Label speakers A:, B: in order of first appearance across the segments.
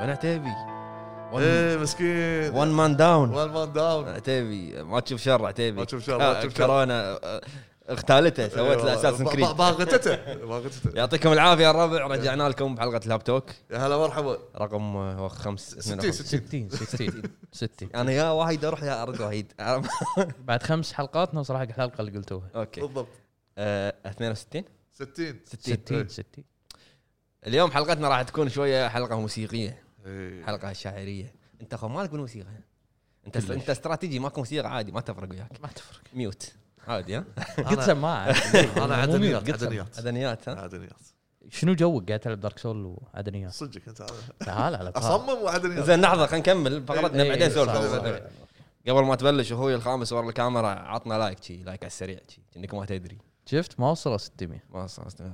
A: انا عتيبي
B: ايه مسكين
A: وان مان داون
B: وان مان داون
A: عتيبي ما تشوف شر عتيبي
B: ما تشوف شر، ما
A: آه،
B: تشوف شر. إيه،
A: كورونا آه، اغتالته سويت له اساس كريد
B: أيوة، باغتته باغتته
A: يعطيكم العافيه يا
B: إيه.
A: الربع رجعنا لكم بحلقه الهاب توك
B: يا هلا مرحبا
A: رقم آه، خمس
B: 60 60
C: 60 60 60
A: انا يا واحد اروح يا ارد وحيد
C: بعد خمس حلقات نوصل حق الحلقه اللي قلتوها
A: اوكي
B: بالضبط
A: آه، 62
B: 60
A: 60
B: إيه.
C: 60 60
A: اليوم حلقتنا راح تكون شويه حلقه موسيقيه
B: إيه.
A: حلقه شاعريه انت اخو مالك بالموسيقى انت انت استراتيجي ماكو موسيقى عادي ما تفرق وياك
C: ما تفرق
A: ميوت عادي ها
C: قد سماعه
B: انا
C: مو
B: عدنيات
C: ميوت، قد سماعة.
B: عدنيات
A: اذنيات ها
B: عدنيات
C: شنو جوك قاعد تلعب دارك سول وعدنيات
B: صدقك انت عدنيات.
C: تعال على تعال.
B: اصمم وعدنيات
A: آه. زين لحظه خلينا نكمل فقرتنا
C: إيه،
A: بعدين
C: صح،
B: صح،
A: سولفه
B: صح.
A: قبل ما تبلش اخوي الخامس ورا الكاميرا عطنا لايك شي لايك على السريع شي انك ما تدري
C: شفت ما وصل 600
A: ما صارت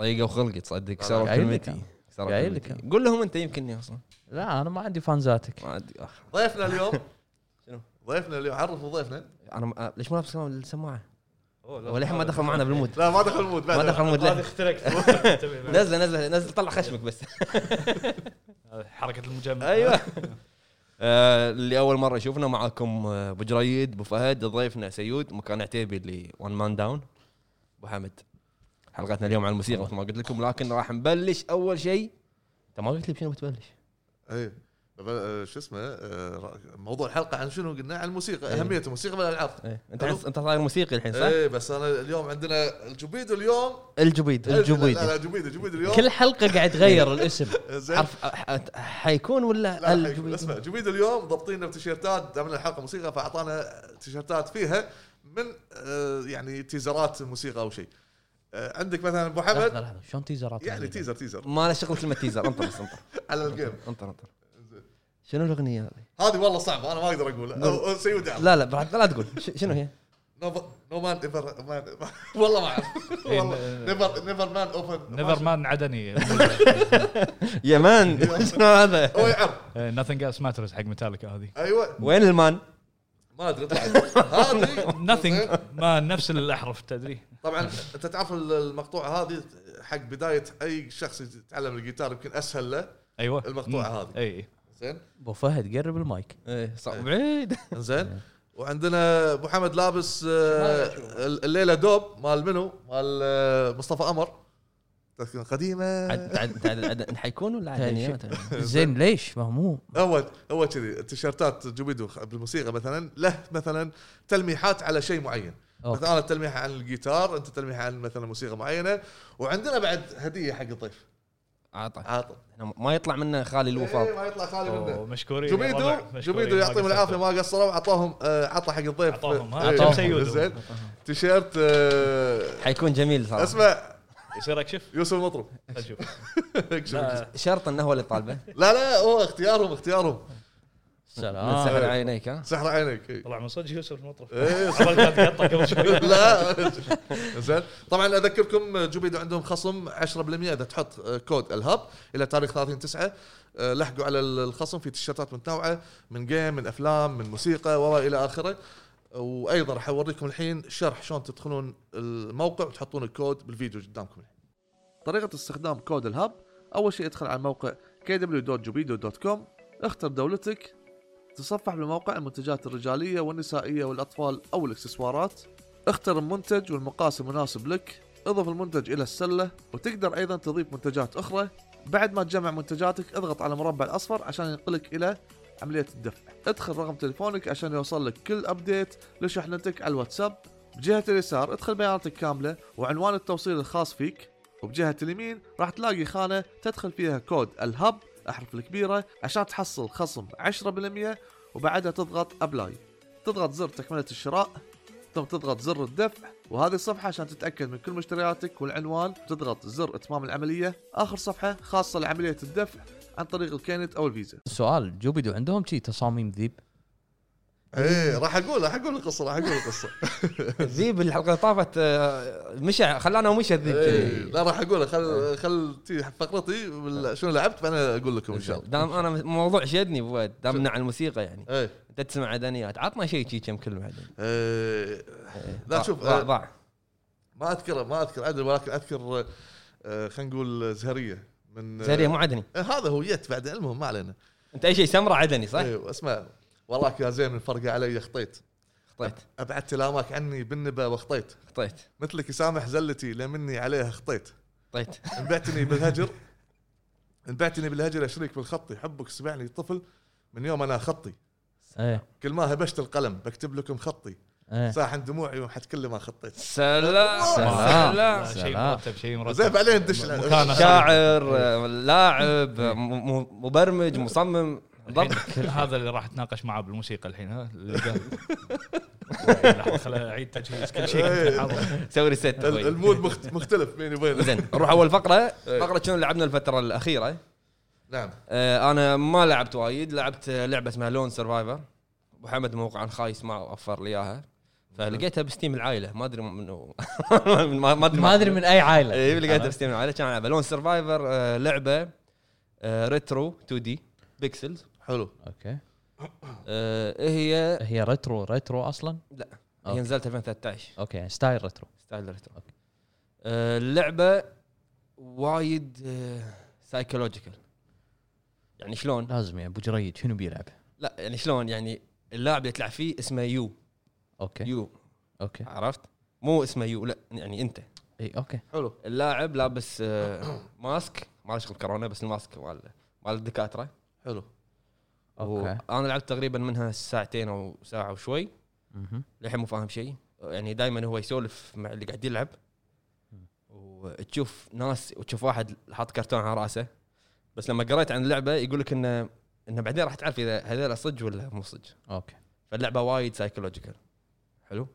A: ضيقه وخلقي تصدق كسروا
C: قايل لك
A: كلمتي
C: أنا.
A: كسروا
C: قايل لك
A: كلمتي. قول لهم انت يمكن اصلا
C: لا انا ما عندي فانزاتك
A: ما ادري آخ.
B: ضيفنا اليوم
A: شنو؟
B: ضيفنا اليوم عرفوا ضيفنا
A: انا ما- ليش ما لابس السماعه؟ وللحين ما دخل معنا بالمود
B: لا ما دخل المود
A: ما
B: بعد.
A: دخل المود
D: هذه
A: لا
D: اخترقت انتبه.
A: نزله نزله نزل طلع خشمك بس
D: هذه حركه المجمع
A: ايوه آه، اللي اول مره يشوفنا معاكم آه، ابو جريد ابو فهد ضيفنا سيود مكان عتيبي اللي وان مان داون ابو حمد حلقتنا اليوم عن الموسيقى مثل ما قلت لكم لكن راح نبلش اول شيء انت ما قلت لي بشنو بتبلش
B: ايه بل- آه، شو اسمه آه، را- موضوع الحلقه عن شنو قلنا عن الموسيقى اهميه الموسيقى بالالعاب
A: إيه، انت حس- انت صاير موسيقي الحين إيه. صح؟
B: ايه بس انا اليوم عندنا الجبيد اليوم
A: الجبيد
B: لا
A: الجبيد
B: لا جبيد الجبيد اليوم آه،
C: كل حلقه قاعد يتغير الاسم
B: زين
A: حرف أح- أت- حيكون ولا
B: لا الجبيد
A: الجبيد؟
B: اسمع جبيد اليوم ضابطينه بتيشيرتات عملنا حلقه موسيقى فاعطانا تيشيرتات فيها من آه، يعني تيزرات موسيقى او شيء آه، عندك مثلا ابو
C: لحظه
B: حمد
C: لحظه شلون تيزرات
B: يعني تيزر تيزر
A: ما له شغل كلمه تيزر انطر بس انطر
B: على الجيم
A: انطر انطر شنو الاغنيه هذه؟
B: هذه والله صعبه انا ما اقدر اقولها سيود يعرف.
A: لا لا بعد- لا تقول ش- شنو هي؟
B: نو نو مان ايفر مان والله ما اعرف والله نيفر نيفر مان اوبن
D: نيفر مان عدني
A: يا مان شنو هذا؟
B: هو يعرف
D: نثينج ايلس ماترز حق ميتاليكا هذه
B: ايوه
A: وين المان؟
B: ما ادري طلعت هذه
D: نثينج ما نفس الاحرف تدري
B: طبعا انت تعرف المقطوعه هذه حق بدايه اي شخص يتعلم الجيتار يمكن اسهل له
D: ايوه
B: المقطوعة
D: مم.
B: هذه.
D: اي
B: زين
C: ابو فهد قرب المايك
A: ايه صح بعيد
B: زين وعندنا ابو حمد لابس آه، الليله دوب مال منو؟ مال آه، مصطفى قمر تذكرة قديمه
A: عد عد عد عد حيكون ولا عدنيات؟
C: زين ليش ما هو
B: هو هو كذي التيشيرتات جوبيدو بالموسيقى مثلا له مثلا تلميحات على شيء معين
C: أوكي.
B: مثلا انا تلميح عن الجيتار انت تلميح عن مثلا موسيقى معينه وعندنا بعد هديه حق الضيف
A: عطى
B: عاطل
A: آه. ما يطلع منه خالي
B: إيه،
A: الوفاض
B: ما يطلع خالي منه
D: أوه، مشكورين يا
B: جوبيدو
D: ربع، مشكورين.
B: جوبيدو
D: ما
B: يعطيهم
D: قصرتوا.
B: العافيه ما قصروا عطاهم آه، عطى حق الضيف
D: عطاهم، ها،
B: إيه،
C: عطاهم.
D: سيودو.
B: زين تيشيرت آه،
A: حيكون جميل صراحه
B: اسمه
D: يصير اكشف
B: يوسف المطرب
D: اشوف
B: اكشف الجسم.
D: لا،
A: آه. شرط انه هو اللي طالبه
B: لا لا هو اختيارهم اختيارهم
A: من
C: سلام
A: سحر عينيك ها
B: سحر عينك إيه.
D: طلع من صدق يوسف المطرف
B: إيه،
D: عبالك لا تقطع قبل شوي
B: لا زين طبعا اذكركم جوبيدو عندهم خصم 10% اذا تحط كود الهب الى تاريخ 30 9 لحقوا على الخصم في تيشيرتات متنوعه من جيم من افلام من موسيقى والى اخره وايضا راح اوريكم الحين شرح شلون تدخلون الموقع وتحطون الكود بالفيديو قدامكم الحين. طريقه استخدام كود الهب اول شيء ادخل على الموقع kw.jubido.com اختر دولتك تصفح بالموقع المنتجات الرجاليه والنسائيه والاطفال او الاكسسوارات اختر المنتج والمقاس المناسب لك اضف المنتج الى السله وتقدر ايضا تضيف منتجات اخرى بعد ما تجمع منتجاتك اضغط على المربع الاصفر عشان ينقلك الى عمليه الدفع ادخل رقم تليفونك عشان يوصل لك كل ابديت لشحنتك على الواتساب بجهه اليسار ادخل بياناتك كامله وعنوان التوصيل الخاص فيك وبجهه اليمين راح تلاقي خانه تدخل فيها كود الهب احرف الكبيره عشان تحصل خصم 10% وبعدها تضغط ابلاي تضغط زر تكمله الشراء ثم تضغط زر الدفع وهذه الصفحة عشان تتأكد من كل مشترياتك والعنوان تضغط زر إتمام العملية آخر صفحة خاصة لعملية الدفع عن طريق الكينت أو الفيزا
C: سؤال جوبيدو عندهم شي تصاميم ذيب
E: إيه،
B: ايه راح اقول راح اقول القصه راح اقول القصه
A: الذيب الحلقه اللي طافت آه، مشى خلانا ومشى الذيب
B: إيه،
A: كذي.
B: لا راح اقولها خل
D: إيه.
B: خل تي فقرتي بال- شنو لعبت فانا اقول لكم ان شاء الله
A: دام انا الموضوع شدني أبو فهد دام عن الموسيقى يعني
B: ايه
A: انت تسمع عدنيات عطنا شيء شي كم كلمه عدني.
B: إيه، لا شوف
A: ضاع
B: آه،
A: ضاع
B: ما اذكر ما اذكر عدل ولكن اذكر آه، خلينا نقول زهريه
E: من
A: زين مو عدني
E: آه، هذا هو يت بعد المهم ما علينا
A: انت اي شيء سمره عدني صح؟
B: إيه.
E: ايوه اسمع وراك يا زين فرقه علي خطيت
A: خطيت
E: ابعدت لامك عني بالنبا وخطيت
A: خطيت
E: مثلك يسامح زلتي لمني عليها خطيت
A: خطيت
E: انبعتني بالهجر انبعتني بالهجر اشريك بالخط حبك سمعني طفل من يوم انا خطي
C: ايه
E: كل ما هبشت القلم بكتب لكم خطي
C: ايه
E: ساحن دموعي ومحت كل ما خطيت
A: سلام
C: سلام.
A: سلام
D: لا، شيء
C: سلام.
D: مرتب شيء
E: زين
D: مرتب
E: بعدين ندش
D: مكانه.
A: شاعر آه، لاعب آه، م- م- مبرمج مصمم ضبط
D: الحين كل هذا اللي راح اتناقش معاه بالموسيقى الحين ها اللي قال. راح خليه اعيد تجهيز كل شيء
E: إيه.
D: حاضر.
A: سوي ريست
E: ال- المود مخت- مختلف بيني وبينه
A: طيب. زين نروح اول فقره فقره شنو لعبنا الفتره الاخيره
E: نعم
A: آه، انا ما لعبت وايد لعبت آه، لعبه اسمها لون سرفايفر ابو حمد موقع خايس ما وفر لي اياها فلقيتها بستيم العائله ما ادري منو ما ما ادري
C: ما ادري من اي عائله
A: اي لقيتها بستيم العائله كان العبها لون سرفايفر آه، لعبه آه، ريترو 2 دي بيكسلز
E: حلو
C: اوكي
A: آه، هي
C: هي ريترو ريترو اصلا
A: لا هي
C: أوكي.
A: نزلت 2013
C: اوكي يعني ستايل ريترو
A: ستايل ريترو
C: أوكي.
A: آه، اللعبه وايد سايكولوجيكال يعني شلون؟
C: لازم يعني ابو جريد شنو بيلعب؟
A: لا يعني شلون يعني اللاعب اللي تلعب فيه اسمه يو
C: اوكي
A: يو
C: اوكي
A: عرفت؟ مو اسمه يو لا يعني انت
C: اي اوكي
E: حلو
A: اللاعب لابس آه، ماسك ما له شغل بكورونا بس الماسك مال مال الدكاتره
E: حلو
C: اوكي
A: انا لعبت تقريبا منها ساعتين او ساعه وشوي
C: مهم.
A: للحين مو فاهم شيء يعني دائما هو يسولف مع اللي قاعد يلعب وتشوف ناس وتشوف واحد حاط كرتون على راسه بس لما قريت عن اللعبه يقول لك انه انه بعدين راح تعرف اذا هذول صج ولا مو صج
C: اوكي
A: فاللعبه وايد سايكولوجيكال حلو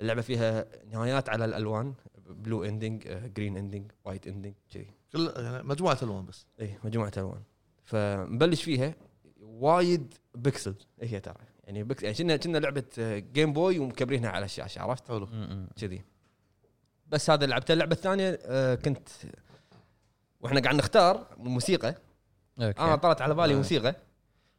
A: اللعبه فيها نهايات على الالوان بلو اندنج جرين اندنج وايت اندنج كذي
E: كل يعني مجموعه الوان بس
A: اي مجموعه الوان إيه، فمبلش فيها وايد بكسل هي ترى يعني بكسل يعني كنا كنا لعبه آه، جيم بوي ومكبرينها على الشاشه عرفت
E: حلو
C: مم.
A: كذي بس هذا لعبته اللعبه الثانيه آه، كنت واحنا قاعد نختار موسيقى انا
C: اوكي
A: طلعت على بالي
E: آه.
A: موسيقى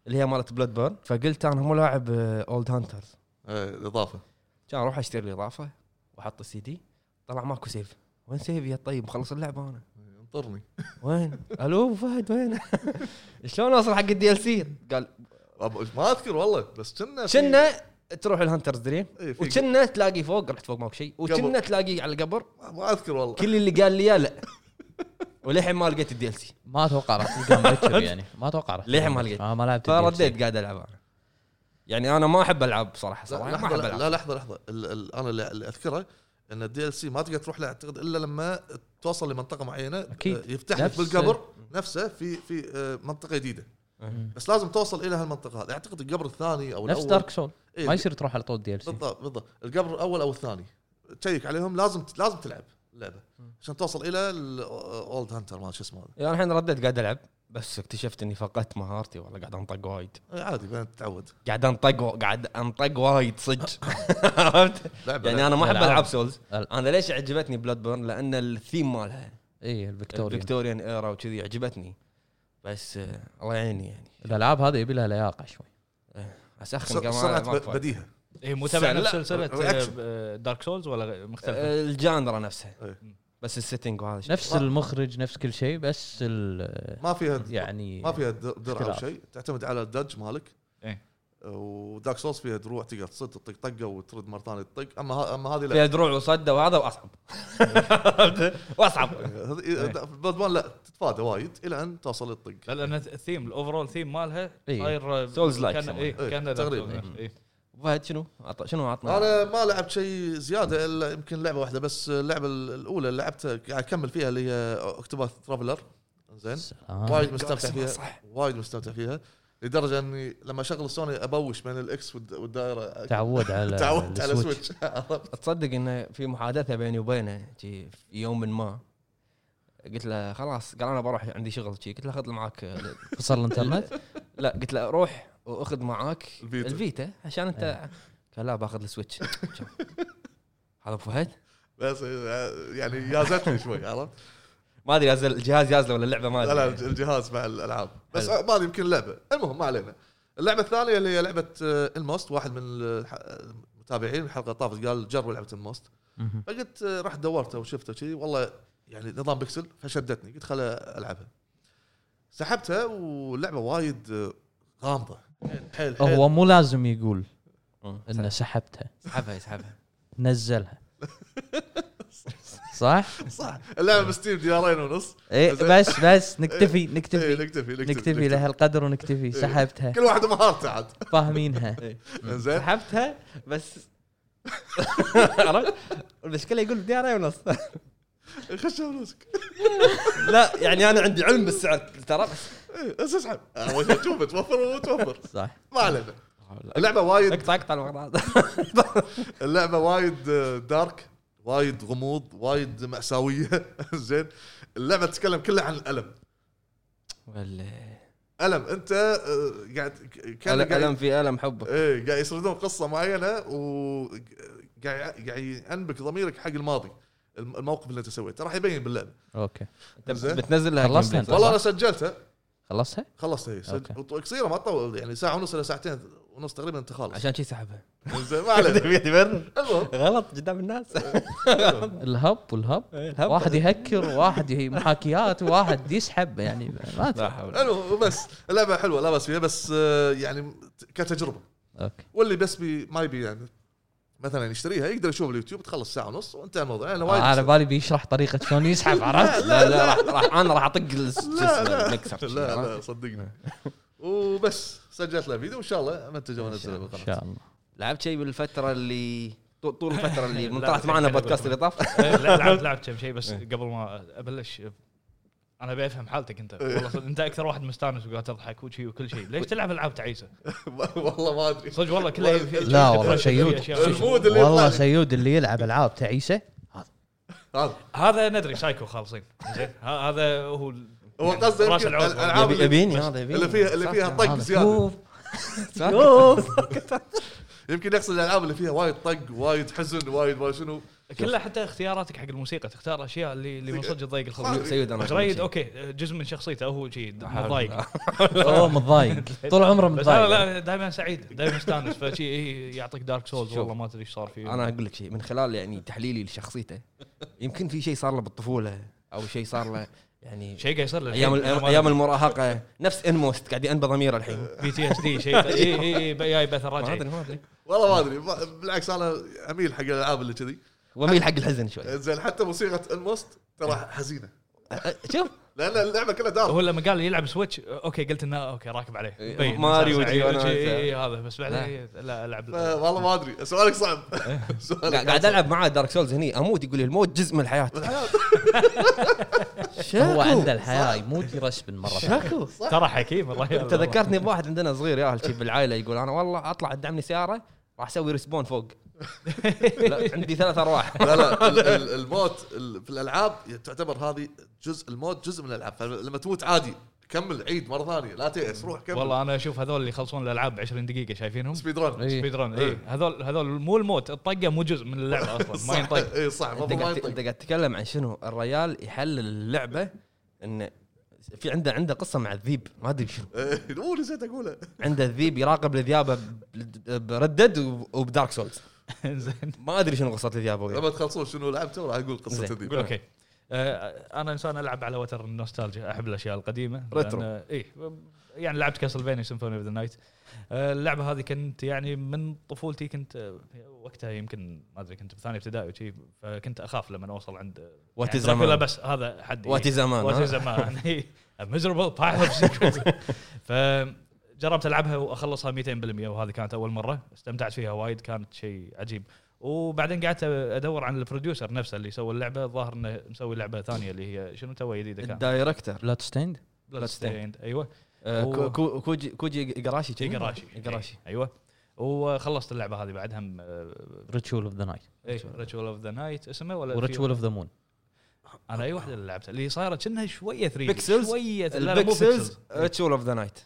A: اللي هي مالت بلاد بيرن فقلت انا مو لاعب آه، اولد هانترز
E: إيه، اضافه
A: كان اروح اشتري الاضافه واحط السي دي طلع ماكو سيف وين سيفي يا طيب مخلص اللعبه انا
E: انطرني
A: وين الو أبو فهد وين شلون اوصل حق الدي ال سي قال
E: أب- ما اذكر والله بس كنا في-
A: كنا تروح الهانترز دريم
E: إيه، في-
A: وكنا تلاقي فوق رحت فوق ماكو شيء وكنا
E: قبر.
A: تلاقي على القبر
E: ما اذكر والله
A: كل اللي قال لي يا لا وللحين ما لقيت الدي ال سي
C: ما اتوقع راح تلقى مبكر يعني ما اتوقع راح
A: للحين ما
C: تلقى.
A: لقيت.
C: آه، ما لعبت DLC.
A: فرديت قاعد العب انا يعني انا ما احب العب صراحه
E: لا
A: صراحه ما
E: لحظه
A: احب العب
E: لا لحظه لحظه ال- ال- انا اللي- اللي اذكره ان الدي ال سي ما تقدر تروح له اعتقد الا لما توصل لمنطقه معينه
C: أكيد.
E: آه، يفتح لك
C: نفس-
E: بالقبر نفسه في في آه، منطقه جديده
A: مم.
E: بس لازم توصل الى هالمنطقه هذه اعتقد القبر الثاني او
C: نفس
E: الاول
C: دارك سول
E: إيه،
C: ما يصير تروح على طول دي ال سي
E: بالضبط بالضبط القبر الاول او الثاني تشيك عليهم لازم لازم تلعب اللعبه عشان توصل الى الاولد هانتر ما شو اسمه هذا
A: يعني الحين رديت قاعد العب بس اكتشفت اني فقدت مهارتي والله قاعد انطق وايد
E: آه، عادي بعدين تتعود
A: قاعد انطق و- قاعد انطق وايد صدق عرفت؟
E: لعبه
A: يعني
E: لعبة.
A: انا ما احب
C: ألعاب.
A: العب سولز
C: أل-
A: انا ليش عجبتني بلاد بيرن لان الثيم مالها
C: اي الفيكتوريا
A: الفيكتوريان ايرا وكذي عجبتني بس آه، الله يعيني يعني
C: الالعاب هذه يبي لها لياقه شوي
A: اسخن
E: سر- سرعه ب- بديهه
D: هي مو تبع
A: سلام.
D: إيه، نفس سلسله
E: أكشن.
D: آه، دارك سولز ولا غ- مختلفه؟
A: الجانرا نفسها
E: إيه.
A: بس السيتنج وهذا الشيء.
C: نفس المخرج نفس كل شيء بس ال-
E: ما فيها
C: يعني
E: ما فيها د- درع او
C: اختلاف.
E: شيء تعتمد على الدج مالك
D: إيه.
E: ودارك سولز فيها دروع تقدر تصد تطق طقه وترد مره ثانيه تطق اما ها اما هذه لا
A: فيها دروع وصده وهذا واصعب واصعب
E: بلاد بون لا تتفادى وايد الى ان توصل الطق
D: لا لان الثيم الاوفرول ثيم مالها
C: إيه.
D: غير آه،
A: Souls like
D: كان
A: somewhat.
D: إيه،
E: إيه،
D: كان
E: تقريباً.
D: تقريبا إيه.
A: فهد شنو عط- شنو
C: نعم.
A: عطنا
E: انا ما لعبت شيء زياده الا يمكن لعبه واحده بس اللعبه الاولى اللي لعبتها قاعد اكمل فيها اللي هي اوكتوباث ترافلر زين
C: سلام.
E: وايد مستمتع فيها
A: صح.
E: وايد مستمتع فيها لدرجه اني لما اشغل السوني ابوش بين الاكس والد- والدائره
C: تعود على
E: تعودت على
C: السويتش.
E: سويتش عرفت؟
A: تصدق انه في محادثه بيني وبينه شي في يوم من ما قلت له خلاص قال انا بروح عندي شغل شي قلت له خذ معاك
C: فصل الانترنت
A: لا قلت له روح واخذ معاك
E: الفيتا.
A: الفيتا عشان انت قال لا باخذ السويتش شوف. هذا ابو فهد
E: بس يعني يازتني شوي عرفت؟
A: ما ادري يازل الجهاز يازله ولا اللعبه ما
E: لا لا
A: ادري
E: الجهاز مع الالعاب بس
A: حلو.
E: ما أدري يمكن لعبه المهم ما علينا اللعبه الثانيه اللي هي لعبه آه، الموست واحد من الح- المتابعين الحلقه طافت قال جربوا لعبه الموست
C: مهم.
E: فقلت آه، رحت دورته وشفته كذي والله يعني نظام بكسل فشدتني قلت خل العبها سحبتها واللعبه وايد آه، غامضه حيل- حيل حيل
C: هو مو لازم يقول
A: مم.
C: انه سحبتها
A: اسحبها اسحبها
C: نزلها صح؟
E: صح اللعبه بستيم ديارين ونص
C: ايه بس بس نكتفي
E: إيه،
C: نكتفي
E: نكتفي
C: نكتفي لهالقدر ونكتفي سحبتها
E: كل واحد مهارته عاد
C: فاهمينها
E: زين
A: سحبتها بس عرفت؟ المشكله يقول بديارة ونص
E: خش فلوسك
A: لا يعني انا عندي علم بالسعر ترى بس
E: إيه، بس اسحب اول شيء تشوف توفر وتوفر
C: صح
E: ما علينا اللعبه وايد
A: اقطع اقطع المقطع
E: اللعبه وايد آه، دارك وايد غموض وايد مأساويه زين اللعبه تتكلم كلها عن الالم
A: ولا
E: الم انت آه، قاعد كان
A: ألم- الم
E: قاعد
A: في الم حبك
E: ايه قاعد يسردون قصه معينه وقاعد قاعد ينبك ضميرك حق الماضي الم- الموقف اللي انت سويته راح يبين باللعبه
C: اوكي
A: أنت
E: زين.
A: بتنزل لها
C: خلصت
A: gameplay.
C: أنت؟
E: والله انا سجلتها
C: خلصتها؟
E: خلصت هي
C: أوكي.
E: إيه، سج- وط- قصيره ما تطول يعني ساعه ونص الى ساعتين ونص تقريبا انت خالص
A: عشان شي سحبها
E: زين ما علينا المهم
A: غلط قدام الناس
C: الهب والهب
A: إيه،
C: واحد يهكر واحد يهي محاكيات وواحد يسحب يعني ما
A: لا
C: أدري.
A: حول
E: المهم وبس اللعبه حلوه لا بس فيها بس آه، يعني ت- كتجربه
C: اوكي
E: واللي بس بي ما يبي يعني مثلا يشتريها يقدر يشوف اليوتيوب تخلص ساعه ونص وانتهى الموضوع انا وايد
C: آه، على بالي بيشرح طريقه شلون يسحب عرفت؟
A: لا لا راح راح انا راح اطق الس-
E: لا، لا.
A: المكسر
E: لا لا صدقني وبس سجلت له فيديو وان شاء الله امنتجه ونزله
C: ان
E: بالقناه
C: شاء الله
A: لعبت شيء بالفتره اللي طو- طول الفتره اللي من
D: لا،
A: طلعت
D: لا،
A: معنا
D: لا، لا،
A: بودكاست اللي طاف
D: إيه، لا، لعبت لعبت كم شيء بس قبل ما ابلش انا ابي افهم حالتك انت والله صدق، انت اكثر واحد مستانس وقاعد تضحك وشي وكل شيء ليش تلعب العاب تعيسه
E: والله ما ادري
D: صدق والله كلها في- في-
C: لا،
D: في-
C: والله
D: في
C: شيود.
D: أشياء.
E: المود اللي يطلع
C: والله
E: لي.
C: سيود اللي يلعب العاب تعيسه
E: هذا
D: هذا ندري سايكو خالصين زين ه- هذا هو ال-
E: هو
D: يعني
E: قصده
D: راس
E: يمكن
D: العود.
E: الألعاب
A: يبي- يبيني هذا يبيني
E: اللي فيها اللي فيها طق
C: هذا
E: زياده
C: شوف
E: يمكن يحصل الالعاب اللي فيها وايد طق وايد حزن وايد ما شنو
D: كلها حتى اختياراتك حق الموسيقى تختار اشياء اللي اللي من صدق تضايق الخلق
A: سيد انا
D: جريد اوكي جزء من شخصيته هو شيء مضايق
C: هو متضايق طول عمره
D: بس انا
C: متضايق
D: لا دائما سعيد دائما مستانس فشي إيه، يعطيك دارك سولز
A: شوف.
D: والله ما تدري ايش صار فيه
A: انا اقول لك شيء من خلال يعني تحليلي لشخصيته يمكن في شيء صار له بالطفوله او شيء صار له يعني
D: شيء قاعد يصير له
A: ايام ايام المراهقه نفس انموست قاعد ينبى ضميره الحين
D: بي تي اس دي شيء اي اي اي جاي إيه، بث
A: ما
D: الراجعي
A: ادري ما ادري
E: والله ما ادري ما- بالعكس انا اميل حق الالعاب اللي كذي
A: واميل حق الحزن شوي
E: زين حتى موسيقى الموست ترى حزينه
A: شوف
E: لان اللعبه كلها دارك
D: هو لما قال يلعب سويتش اوكي قلت انه اوكي راكب عليه
A: إيه،
D: مبين.
A: ماريو
D: سعيد.
A: وجيوانا.
D: إيه، إيه، هذا بس بعدين لا العب
E: والله ما ادري سؤالك صعب سؤالك
A: قاعد العب معاه دارك سولز هني اموت يقول لي الموت جزء من الحياه
C: هو عنده الحياه يموت يرسبن مره ثانيه
A: شاكو
D: ترى حكيم الله يرضى.
A: تذكرتني بواحد عندنا صغير ياهل شي بالعائله يقول انا والله اطلع تدعمني سياره راح اسوي ريسبون فوق لا عندي ثلاث ارواح
E: لا لا ال- ال- الموت ال- في الالعاب تعتبر هذه جزء الموت جزء من الالعاب فلما تموت عادي كمل عيد مره ثانيه لا تيأس روح كمل
D: والله انا اشوف هذول اللي يخلصون الالعاب ب 20 دقيقه شايفينهم
E: سبيد ران
C: إيه.
D: سبيد ران اي هذول هذول مو الموت الطقه مو جزء من اللعبه اصلا ما ينطق
E: اي صح طيب.
A: انت
E: المفروض ما
A: طيب. قاعد انت
E: ينطق
A: قاعد تتكلم عن شنو الريال يحلل اللعبه انه في عنده عنده قصه مع الذيب ما ادري شنو
E: إيه، اوه نسيت اقوله
A: عنده الذيب يراقب الذيابه ب- بردد وب- وبدارك سولز
D: زين
A: ما ادري شنو قصه الذيابه وياه.
E: لما تخلصون شنو لعبته راح اقول قصه
A: طيب. زين.
E: ذي
D: قول اوكي آه، انا انسان العب على وتر النوستالجيا احب الاشياء القديمه
A: ريترو.
D: اي يعني لعبت كاسلفينيا سيمفوني اوف ذا نايت اللعبه آه، هذه كنت يعني من طفولتي كنت آه، وقتها يمكن ما ادري كنت بثاني ابتدائي وشي فكنت اخاف لما اوصل عند يعني
A: What is
D: دراكولا
A: زمان؟
D: بس هذا حد
A: What is زمان،
D: وات
A: ها؟
D: زمان ميزربل بايل اوف فجربت العبها واخلصها 200% وهذه كانت اول مره استمتعت فيها وايد كانت شيء عجيب وبعدين قعدت ادور عن البروديوسر نفسه اللي سوى اللعبه الظاهر انه مسوي لعبه ثانيه اللي هي شنو توي جديده كان
A: الدايركتر
C: بلاد ستيند
A: Bloodstained.
D: Bloodstained. ايوه
A: آه،
D: هو-
A: كو- كو- كوجي كوجي جراشي
D: شيء قراشي
A: جراشي
D: ايوه وخلصت اللعبه هذه آه، بعدها
C: ريتشول اوف ذا نايت
A: إيه.
D: ريتشول اوف ذا نايت اسمه ولا في-
C: وريتشول اوف ذا مون
D: انا اي واحده اللي لعبتها اللي صايره كأنها شويه 3
A: Pixels؟
D: شويه لا، لا، مو
A: البكسلز
D: Pixels.
A: ريتشول اوف ذا نايت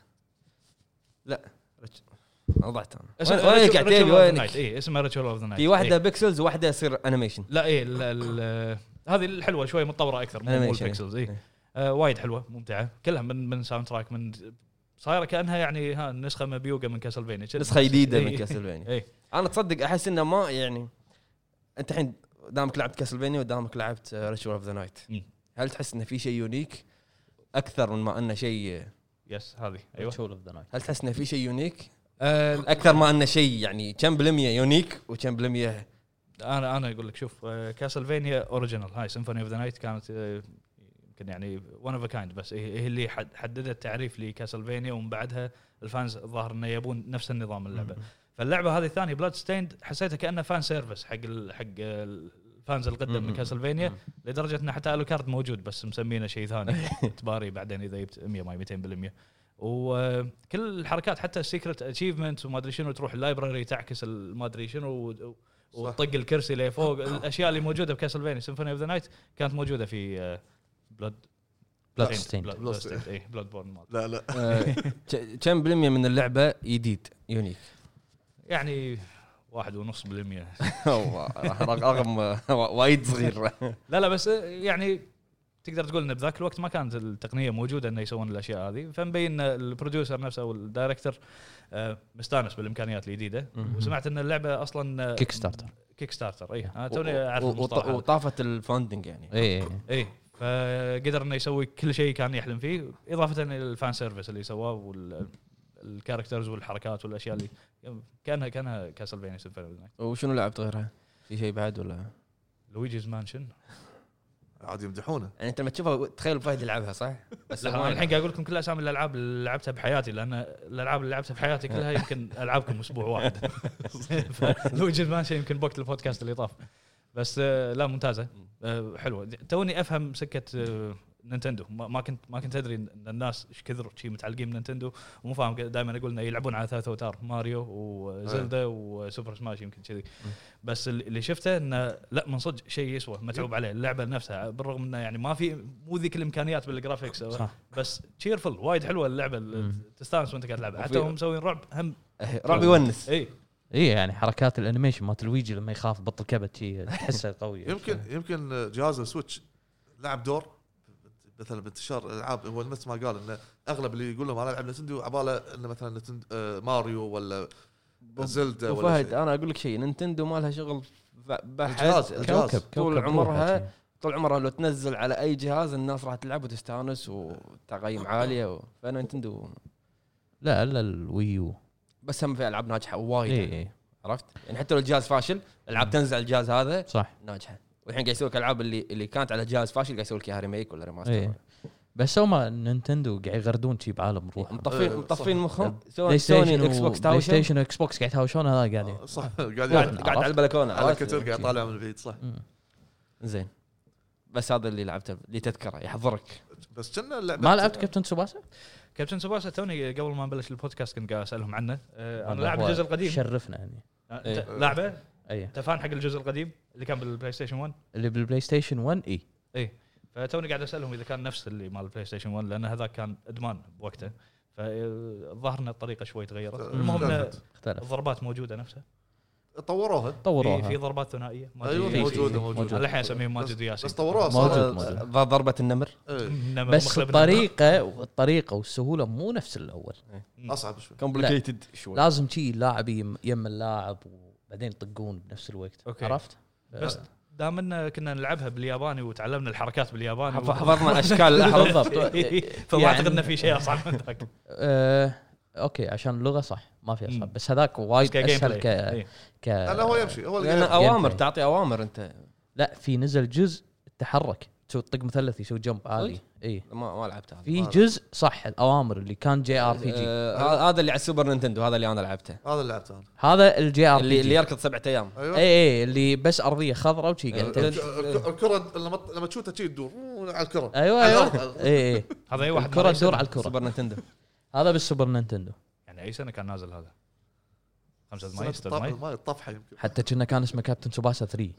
A: لا Ritual- أنا ضعت
D: اسمه
A: انا وينك
D: Ritual-
A: يا عتيبي
D: Ritual of the Night.
A: وينك
D: اي إيه، اسمه ريتشول اوف ذا نايت
A: في واحده بيكسلز وواحده يصير انيميشن
D: لا ايه ال- ال- هذه الحلوه شوي متطوره اكثر مو مو
A: Animation، إيه.
D: البكسلز اي
A: إيه.
D: آه وايد حلوه ممتعه كلها من من ساوند تراك من صايره كانها يعني ها نسخه مبيوقه من إيه. كاسلفينيا
A: نسخه جديده من كاسلفينيا
D: اي
A: انا تصدق احس انه ما يعني انت الحين دامك لعبت كاسلفينيا ودامك لعبت ريتشول اوف ذا نايت
D: مم.
A: هل تحس انه في شيء يونيك اكثر من ما انه شيء
D: يس هذه ايوه
C: ريتشول اوف ذا نايت
A: هل تحس انه في شيء يونيك؟ اكثر ما انه شيء يعني كم بالميه يونيك وكم بالميه
D: انا انا اقول لك شوف كاسلفينيا اوريجينال هاي سيمفوني اوف ذا نايت كانت آه، يمكن يعني ون اوف كايند بس هي هي اللي حد- حددت تعريف لكاسلفينيا ومن بعدها الفانز الظاهر انه يبون نفس النظام اللعبه فاللعبه هذه الثانيه بلاد ستيند حسيتها كانها فان سيرفيس حق ال حق الفانز القدم من كاسلفينيا لدرجه ان حتى الوكارد موجود بس مسمينه شيء ثاني تباري بعدين اذا جبت 100 ماي 200% وكل الحركات حتى السيكرت اتشيفمنت وما ادري شنو تروح اللايبراري تعكس ال- ما ادري شنو و-
E: صح.
D: وتطق الكرسي لفوق الاشياء اللي موجوده بكاسلفينيا سيمفوني اوف ذا نايت كانت موجوده في آه، بلاد
C: بلاد ستيند
E: Blood-
D: اي بلاد بورن
E: لا لا
A: آه، ك- كم بالميه من اللعبه جديد يونيك؟
D: يعني واحد ونص بالمية
A: هو رق- رقم وايد صغير
D: لا لا بس يعني تقدر تقول ان بذاك الوقت ما كانت التقنيه موجوده انه يسوون الاشياء هذه فمبين ان البروديوسر نفسه او الدايركتر آه، مستانس بالامكانيات الجديده وسمعت ان اللعبه اصلا
C: كيك ستارتر
D: كيك ستارتر اي انا إيه. آه، توني اعرف المصطلح هذا.
A: وطافت الفاندنج يعني
C: اي
D: اي فقدر انه إيه، يسوي كل شيء كان يحلم فيه اضافه الى الفان سيرفيس اللي سواه والكاركترز والحركات والاشياء اللي كانها كانها كاسلفينيا سيمفوني
A: وشنو لعبت غيرها؟ في شيء بعد ولا؟
D: لويجيز مانشن
E: عاد يمدحونه
A: يعني انت لما تشوفها تخيل فهد يلعبها صح؟ بس
D: لا، أنا الحين قاعد اقول لكم كل اسامي الالعاب اللي لعبتها بحياتي لان الالعاب اللي لعبتها بحياتي كلها يمكن العابكم اسبوع واحد فلويجي مانشن يمكن بوقت البودكاست اللي طاف بس آه، لا ممتازه آه، حلوه توني افهم سكه آه، نينتندو ما ما كنت ما كنت ادري ان الناس ايش كثر شي متعلقين بنينتندو ومو فاهم دائما اقول انه يلعبون على ثلاث اوتار ماريو وزلدا
A: أيوه.
D: وسوبر سماش يمكن كذي بس اللي شفته انه لا من صدق شيء يسوى متعوب عليه اللعبه نفسها بالرغم انه يعني ما في مو ذيك الامكانيات بالجرافيكس
C: صح.
D: بس تشيرفل وايد حلوه اللعبه اللي تستانس وانت قاعد تلعبها حتى
A: وفي-
D: هم مسوين رعب هم إيه.
A: رعب يونس
D: اي
C: اي يعني حركات الانيميشن مالت لويجي لما يخاف بطل كبد شي تحسه قوي
E: يمكن يمكن جهاز السويتش لعب دور مثلا بانتشار الالعاب هو مثل ما قال انه اغلب اللي يقول لهم انا العب نتندو عباله انه مثلا نتندو آه، ماريو ولا زلدا
A: أبو
E: ولا
A: فهد
E: شيء.
A: انا اقول لك شيء نينتندو ما لها شغل ب-
E: الجهاز
A: بحث
E: الجهاز
A: طول
C: كوكب يعني.
A: عمرها
C: روحه شي.
A: طول عمرها لو تنزل على اي جهاز الناس راح تلعب وتستانس وتقييم عاليه و... فنينتندو
C: لا الا الويو إيه،
A: بس هم في العاب ناجحه
C: اي
A: وايد
C: اي
A: عرفت؟ يعني حتى لو الجهاز فاشل العاب تنزل على الجهاز هذا
C: صح
A: ناجحه والحين قاعد يسوي لك العاب اللي اللي كانت على جهاز فاشل قاعد يسوي لك اياها ريميك ولا
C: اي
A: ريماستر
C: بس هما نينتندو قاعد يغردون شي بعالم روحهم
A: مطفين
E: أه،
A: مطفين
E: صح.
A: مخهم
C: بلاي
A: سوني
C: ستيشن
A: سوني اكس بوكس
C: بلاي
A: تاوشن
C: ستيشن واكس بوكس قاعد يتهاوشون هذا قاعدين
E: آه، صح قاعد
A: قاعد
E: يلعب
A: قاعد يعني. على البلكونه
E: على
A: عرفت؟
E: الكتير قاعد طالع من بعيد صح
C: مم.
A: زين بس هذا اللي لعبته اللي تذكره يحضرك
E: بس كنا اللعبه
C: ما لعبت كابتن سوباسا؟
D: كابتن سباسا توني قبل ما نبلش البودكاست كنت قاعد اسالهم عنه آه، انا
C: والله
D: لاعب
C: هو
D: الجزء القديم
C: شرفنا يعني
D: آه،
A: إيه.
D: أنت لاعبه
C: اي
D: انت فان حق الجزء القديم اللي كان بالبلاي ستيشن 1
C: اللي بالبلاي ستيشن 1 اي
D: اي فتوني قاعد اسالهم اذا كان نفس اللي مال البلاي ستيشن 1 لان هذا كان ادمان بوقته فالظاهر ان الطريقه شوي تغيرت
E: آه،
D: المهم إن
E: اختلفت.
C: اختلف
D: الضربات موجوده نفسها
E: طوروها
D: في,
C: طوروها
D: في ضربات ثنائيه ما
E: ايوه
D: أدري-
E: موجوده
C: في-
E: موجوده
C: موجودة.
D: أنا الحين اسميهم ماجد
E: بس-
D: وياسين
E: بس طوروها صار
C: موجود موجود
A: ذا ضربه النمر
E: إيه،
D: إنما
C: بس
D: مخلب
C: الطريقه الطريقه والسهوله مو نفس الاول
E: اصعب شوي
A: كومبليكيتد شوي
C: لازم شي اللاعب يم, يم اللاعب وبعدين يطقون بنفس الوقت
D: أوكي.
C: أوكي. عرفت؟ آه،
D: بس دام ان كنا نلعبها بالياباني وتعلمنا الحركات بالياباني
A: حف- حفظنا اشكال الاحرف
C: بالضبط.
D: فما
C: يعني-
D: اعتقد انه في شيء اصعب من ذاك
C: آه اوكي عشان اللغه صح ما في
D: مم.
C: اصعب بس هذاك وايد
D: كجيم
C: اسهل ك,
D: بلاي. إيه.
C: ك
E: لا لا، هو يمشي هو
A: لان
E: اللي
A: اوامر
C: Gameplay.
A: تعطي اوامر انت
C: لا في نزل جزء تحرك تسوي طق مثلث يسوي جمب عالي اي
A: ما ما لعبت هذا
C: في جزء صح الاوامر اللي كان جي ار بي جي
A: آه، ه- هذا اللي على السوبر نينتندو هذا اللي انا لعبته
E: هذا اللي لعبته انا
C: هذا الجي ار
A: اللي
C: بي
A: اللي
C: جي
A: يركض سبعة ايام
C: اي
E: ايوه
C: اي إيه، اللي بس ارضيه خضراء وشي قاعد
A: إيه.
C: تمشي.
E: الك- الكره لما لما تشوتها تشي تدور مو على الكره
C: ايوه
E: على
C: ايوه
A: آه،
E: الأرض.
C: اي اي
D: هذا اي واحد
C: الكره
D: مرة
C: تدور
D: يسأل.
C: على الكره
A: سوبر نينتندو
C: هذا بالسوبر نينتندو
D: يعني اي سنه كان نازل هذا 5
E: سنة
D: ماي 6 ماي
E: الطف- الماي الطفحه يمكن
C: حتى كنا كان اسمه كابتن سوباسا 3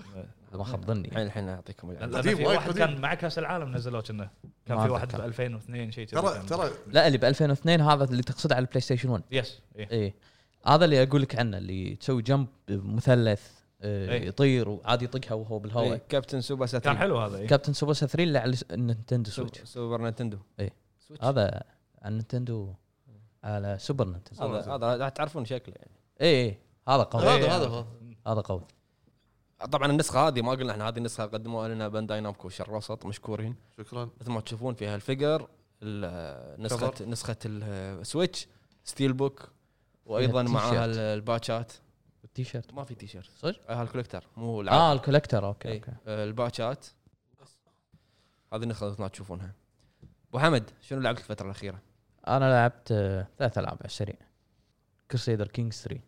C: إذا ما خاب
A: الحين
C: ظني
A: الحين اعطيكم
D: لا،
A: اللعبة.
D: لا،
E: قديم،
D: في
E: وايد
D: واحد
E: قديم.
D: كان مع كاس العالم نزلوه كنا كان
C: ما
D: في واحد ب
C: أتذكر.
D: 2002 شيء كذي
E: ترى
D: كان.
E: ترى
C: لا اللي ب 2002 هذا اللي تقصده على البلاي ستيشن 1
D: يس إيه.
C: اي هذا اللي اقول لك عنه اللي تسوي جمب مثلث آه،
D: إيه.
C: يطير وعادي يطقها وهو
A: إيه،
C: بالهواء
A: كابتن سوبر
D: كان
A: ساترن
D: حلو هذا إيه.
C: كابتن سوباسا 3 اللي على النينتندو سويتش
A: سوبر نينتندو
C: هذا على النينتندو على سوبر نينتندو
A: هذا هذا راح تعرفون شكله يعني
C: اي اي إيه. هذا قوي
E: هذا هذا هو.
C: هذا قوي
A: طبعا النسخه هذه ما قلنا احنا هذه النسخه قدموها لنا بانداي نامكو شرق الاوسط مشكورين
E: شكرا
A: مثل ما تشوفون فيها الفقر ال- نسخه نسخه السويتش ستيل بوك وايضا
C: فيها
A: معاها
C: تيشيرت.
A: الباتشات
C: التي شيرت
A: ما في تي شيرت
C: صدق؟
A: آه، هالكوليكتر مو العاب
C: اه الكولكتر اوكي
A: إيه.
C: اوكي
A: آه، الباتشات هذه النسخه اللي تشوفونها ابو حمد شنو لعبت الفتره الاخيره؟
C: انا لعبت آه، ثلاث العاب على السريع كرسيدر كينجز 3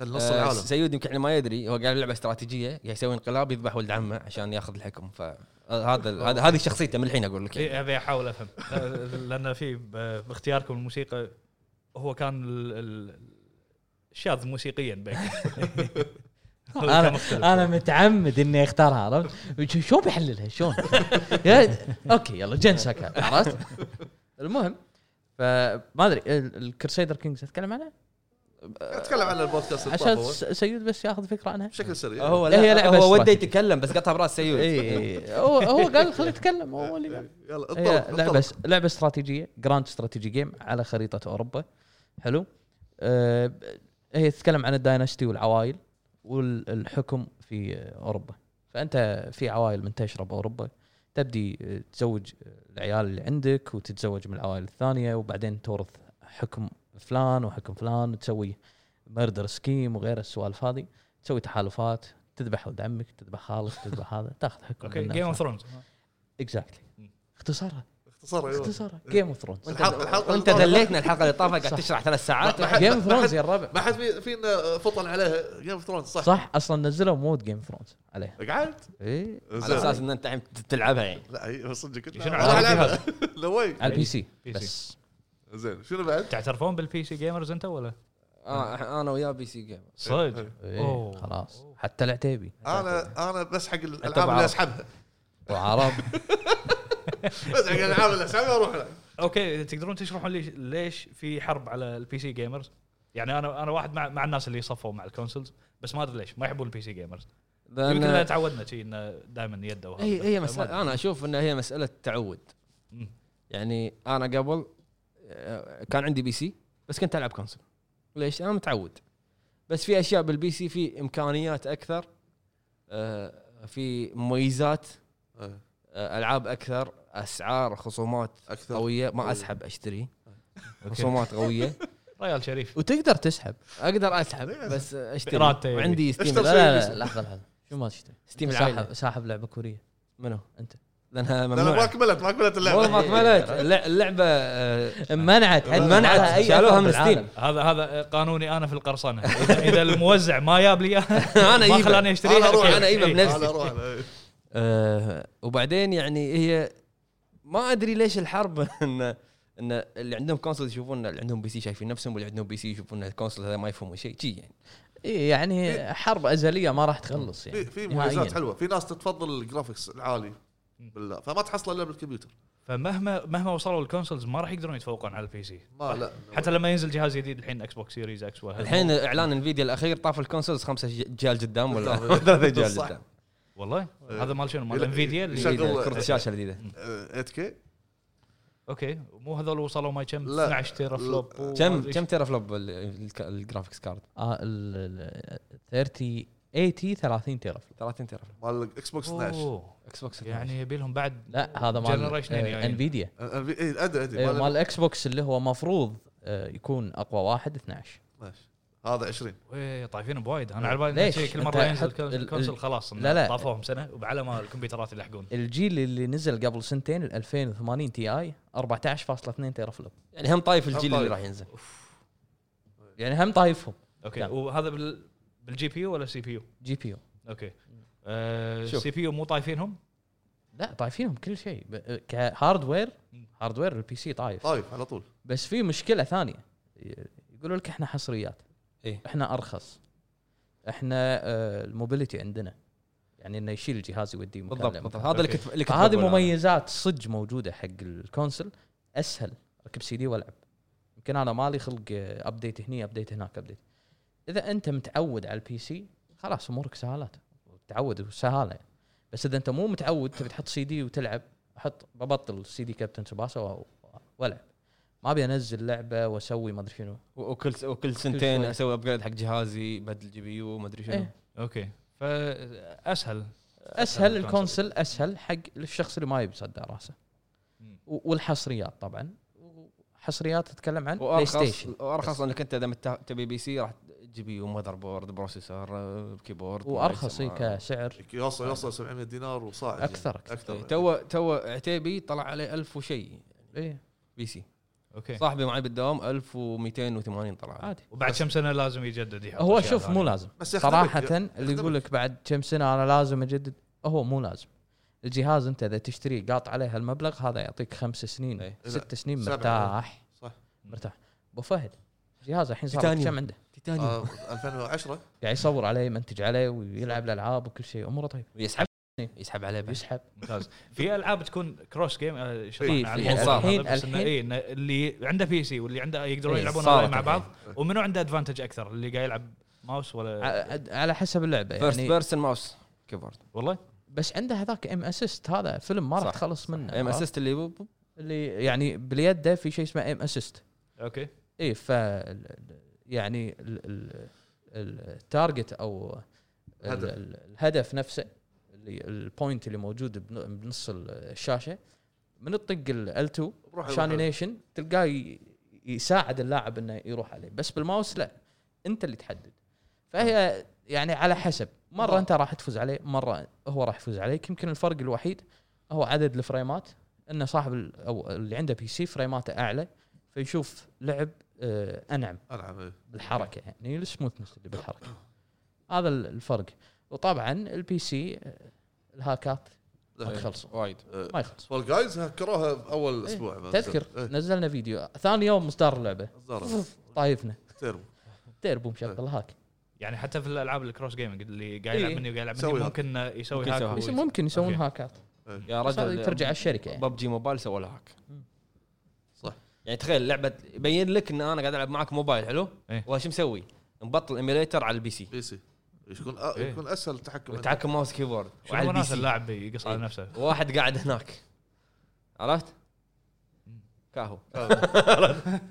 E: نص
A: آه،
E: العالم
A: سيود يمكن احنا ما يدري هو قاعد يلعب استراتيجيه قاعد يسوي انقلاب يذبح ولد عمه عشان ياخذ الحكم فهذا هذا هذه شخصيته من الحين اقول لك يعني.
D: إيه، ابي احاول افهم آه، لان في ب- باختياركم الموسيقى هو كان ال- ال- شاذ موسيقيا بين
C: انا انا متعمد اني اختارها عرفت وش- شلون بحللها شلون يا- اوكي يلا جن سكا عرفت المهم فما ادري ال- الكرسيدر كينجز اتكلم عنها
E: اتكلم عن البودكاست اللي
C: عشان
E: طاف هو.
C: س- سيد بس ياخذ فكره عنها
E: بشكل سريع
A: هو
C: لا، إيه، هي لعبة
A: هو وده
C: استراتيجية. إيه.
A: يتكلم بس قطع براس سيود
C: اي هو هو قال خليه يتكلم هو اللي قال.
E: يلا
C: هي
E: اطلع
C: لعبه لعبه استراتيجيه جراند استراتيجي جيم على خريطه اوروبا حلو أه هي تتكلم عن الداينستي والعوائل والحكم في اوروبا فانت في عوائل منتشره باوروبا تبدي أه، تزوج العيال اللي عندك وتتزوج من العوائل الثانيه وبعدين تورث حكم فلان وحكم فلان وتسوي مردر سكيم وغير السوالف هذه تسوي تحالفات تذبح ولد عمك تذبح خالك تذبح هذا تاخذ حكم
D: اوكي جيم اوف ثرونز
C: اكزاكتلي
D: مم.
C: اختصارها
E: اختصار أيوة.
C: اختصارها جيم اوف ثرونز
E: الحلقه الحلقه
A: وانت
E: اللي طافت.
A: دليتنا الحلقه اللي طافت قاعد تشرح ثلاث ساعات
E: ما حد-
C: جيم
E: ما
C: اوف
E: حد-
C: ثرونز يا الربع
E: ما حد في- فينا فطن عليها جيم اوف ثرونز صح
C: صح اصلا نزلوا مود جيم اوف ثرونز عليها
E: قعدت
C: اي
A: على اساس ان انت الحين تلعبها يعني
E: لا هي صدق كنت
D: شنو
E: والله
D: علاقة
E: لعبة. لا وين
C: على البي سي
D: بي سي.
C: بس
E: زين شنو بعد؟
D: تعترفون بالبي سي جيمرز انت ولا؟
A: اه انا وياه بي سي جيم
D: صدق
C: إيه،
D: أوه.
C: خلاص حتى العتيبي
E: انا انا بس حق الالعاب
A: بعرف.
E: اللي اسحبها
C: وعرب
E: بس حق الالعاب اللي اسحبها اروح لها
D: اوكي تقدرون تشرحون لي ليش في حرب على البي سي جيمرز؟ يعني انا انا واحد مع, مع الناس اللي صفوا مع الكونسولز بس ما ادري ليش ما يحبون البي سي جيمرز يمكن لان تعودنا شي انه دائما يده وهذا.
A: آه، هي هي مساله
D: فما-
A: انا اشوف انها هي مساله تعود
D: مم.
A: يعني انا قبل آه، كان عندي بي سي بس كنت العب كونسول ليش؟ انا متعود بس في اشياء بالبي سي في امكانيات اكثر آه، في مميزات
E: إيه،
A: آه، العاب اكثر اسعار خصومات
E: اكثر
A: قويه ما اسحب اشتري خصومات قويه
D: ريال شريف
C: وتقدر تسحب
A: اقدر اسحب بس اشتري
D: بإرادته يعني.
A: وعندي
C: لا
A: ستيم
E: اشتري.
C: لا لا لحظه لحظه شو ما تشتري
A: ستيم
C: ساحب
A: العائله
C: ساحب لعبه كوريه
A: منو؟
C: أنت.
A: لانها
E: لا لا ما
A: ممنوعه
E: كملت ما كملت
A: والله
E: اللعبه
A: ما كملت اللع- اللعبه آه،
C: منعت
A: منعت. شالوها من ستيم.
D: هذا هذا قانوني انا في القرصنه اذا إذا الموزع ما جاب لي اياها
A: انا
D: ما
A: اجيبها
D: خلاني اشتريها
A: انا اروح
D: أوكي.
A: انا اجيبها
D: إيه.
E: انا
A: بنفسي
E: اروح لها. إيه.
A: آه، وبعدين يعني هي ما ادري ليش الحرب ان ان اللي عندهم كونسول يشوفون اللي عندهم بي سي شايفين نفسهم واللي عندهم بي سي يشوفون إن الكونسول هذا ما يفهمون شيء شي يعني
C: إيه، يعني حرب ازليه ما راح تخلص يعني
E: في في
C: نهائياً.
E: مميزات حلوه في ناس تتفضل الجرافكس العالي بالله فما تحصل الا بالكمبيوتر
D: فمهما مهما وصلوا الكونسولز ما راح يقدرون يتفوقون على البي سي
E: ما لا
D: حتى لما ينزل جهاز جديد الحين اكس بوكس سيريز اكس وهذا.
A: الحين اعلان انفيديا الاخير طاف الكونسولز خمسة جيال قدام ولا
E: بالضبط.
A: ثلاثة جيال
E: صح.
A: قدام
D: والله
E: إيه.
D: هذا مال شنو مال
E: يلا-
D: انفيديا اللي
E: يشغل-
A: NVIDIA كرة الشاشة الجديدة
E: 8 إيه، كي
D: اوكي مو هذول وصلوا ما كم
E: لا.
D: 12 تيرا فلوب
A: كم كم تيرا فلوب ال- الك- الجرافيكس كارد؟
C: آه، ال- ال- 30 80 30 تيرا فلوب
A: 30 تيرا فلوب
E: مال الاكس بوكس 12
D: اوه
A: اكس بوكس
D: يعني يبي لهم بعد
C: لا هذا مال
D: جنريشنين
C: آه،
D: يعني.
C: انفيديا
E: آه، في- إيه، ادري ادري
C: إيه،
E: مال-
C: مال الاكس بوكس اللي هو مفروض آه، يكون اقوى واحد 12
E: ماشي. هذا 20
D: ويه إيه، طايفين بوايد انا على بالي إن
C: ليش؟
D: شي كل
C: أنت
D: مره ينزل
C: حط ال-
D: الكونسول
C: ال-
D: خلاص إنه
C: لا لا.
D: طافوهم سنه وعلى ما الكمبيوترات يلحقون
C: الجيل اللي نزل قبل سنتين ال 2080 تي اي 14.2 تيرا فلوب
A: يعني هم طايف الجيل
E: هم
A: اللي
E: طايف.
A: راح ينزل
C: يعني هم طايفهم
D: اوكي
C: نعم.
D: وهذا بال بالجي بي يو ولا سي بي يو؟
C: جي بي يو
D: اوكي
A: شوف.
D: السي بي يو مو طايفينهم؟
C: لا طايفينهم كل شيء ب- كهاردوير
D: مم.
C: هاردوير البي سي طايف
E: طايف طيب، على طول
C: بس في مشكله ثانيه ي- يقولوا لك احنا حصريات
A: إيه.
C: احنا ارخص احنا آه، الموبيليتي عندنا يعني انه يشيل الجهاز يوديه مكان
A: بالضبط
C: لمكان.
A: بالضبط هذا اللي
D: أوكي.
A: كنت اللي كنت
C: فهذه
A: بقوله أنا.
C: مميزات صج موجوده حق الكونسل اسهل اركب سي دي والعب يمكن انا مالي خلق آه، ابديت هني ابديت هناك ابديت اذا انت متعود على البي سي خلاص امورك سهالات تعود وسهاله بس اذا انت مو متعود تبي تحط سي دي وتلعب احط ببطل سي دي كابتن سباسا و- والعب ما ابي انزل لعبه واسوي ما ادري شنو
A: و- وكل س- وكل سنتين
C: شوي.
A: اسوي ابجريد حق جهازي بدل جي بي يو ما ادري شنو
C: إيه.
D: اوكي فاسهل
C: اسهل الكونسل اسهل حق الشخص اللي ما يبي يصدع راسه
D: مم.
C: و- والحصريات طبعا حصريات تتكلم عن بلاي
A: وارخص
C: ستيشن
A: وارخص انك انت اذا مت- تبي بي سي راح تجيب ماذر بورد بروسيسور آه، كيبورد
C: وارخص إي،
A: سماعة.
C: كسعر
E: يوصل يوصل 700 دينار وصاعد
C: اكثر اكثر
A: إي،
E: اكثر
A: طيب، تو تو عتيبي طلع عليه 1000 وشيء
C: اي
A: بي سي
C: إيه.
D: اوكي
A: صاحبي معي بالدوام 1280 طلع عليه.
C: عادي
D: وبعد كم سنه لازم يجدد يحط
C: هو
D: أشياء
C: شوف
D: ثانية.
C: مو لازم
E: بس يخدمك-
C: صراحه
E: يخدمك.
C: اللي يقول لك بعد كم سنه انا لازم اجدد هو مو لازم الجهاز انت اذا تشتريه قاط عليه هالمبلغ هذا يعطيك خمس سنين
E: إيه.
A: إي.
C: ست سنين
E: سبعة.
C: مرتاح
E: صح.
C: مرتاح ابو فهد جهاز الحين صار
A: تيتانيوم.
C: كم عنده
A: تيتانيوم
E: آه، 2010
C: قاعد يصور عليه يمنتج عليه ويلعب الالعاب وكل شيء اموره طيب
A: يسحب يسحب
E: طيب.
A: عليه بعد.
C: يسحب
D: ممتاز في العاب تكون كروس جيم آه،
A: في-
D: شرحنا عن
A: في
D: الموضوع
A: الحين-
D: هذا، بس إنه
C: الحين-
D: إيه، إنه اللي عنده بي سي واللي عنده يقدرون
A: إيه،
D: يلعبون
A: صارت
D: أونلاين مع بعض
E: الحين.
D: ومنو عنده ادفانتج اكثر اللي قاعد يلعب ماوس ولا
A: آه،
C: ع- على حسب اللعبه
A: فيرست
C: يعني آه.
A: بيرسون ماوس كيبورد
D: والله
C: بس عنده هذاك ام اسيست هذا فيلم ما راح
A: صح.
C: تخلص منه
A: ام اسيست اللي بو- بو-
C: اللي يعني باليد في شيء اسمه ام اسيست
D: اوكي
C: اي ف يعني ال- ال- التارجت او ال-
E: هدف.
C: ال- الهدف نفسه اللي البوينت اللي موجود بن- بنص الشاشه من الطق ال 2
E: بروح- بروح-
C: شانينيشن تلقاه ي- يساعد اللاعب انه يروح عليه بس بالماوس لا انت اللي تحدد فهي يعني على حسب مره
E: بالضبط.
C: انت راح تفوز عليه مره هو راح يفوز عليك يمكن الفرق الوحيد هو عدد الفريمات ان صاحب ال- او اللي عنده بي سي فريماته اعلى فيشوف لعب آه، انعم
E: انعم إيه.
C: بالحركه يعني السموثنس اللي بالحركه هذا ال- الفرق وطبعا البي سي آه، الهاكات ما
E: إيه.
C: تخلصوا
A: وايد
E: آه،
C: ما يخلصوا
E: فول جايز هكروها باول اسبوع ما
C: تذكر
E: نزل. إيه.
C: نزلنا فيديو ثاني يوم مصدر اللعبه
E: زارة.
C: طايفنا
E: تيربو.
C: تيربو مشغل هاك
D: يعني حتى في الالعاب الكروس جيمنج اللي قاعد يلعب
C: إيه.
D: مني وقاعد يلعب
E: يسوي
D: مني
E: هاك.
D: ممكن آه، يسوي
A: ممكن
D: هاك
A: يسوي هاك.
C: بس
D: ويس-
C: ممكن يسوون هاكات
A: يا
C: بس هذه
A: رجل
C: ترجع الشركه يعني
A: ببجي موبايل سوى لها هاك
E: صح.
A: يعني تخيل لعبه يبين لك ان انا قاعد العب معك موبايل حلو
D: إيه.
A: وش مسوي؟ مبطل ايميليتر على البي سي
E: بي سي يكون أ-
D: إيه.
E: يكون اسهل التحكم
A: وتحكم ماوس كيبورد وعلى
D: شنو
A: البي
D: ناس
A: سي
D: اللاعب يقص على
A: إيه.
D: نفسه
A: واحد قاعد هناك عرفت؟ كاهو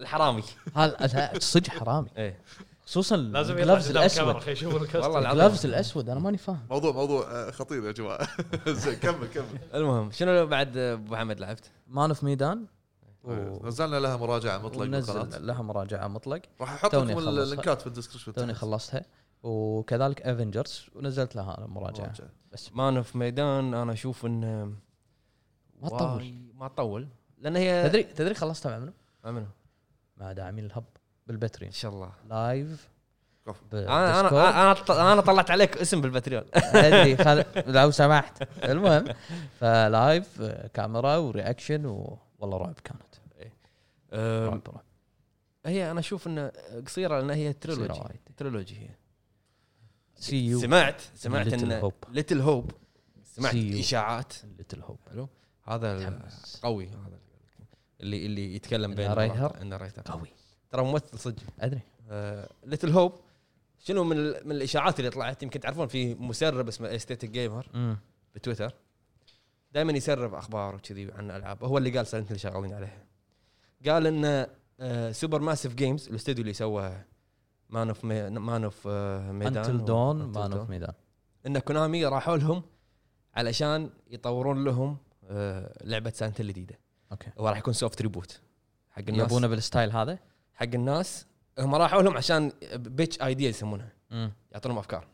A: الحرامي
C: هذا صدق حرامي
A: ايه
C: خصوصا
D: لازم يطلع
C: الجلفز
D: قدام الكاميرا
C: الاسود
D: خلي يشوف
A: والله
D: الكاست
A: العظيم.
C: الجلفز الاسود انا ماني فاهم
E: موضوع موضوع آه، خطير يا جماعه زين كمل كمل
A: المهم شنو بعد ابو محمد لعبت؟
C: مان اوف ميدان
E: إيه، نزلنا لها مراجعه مطلق بالقناة.
C: ونزل لها مراجعه مطلق
E: راح احط
C: توني
E: لكم
C: أخلصها.
E: اللينكات في الديسكربشن
C: توني خلصتها وكذلك افنجرز ونزلت لها أنا مراجعه
E: مراجعة.
C: بس
A: مان في ميدان انا اشوف ان
C: ما تطول
A: واي- ما تطول لان هي
C: تدري تدري خلصتها مع منو؟
A: امنه
C: مع داعمين الهب بالباتريون
A: ان شاء الله
C: لايف
E: كفو.
A: انا انا انا أنا- انا طلعت عليك اسم بالباتريون
C: ادري خل... لو سمحت المهم فلايف آه، كاميرا ورياكشن و... والله رعب كانت
A: أم،
C: رعب رعب
A: هي انا اشوف انها قصيره لان هي
C: تريلوجي
A: تريلوجي تريلوجي هي
C: سي يو
A: سمعت سمعت
C: Little
A: ان
C: Hope.
A: ليتل هوب سمعت
C: See you.
A: اشاعات
C: ليتل هوب
A: حلو هذا ال-
C: متحمس.
A: قوي هذا اللي اللي يتكلم بين
C: الناريتر.
A: المرات- الناريتر
C: قوي
A: ترى ممثل صدق
C: ادري
A: ليتل هوب شنو من ال- من الاشاعات اللي طلعت يمكن تعرفون في مسرب اسمه استيتيك جيمر
C: امم
A: بتويتر دائما يسرب اخبار وكذي عن العاب هو اللي قال سالنت اللي شغالين عليها قال ان آه، سوبر ماسيف جيمز الاستوديو اللي سوى مان اوف مي- مان اوف آه، ميدان
C: انتل
A: و-
C: دون
A: Until
C: مان
A: Dawn.
C: اوف ميدان
A: ان كونامي راحوا لهم علشان يطورون لهم آه، لعبه سانتا الجديده
C: اوكي
A: وراح يكون سوفت ريبوت حق الناس
C: يبونه بالستايل هذا
A: حق الناس هم راحوا لهم عشان بيتش ايديا يسمونها
C: امم
A: يعطونهم افكار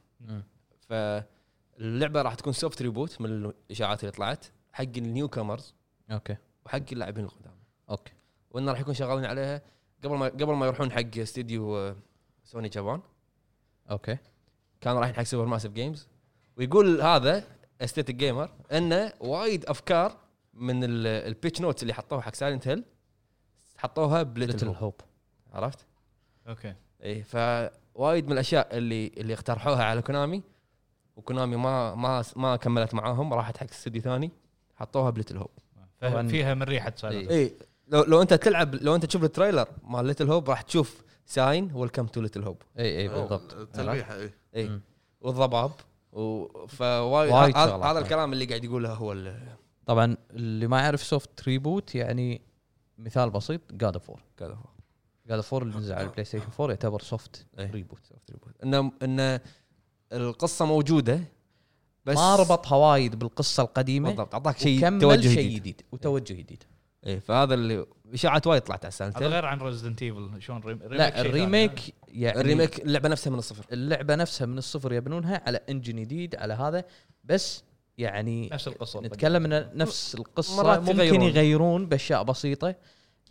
A: فاللعبه راح تكون سوفت ريبوت من الاشاعات اللي طلعت حق النيو كامرز
C: اوكي
A: وحق اللاعبين القدام
C: اوكي
A: وانه راح يكون شغالين عليها قبل ما قبل ما يروحون حق استديو آه، سوني جابان
C: اوكي
A: كانوا رايحين حق سوبر ماسيف جيمز ويقول هذا استيتيك جيمر انه وايد افكار من ال- البيتش نوتس اللي حطوها حق سايلنت هيل حطوها
C: ليتل
A: بليتل
C: هوب
A: عرفت؟
D: اوكي
A: اي فوايد من الاشياء اللي اللي اقترحوها على كونامي وكونامي ما ما ما كملت معاهم راحت حق استديو ثاني حطوها بليتل هوب
C: طبعاً.
D: فيها من ريحه
C: إيه.
D: سايلنت
A: اي لو لو انت تلعب لو انت تشوف التريلر مال ليتل هوب راح تشوف ساين ويلكم تو ليتل هوب
C: اي اي
E: أو
C: إيه، بالضبط عرفت؟
E: تلميحه إيه.
A: اي
C: مم.
A: والضباب و... فوايد
C: وايد
A: هذا
C: شغلات.
A: هذا الكلام اللي قاعد يقوله هو ال-
C: طبعا اللي ما يعرف سوفت ريبوت يعني مثال بسيط جاد اوف وور
A: كذا هو
C: جاد اوف وور اللي نزل على البلاي ستيشن 4 يعتبر سوفت
A: إيه.
C: ريبوت
A: انه انه القصه موجوده بس
C: ما ربطها وايد بالقصه القديمه
A: بالضبط اعطاك شيء
C: وكمل
A: توجه
C: شيء
A: جديد
C: جديد وتوجه جديد
A: إيه فهذا اللي اشاعات وايد طلعت على
D: هذا
A: السنتر
D: غير عن ريزدنت ايفل شلون ريم- ريميك شيء
C: لا
D: ثاني.
C: الريميك يعني
A: الريميك اللعبه نفسها من الصفر
C: اللعبه نفسها من الصفر يبنونها على انجن جديد على هذا بس يعني
D: نفس طيب. القصه
C: نتكلم ان نفس القصه
A: مرات
C: ممكن
A: يغيرون.
C: يغيرون, باشياء بسيطه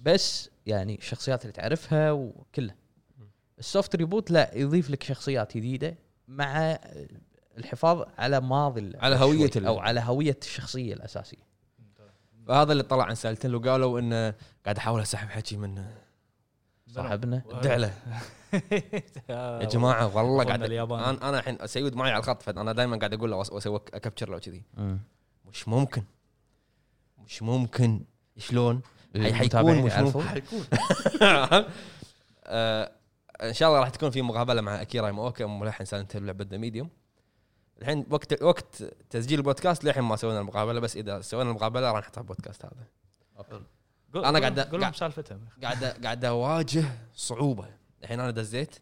C: بس يعني الشخصيات اللي تعرفها وكله السوفت ريبوت لا يضيف لك شخصيات جديده مع الحفاظ على ماضي اللعبة
A: على هوية
C: شوي، او
A: اللعبة.
C: على هويه الشخصيه الاساسيه
A: فهذا اللي طلع عن سالتين وقالوا انه قاعد احاول اسحب حكي من
C: صاحبنا
A: الدعله يا
D: يا
A: جماعه والله
D: أخونا
A: قاعد
D: الياباني.
A: انا انا الحين سيود معي على الخط فانا دائما قاعد اقول له وأس- واسوي اكبتشر لو كذي مش ممكن مش ممكن شلون؟ حي- حيكون
C: المتابعين
A: مش
C: إيه، يعرفون.
A: ممكن حيكون آه، ان شاء الله راح تكون في مقابله مع اكيرا يماوكا ملحن سالنت لعبه ذا ميديوم الحين وقت وقت تسجيل البودكاست للحين ما سوينا المقابله بس اذا سوينا المقابله راح نحطها بودكاست هذا أنا قاعد-
D: قول لهم
A: قاعد-
D: سالفتها
A: قاعد قاعد اواجه صعوبه الحين انا دزيت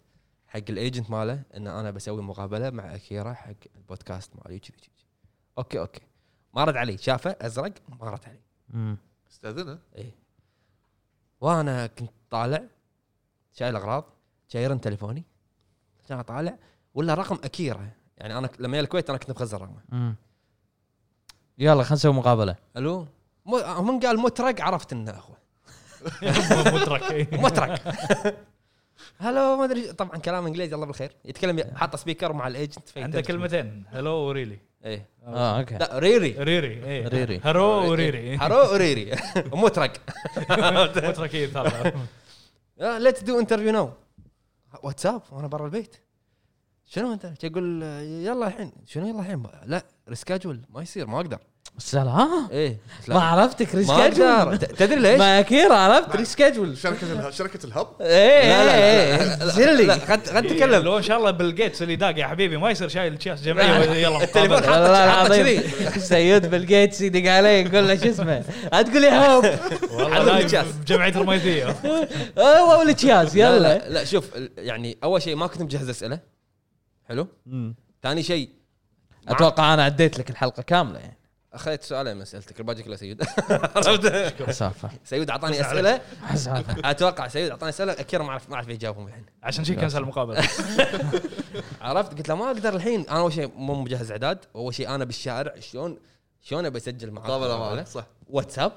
A: حق الايجنت ماله ان انا بسوي مقابله مع اكيرا حق البودكاست مالي كذي كذي اوكي اوكي ما رد علي شافه ازرق ما رد علي
C: أمم.
E: استاذنه
A: اي وانا كنت طالع شايل اغراض شايرن تليفوني كان طالع ولا رقم اكيرا يعني انا ك- لما جا الكويت انا كنت مخزن رقمه
C: أمم. يلا خلينا نسوي مقابله
A: الو مو- من قال مترق عرفت انه اخوه
D: مدرك
A: مترك هلو ما ادري طبعا كلام انجليزي الله بالخير يتكلم حاط سبيكر مع الايجنت في
D: عنده
A: ترجمة.
D: كلمتين هلو وريلي
A: ايه
C: اه اوكي
A: لا ريري
D: ريري ايه
C: ريري.
D: هرو وريري
A: هرو ريري مترك
D: مدرك إيه، طبعاً.
A: ليتس دو انترفيو نو واتساب وانا برا البيت شنو انت؟ يقول آه، يلا الحين شنو يلا الحين؟ لا ريسكاجول ما يصير ما اقدر
C: السلام آه. ها
A: ايه لا،
C: ما عرفتك
A: ما
C: ريسكاجول
A: اقدر ت- تدري ليش؟
C: ما اكيرا عرفت ريسكاجول
E: شركه الهب شركه
A: إيه،
E: الهب
C: ايه
A: لا، لا،
C: ايه ايه زلي
A: إيه. لا خد خد تكلم
D: إيه، لو ان شاء الله بيل جيتس اللي داق يا حبيبي ما يصير شايل كاس جمعيه يلا
A: التليفون
D: مقابلة.
A: حاطه
C: والله
A: حاطه
C: العظيم
A: كذي
C: سيد بيل جيتس يدق علي يقول له شو اسمه لا تقول لي هوب
D: والله
A: حاطه
D: داق
A: بالجهاز.
D: بجمعيه رميثيه
C: هو اول تشاز
A: لا،
C: يلا
A: لا لا شوف ال- يعني اول شيء ما كنت مجهز اسئله حلو ثاني شيء
C: اتوقع انا عديت لك الحلقه كامله يعني
A: اخذت سؤالين من اسئلتك الباقي كله سيود عرفت؟
C: مسافه
A: سيود اعطاني اسئله
C: حسافه
A: اتوقع سيود اعطاني اسئله اكيرا ما اعرف ما اعرف يجاوبهم الحين
D: عشان شي
C: نعم.
D: كنسل المقابله
A: عرفت قلت له ما اقدر الحين انا اول شيء مو مجهز اعداد واول شيء انا بالشارع شلون شلون ابي اسجل معاك
E: مقابله معك صح
A: واتساب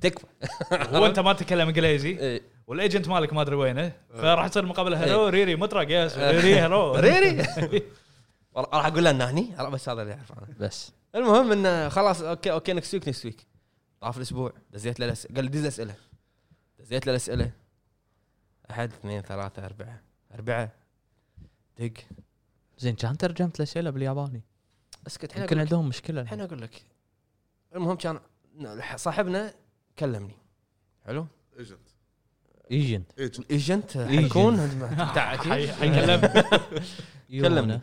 A: تكفى
D: هو انت ما تتكلم انجليزي
A: إيه.
D: والايجنت مالك ما ادري وينه
A: آه.
D: فراح تصير مقابله هلو ريري مطرق يس ريري هلو
A: ريري والله راح اقول له انه هني أنا بس هذا اللي اعرفه انا
C: بس
A: المهم انه خلاص اوكي اوكي نكست ويك نكست ويك طاف الاسبوع دزيت له الأس- قال لي دز اسئله دزيت له الاسئله احد اثنين ثلاثه اربعه اربعه دق
C: زين كان ترجمت الاسئله بالياباني
A: اسكت الحين
C: يمكن
A: أقول لك.
C: عندهم مشكله
A: الحين
C: الحين.
A: اقول لك المهم كان صاحبنا كلمني حلو
E: ايجنت
C: ايجنت
E: ايجنت
A: الايجنت
C: الإيجنت.
A: حيكون تاعك
D: حي- حيكلم
A: كلمني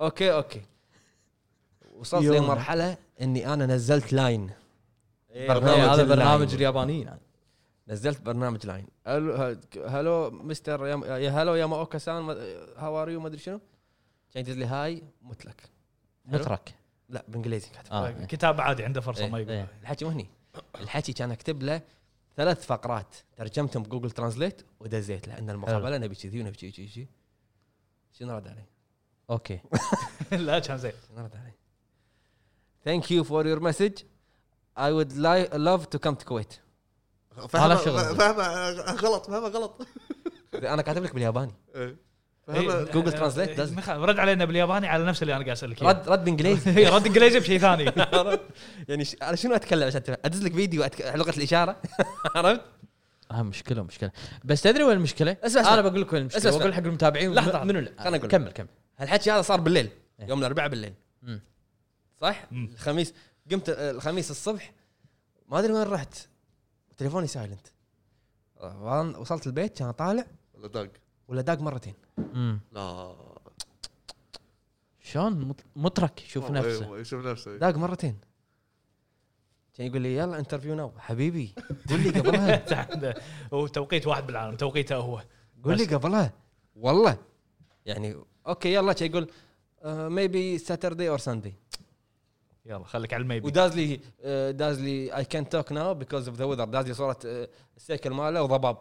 A: اوكي اوكي وصلت
C: يونا.
A: لمرحله اني انا نزلت لاين إيه،
C: برنامج إيه، هذا
A: اللاين.
C: برنامج اليابانيين يعني.
A: نزلت برنامج لاين الو ه- هلو مستر يا- يا هلو يا ماوكا سان هاو ار يو ما ادري شنو كان يدز لي هاي متلك
C: مترك
A: لا بالانجليزي كاتب
C: آه. إيه.
D: كتاب عادي عنده فرصه ما يقول
C: إيه.
A: الحكي مو هني الحكي كان اكتب له ثلاث فقرات ترجمتهم بجوجل ترانزليت ودزيت له ان المقابله نبي كذي ونبي كذي كذي شنو رد علي؟
C: اوكي
D: لا كان زين
A: شنو رد علي؟ Thank you for your message. I would li- love to come to Kuwait.
E: فهمه
C: شغل.
E: فهمه غلط فهمه غلط
A: انا كاتب لك بالياباني
E: إيه.
D: إيه.
E: فهمه
A: جوجل ترانزليت does it.
D: مخ- رد علينا بالياباني على نفس اللي انا قاعد اسالك إياه.
A: رد رد بانجليزي
D: إيه، رد انجليزي بشيء ثاني
A: يعني ش- انا شنو اتكلم عشان تفهم؟ ادز لك فيديو أتك... لغه الاشاره عرفت؟
C: ها مشكله مشكله آه، بس تدري وين المشكله؟
A: اسمع، اسمع.
C: انا بقول لك وين المشكله
A: اسمع، اسمع.
C: بقول حق المتابعين
A: لحظة.
C: منو لا
A: خلنا أقول لك.
C: كمل كمل
A: هالحكي هذا صار بالليل
C: إيه.
A: يوم الاربعاء بالليل
C: مم.
A: صح؟
D: مم.
A: الخميس قمت آه، الخميس الصبح ما ادري وين رحت تليفوني سايلنت آه، وأنا وصلت البيت كان طالع
E: ولا دق
A: ولا داق مرتين
C: أمم.
E: لا
C: شلون مت- مترك شوف نفسه
E: إيه، شوف نفسه
A: داق مرتين كان يقول لي يلا انترفيو نو حبيبي قول لي قبلها
D: هو توقيت واحد بالعالم توقيته هو
A: قول لي قبلها آه، والله يعني اوكي يلا كان يقول ميبي ساتردي اور ساندي
D: يلا خليك على الميبي
A: وداز لي آه، داز لي اي كان توك ناو بيكوز اوف ذا وذر داز لي صوره آه، السيكل ماله وضباب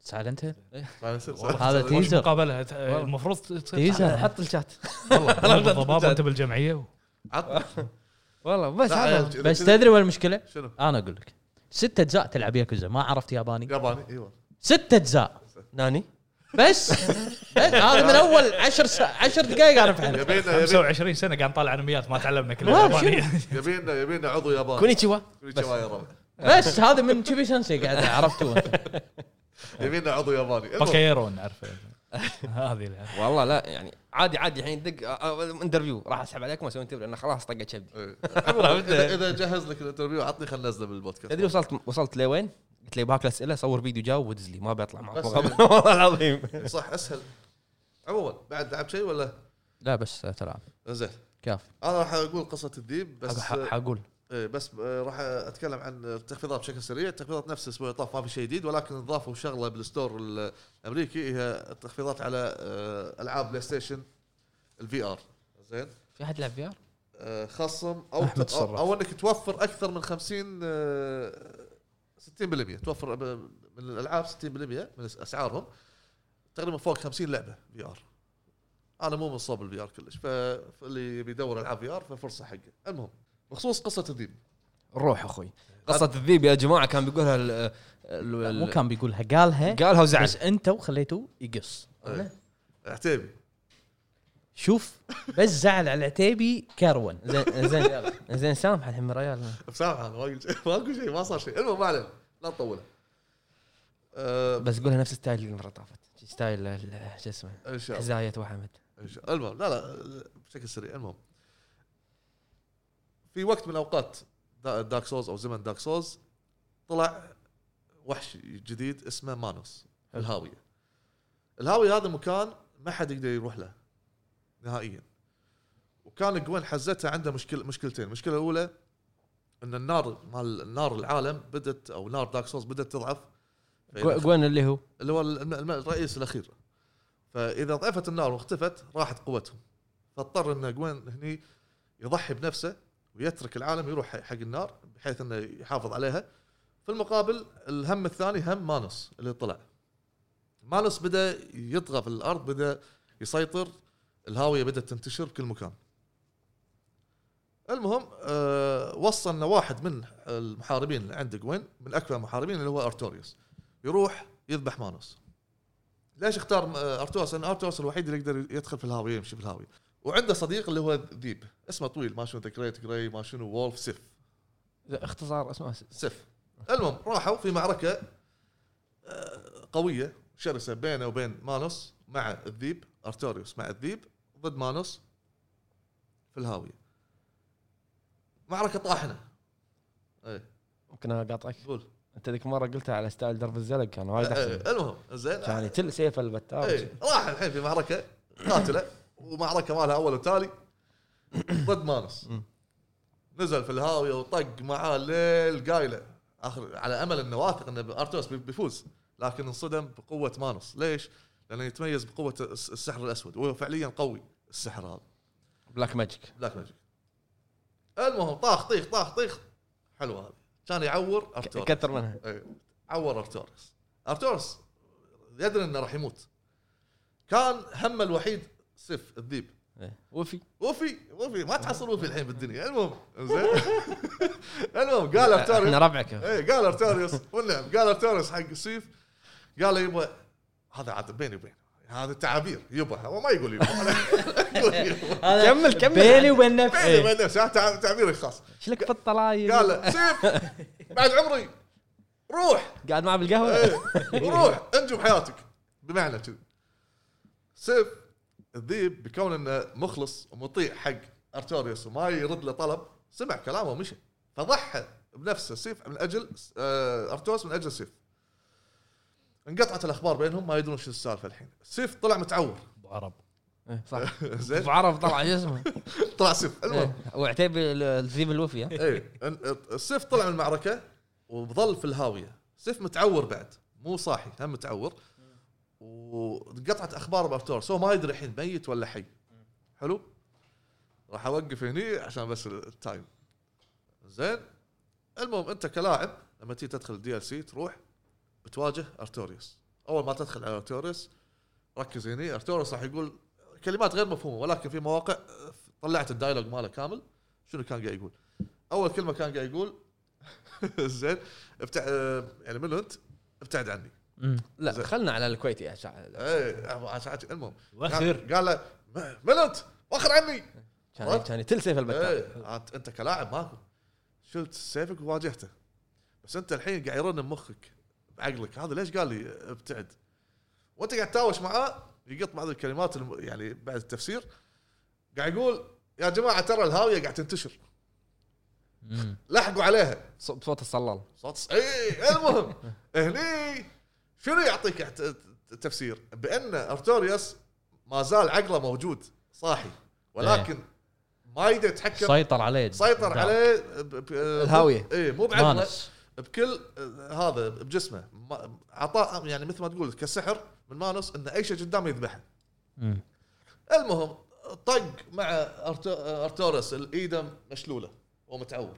C: سايلنت هيل هذا
E: هذا
D: وش
C: تيزر
D: مقابلة هت- المفروض تصير
C: تيزر
A: طيب، حط الشات
D: والله ضباب انت بالجمعيه
A: والله بس هذا
C: بس تدري وين المشكله؟
E: شنو؟
C: انا اقول لك ست اجزاء تلعب ياكوزا ما عرفت ياباني
E: ياباني ايوه
C: ست اجزاء
A: ناني
C: بس بس هذا من اول عشر سا... عشر دقائق اعرف عنه
E: يبينا يبينا
D: 25 سنه قاعد نطالع انميات ما تعلمنا
C: ما
D: كلنا
C: أعرف
D: يابانية.
E: يبينا يبينا عضو ياباني
A: كونيتشيوا
E: يا ربع.
C: بس هذا من تشيبي سنسي قاعد عرفتوه إيه.
E: يبينا عضو ياباني المهم،
D: باكيرو نعرفه هذه اللي-
A: والله لا يعني عادي عادي الحين دق آه، آه، انترفيو راح اسحب عليكم اسوي انترفيو لان خلاص طقت شبدي
E: إيه.
A: عرفت؟
E: اذا إذا جهز لك الانترفيو عطني خلنا ننزله بالبودكاست
A: تدري وصلت وصلت لوين؟ قلت لي بهاك الاسئله صور فيديو جاوب ودز لي ما بيطلع معك
E: بس
A: مقابل. والله العظيم
C: إيه.
E: صح اسهل عموما بعد لعبت شيء ولا
C: لا بس تلعب
E: زين
C: كافي
E: انا راح اقول قصه الديب بس
C: أبا- حقول
E: إيه، بس آه، راح اتكلم عن التخفيضات بشكل سريع، التخفيضات نفس الاسبوع اللي طاف ما في شيء جديد ولكن ضافوا شغله بالستور الامريكي هي التخفيضات على آه، العاب بلاي ستيشن الفي ار زين
C: في احد لعب في ار؟
E: آه، خصم او
C: أحمد
E: ت- او
C: صرف.
E: أو انك توفر اكثر من 50 آه، 60% توفر ب- من الالعاب 60% من أس- اسعارهم تقريبا فوق 50 لعبه في ار انا مو من صوب الفي ار كلش ف- فاللي بيدور العاب في ار ففرصه حقه المهم بخصوص قصه الديب
A: روح اخوي قصه الذيب يا جماعه كان بيقولها ال- ال- ال-
C: مو كان بيقولها قالها
A: قالها وزعل
C: بس انتوا خليتوه يقص
E: إيه. عتيبي
C: شوف بس زعل على عتيبي كرون
A: زين زين زين سامح الحين من ريال
E: بسامحه انا ما قلت شيء- ما اقول شيء ما صار شيء المهم ما علينا لا نطوله أه
A: بس قولها نفس ستايل اللي المره اللي طافت ستايل ال- شو اسمه
E: ان شاء الله
A: حزايه وحمد
E: إن شاء الله. المهم لا لا بشكل سريع المهم في وقت من الاوقات دا- دارك سوز او زمن دارك سوز طلع وحش جديد اسمه مانوس الهاويه الهاويه هذا مكان ما حد يقدر يروح له نهائيا وكان جوين حزتها عنده مشكله مشكلتين المشكله الاولى ان النار مال نار العالم بدت او نار دارك سوز بدت تضعف فإذا
A: جوين اللي هو
E: اللي هو الم- الم- الرئيس الاخير فاذا ضعفت النار واختفت راحت قوتهم فاضطر ان جوين هني يضحي بنفسه ويترك العالم يروح حق النار بحيث انه يحافظ عليها في المقابل الهم الثاني هم مانوس اللي طلع مانوس بدا يطغى في الارض بدا يسيطر الهاويه بدات تنتشر بكل مكان المهم أه وصل إن واحد من المحاربين اللي عند جوين من اكفى المحاربين اللي هو ارتوريوس يروح يذبح مانوس ليش اختار آه، ارتورس؟ لان ارتورس الوحيد اللي يقدر يدخل في الهاويه يمشي في الهاويه وعنده صديق اللي هو ذيب اسمه طويل ما شنو ذا جريت جراي ما شنو وولف سيف
A: اختصار اسمه
E: سيف المهم راحوا في معركه آه، قويه شرسه بينه وبين مانوس مع الذيب ارتوريوس مع الذيب ضد مانوس في الهاويه معركه طاحنه ايه
A: ممكن انا اقاطعك
E: قول
A: انت ذيك مره قلتها على ستايل درب الزلق كان وايد احسن
E: إيه، المهم زين
A: كان يتل سيف البتار
E: ايه راح الحين في معركه قاتله ومعركه مالها اول وتالي ضد مانس نزل في الهاويه وطق معاه ليل قايله اخر على امل انه واثق ان ارتوس بي- بيفوز لكن انصدم بقوه مانوس ليش؟ لانه يتميز بقوه الس- السحر الاسود وهو فعليا قوي السحر هذا
A: بلاك ماجيك
E: بلاك ماجيك المهم طاخ طيخ طاخ طيخ حلوه هذه كان يعور ارتورس
A: كثر منها
E: أيوة. عور ارتورس ارتورس يدري انه راح يموت كان همه الوحيد سيف الذيب
A: إيه. وفي
E: وفي وفي ما تحصل وفي الحين بالدنيا المهم زين المهم قال ارتوريوس
A: احنا ربعك
E: اي قال ارتوريوس والنعم قال ارتوريوس حق سيف قال له يبا هذا عاد بيني وبينه هذا تعابير يبا هو ما يقول يبا يقول يبا
C: إيه.
A: كمل- كمل.
C: بيني وبين
E: بيني
C: نفسي إيه.
E: وبين نفسي هذا تع- تعبيري الخاص
C: ايش لك في الطلايل
E: قال له سيف بعد عمري روح
A: قاعد معه بالقهوه
E: إيه، روح انجب حياتك بمعنى كذي سيف الذيب بكون انه مخلص ومطيع حق ارتوريوس وما يرد له طلب سمع كلامه ومشى فضحى بنفسه سيف من اجل آه، ارتوريوس من اجل سيف انقطعت الاخبار بينهم ما يدرون شو السالفه الحين سيف طلع متعور
D: ابو عرب
A: إيه، صح
E: زين
A: ابو عرب طلع شو اسمه
E: طلع سيف المهم
A: إيه. وعتيبي ال- الذيب الوفي ها؟
E: ايه إن- السيف طلع من المعركه وظل في الهاويه سيف متعور بعد مو صاحي هم متعور وانقطعت اخبار بارتور سو ما يدري الحين ميت ولا حي حلو راح اوقف هني عشان بس التايم زين المهم انت كلاعب لما تيجي تدخل الدي ال سي تروح بتواجه ارتوريوس اول ما تدخل على ارتوريوس ركز هني ارتوريوس راح يقول كلمات غير مفهومه ولكن في مواقع آه، طلعت الدايلوج ماله كامل شنو كان قاعد يقول اول كلمه كان قاعد يقول زين ابتع... آه، يعني منو انت؟ ابتعد عني
A: لا
E: زين.
A: خلنا على الكويتي عشان
E: ايه أبو عشان- المهم
D: واخر
E: قال له منو انت؟ واخر عني
A: كان كان يتلسف البتاع
E: ايه عاد انت كلاعب ماكو شلت سيفك وواجهته بس انت الحين قاعد يرن بمخك بعقلك هذا ليش قال لي ابتعد وانت قاعد تتاوش معاه يقط بعض الكلمات الم... يعني بعد التفسير قاعد يقول يا جماعه ترى الهاويه قاعد تنتشر
C: مم.
E: لحقوا عليها
A: ص- بصوت الصلال
E: صوت اي المهم هني شنو يعطيك احت- تفسير؟ بان ارتوريوس ما زال عقله موجود صاحي ولكن ما يقدر يتحكم
C: سيطر عليه
E: سيطر عليه
A: الهاوية.
E: اي مو بعقله
C: مانس
E: بكل آه، هذا بجسمه ما- عطاء يعني مثل ما تقول كسحر من مانوس ان اي شيء قدامه يذبحه
C: مم.
E: المهم طق مع أرت- ارتورس الايده مشلوله ومتعور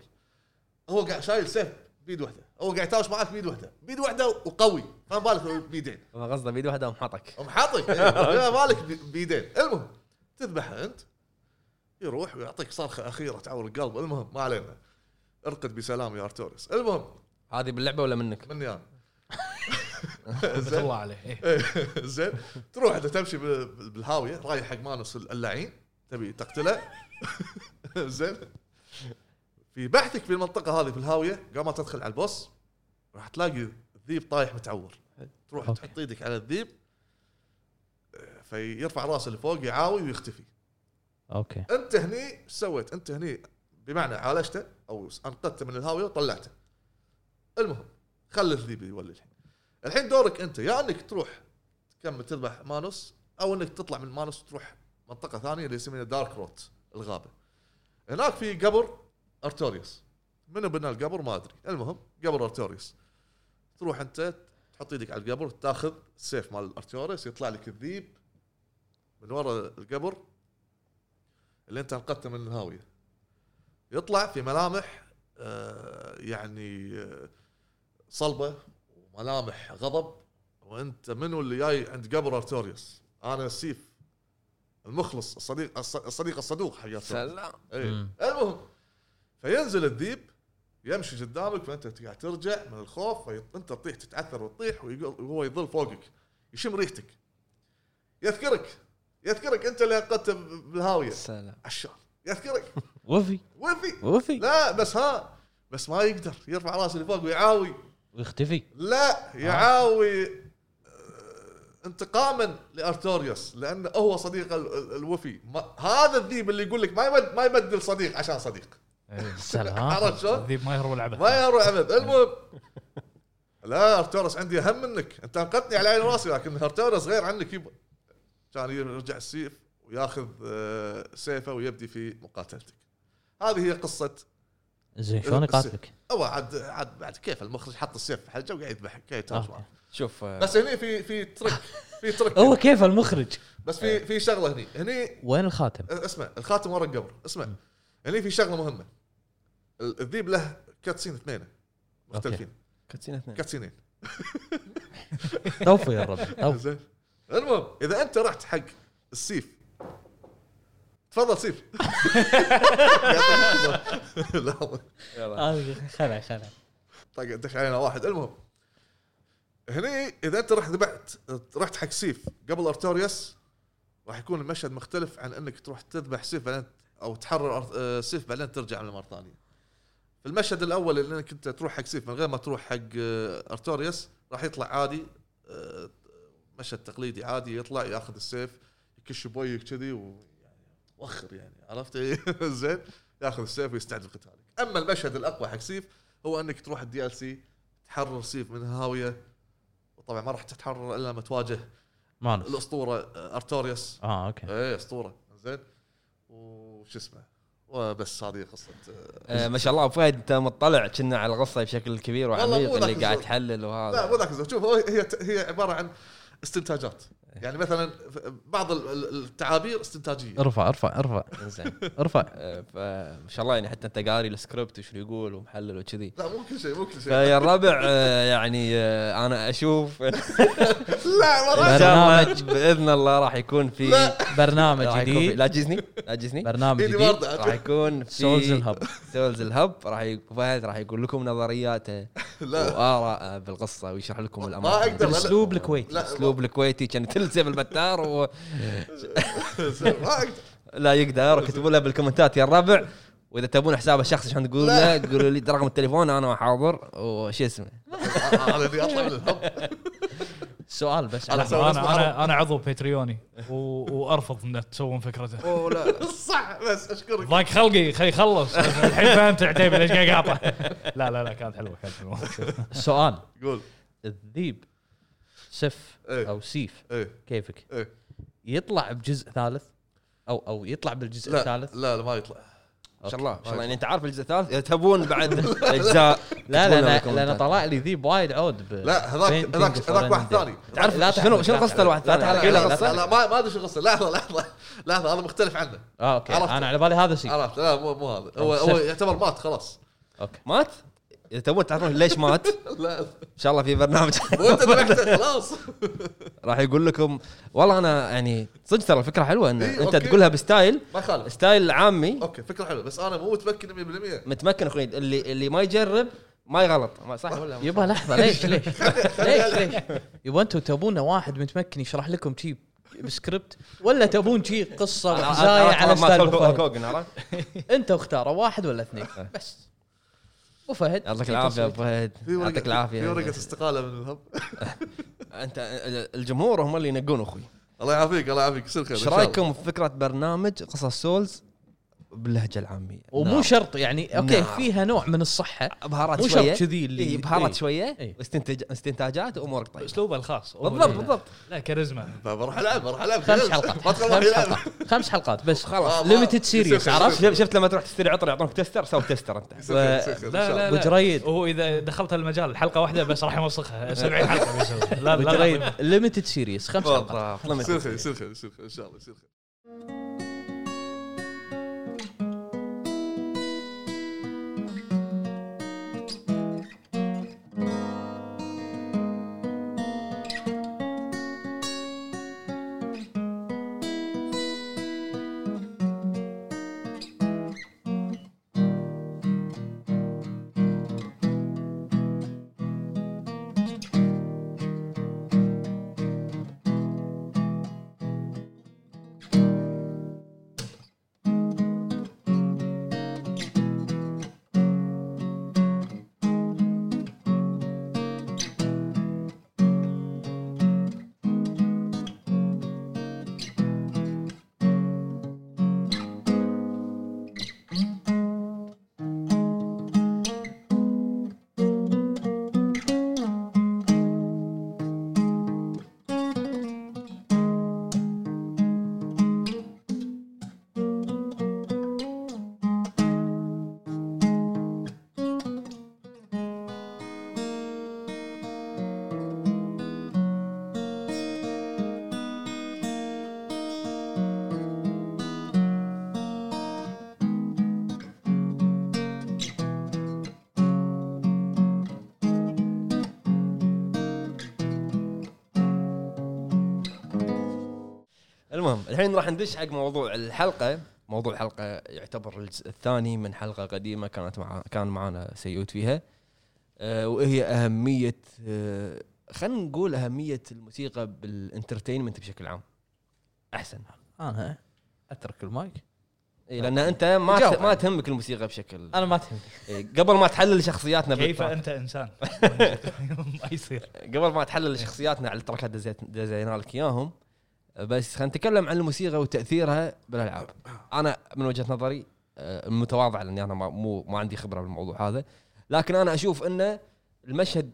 E: هو قاعد شايل سيف بيد واحده هو قاعد يتهاوش معك بيد واحده بيد واحده وقوي ما بالك هو بيدين
A: ما قصده بيد واحده ومحطك
E: قام حاطك ما بالك بي- بيدين المهم تذبحه انت يروح ويعطيك صرخه اخيره تعور القلب المهم ما علينا ارقد بسلام يا ارتورس المهم
A: هذه باللعبه ولا منك؟
E: مني انا
D: حبة الله عليه إيه.
E: زين تروح انت تمشي بال- بالهاويه رايح حق مانوس اللعين تبي تقتله زين في بحثك في المنطقه هذه في الهاويه قبل ما تدخل على البوس راح تلاقي ذيب طايح متعور تروح
C: أوكي.
E: تحط ايدك على الذيب آه، فيرفع راسه لفوق يعاوي ويختفي
C: اوكي
E: انت هني ايش سويت؟ انت هني بمعنى عالجته او انقذته من الهاويه وطلعته. المهم خلي الذيب يولي الحين. الحين دورك انت يا انك تروح تكمل تذبح مانوس او انك تطلع من مانوس وتروح منطقه ثانيه اللي يسميها دارك روت الغابه. هناك في قبر ارتوريوس. منو بنى القبر ما ادري، المهم قبر ارتوريوس. تروح انت تحط ايدك على القبر تاخذ السيف مال ارتوريوس يطلع لك الذيب من ورا القبر اللي انت انقذته من الهاويه يطلع في ملامح آه، يعني آه، صلبه وملامح غضب وانت منو اللي جاي عند قبر ارتوريوس انا السيف المخلص الصديق الص- الصديق الصدوق حق ارتوريوس
A: سلام
E: ايه.
C: مم.
E: المهم فينزل الذيب يمشي قدامك فانت قاعد ترجع من الخوف فانت تطيح تتعثر وتطيح ويقل- وهو يظل فوقك يشم ريحتك يذكرك يذكرك انت اللي انقذته بالهاويه
A: سلام
E: عشان يذكرك
C: وفي
E: وفي
C: وفي
E: لا بس ها بس ما يقدر يرفع راسه لفوق ويعاوي
C: ويختفي
E: لا يعاوي آه، انتقاما لارتوريوس لانه هو صديق ال- ال- الوفي ما- هذا الذيب اللي يقول لك ما يبد ما يبدل صديق عشان صديق
C: سلام
E: عرفت شلون؟
D: الذيب ما يهرب العبث
E: ما يروح ابد المهم لا ارتورس عندي اهم منك انت انقذتني على عين راسي لكن ارتورس غير عنك يبا كان يرجع السيف وياخذ آه، سيفه ويبدي في مقاتلتك هذه هي قصه
C: زين شلون يقاتلك؟
E: او عاد عاد بعد كيف المخرج حط السيف في حلقه وقاعد يذبحك قاعد يتهاوش معه
A: شوف آه،
E: بس هني في في ترك في
C: هو
E: ترك
C: كيف المخرج؟
E: بس في في شغله هني هني آه،
C: وين الخاتم؟
E: اسمع الخاتم ورا القبر اسمع هني في شغله مهمه ال- الذيب له كاتسين اثنين مختلفين
A: كاتسين اثنين
E: كاتسينين
C: توفي يا ربي توفي.
E: يعني زين المهم اذا انت رحت حق السيف تفضل سيف لحظه
A: يلا.
C: آه، خلع خلع
E: طق دش طيب، علينا واحد المهم هني اذا انت رحت ذبحت رحت حق سيف قبل ارتوريوس راح يكون المشهد مختلف عن انك تروح تذبح سيف بعدين او تحرر أر- آه، سيف بعدين ترجع له مره ثانيه. في المشهد الاول اللي انك انت تروح حق سيف من غير ما تروح حق آه، ارتوريوس راح يطلع عادي آه، مشهد تقليدي عادي يطلع ياخذ السيف يكش بويك كذي ووخر يعني عرفت زين ياخذ السيف ويستعد لقتالك. اما المشهد الاقوى حق سيف هو انك تروح الدي ال سي تحرر سيف من الهاويه وطبعا ما راح تتحرر الا لما تواجه
C: مانوس
E: الاسطوره آه، ارتوريوس
C: اه اوكي
E: ايه اسطوره زين وش اسمه وبس هذه قصه آه،
A: آه، ما شاء الله ابو فهد انت مطلع كنا على القصه بشكل كبير
E: والله مو
A: وعميق
E: ذاك
A: اللي قاعد
E: الزود.
A: تحلل
E: لا مو
A: وهذا
E: ذاك الزود. شوف هو- هي هي عباره عن استنتاجات يعني مثلا ف- بعض ال- ال- التعابير استنتاجيه
C: ارفع ارفع ارفع
A: زين
C: ارفع
A: آه، فما شاء الله يعني حتى انت قاري السكريبت وش يقول ومحلل وكذي
E: لا مو كل شيء مو كل شيء
A: فيا الربع آه، يعني آه، انا اشوف ان
E: لا ما راح-
A: شاء الله
C: برنامج.
A: باذن الله راح يكون في
E: لا.
C: برنامج
A: راح يكون في-
C: جديد
A: لا تجيزني لا تجيزني
C: برنامج
E: ايدي
C: جديد
E: برضه
A: راح يكون في
C: سولز الهب
A: سولز الهب راح ي- فهد راح يقول لكم نظرياته
E: لا
A: واراءه بالقصه ويشرح لكم الامر
E: ما أقدر، لا، لا.
C: بالاسلوب الكويتي
E: لا.
A: اسلوب الكويتي كان تلزم البتار و...
E: ما اقدر
A: لا يقدر اكتبوا له بالكومنتات يا الربع واذا تبون حسابه الشخصي عشان تقول له قولوا لي رقم التليفون انا حاضر وش اسمه
E: انا ابي اطلع من الهب
C: سؤال بس
E: على
C: على
E: سوي
D: انا
E: رسم حرب.
D: انا انا عضو باتريوني و- وارفض ان تسوون فكرته
E: أوه، لا صح بس اشكرك
D: ضاق خلقي خلي يخلص الحين فهمت عتيبي ليش قاعد قاطع لا لا لا كانت حلوه كانت حلوه
C: سؤال
E: قول
C: الذيب سف
E: إيه.
C: او سيف
E: ايه
C: كيفك
E: إيه.
C: يطلع بجزء ثالث او او يطلع بالجزء
E: لا
C: الثالث
E: لا لا ما يطلع
A: ان شاء الله ان شاء الله يعني انت عارف الجزء الثالث اذا تبون بعد اجزاء
C: لا لا لا
A: تكتبون لنا
C: لأن طلع لي ذيب وايد عود ب-
E: لا هذاك
C: Painting
E: هذاك
C: for
E: هذاك واحد
C: Another
E: ثاني
C: Day.
A: تعرف
C: لا تحرق،
A: شنو- شنو
C: لا
A: قصته
C: تحرق.
A: الواحد
C: لا
A: ثاني؟
C: تحرق،
A: أحكي له
C: لا
E: لا,
A: قصة.
E: لا, لا ما ما ادري شو القصه لحظه لحظه لحظه هذا مختلف عنه
C: اه اوكي
E: عرفت.
C: انا على بالي هذا سيف
E: عرفت لا مو مو هذا هو هو
C: سف.
E: يعتبر مات خلاص
C: اوكي
A: مات اذا تبون تعرفون ليش مات ان
E: لا
A: شاء الله في برنامج
E: مو انت ذبحته خلاص
A: راح يقول لكم والله انا يعني صدق ترى الفكره حلوه ان
E: إيه،
A: انت
E: أوكي.
A: تقولها بستايل
E: ما يخالف
A: ستايل عامي
E: اوكي فكره حلوه بس انا مو متمكن 100%
A: متمكن اخوي اللي اللي ما يجرب ما يغلط ما- صح ولا
C: يبا لحظه ليش ليش ليش ليش يبا انتم تبون واحد متمكن يشرح لكم شي بسكريبت ولا تبون شي قصه وحزايه على ستايل أبو فهد؟
A: عرفت
C: انت اختاروا واحد ولا اثنين
E: إيه.
C: بس وفهد
A: يعطيك العافيه ابو فهد
E: في ورقة-
A: يعطيك
E: في ورقه
A: العافيه
E: استقاله من الهب
A: انت الجمهور هم اللي ينقون اخوي
E: الله يعافيك الله يعافيك يصير خير إن
A: ايش
E: شاء الله.
A: رايكم في فكره برنامج قصص سولز باللهجه العاميه
C: ومو
A: نعم.
C: شرط يعني اوكي
A: نعم.
C: فيها نوع من الصحه
A: بهارات
C: مو شرط
A: شويه
C: كذي اللي-
A: إيه، بهارات
C: إيه.
A: شويه
C: إيه.
A: واستنتاج استنتاجات وامورك طيبه
D: اسلوبه الخاص هو
A: بالضبط
D: اللي-
A: بالضبط
D: لا كاريزما
E: فبروح العب بروح العب
C: خمس
E: ما
C: حلقات
E: تخلص
C: خمس
E: يلعب
C: حلقات خمس حلقات بس
E: خلاص.
C: ليمتد
E: يصير
C: سيريس
E: خير،
C: عرفت
E: يصير
A: شفت شفت لما تروح تشتري عطر يعطونك تستر سو تستر انت
E: يصير خير، يصير خير، إن شاء
D: لا
E: الله.
D: لا
C: أبو
D: لا
C: جريد.
D: هو اذا دخلت هالمجال حلقه واحده بس راح يوسخها 70 حلقه بيسوي لا لا لا
C: بجريد ليمتد سيريس خمس حلقات
A: بالضبط
E: يصير
A: لما-
E: خير يصير خير يصير خير ان شاء الله يصير خير
A: المهم الحين راح ندش حق موضوع الحلقه موضوع الحلقه يعتبر الجزء الثاني من حلقه قديمه كانت مع كان معنا سيوت فيها آه وهي اهميه آه خلينا نقول اهميه الموسيقى بالانترتينمنت بشكل عام احسن
C: انا اترك المايك
A: إيه لان انت ما
C: جاوب.
A: ت- ما تهمك الموسيقى بشكل
C: انا ما تهمني
A: إيه قبل ما تحلل شخصياتنا
D: كيف
A: بالتراك-
D: انت انسان ما يصير
A: قبل ما تحلل شخصياتنا على التراكات دزيت- دزينا لك اياهم بس خلينا نتكلم عن الموسيقى وتاثيرها بالالعاب انا من وجهه نظري آه، المتواضعه لاني انا ما مو ما عندي خبره بالموضوع هذا لكن انا اشوف انه المشهد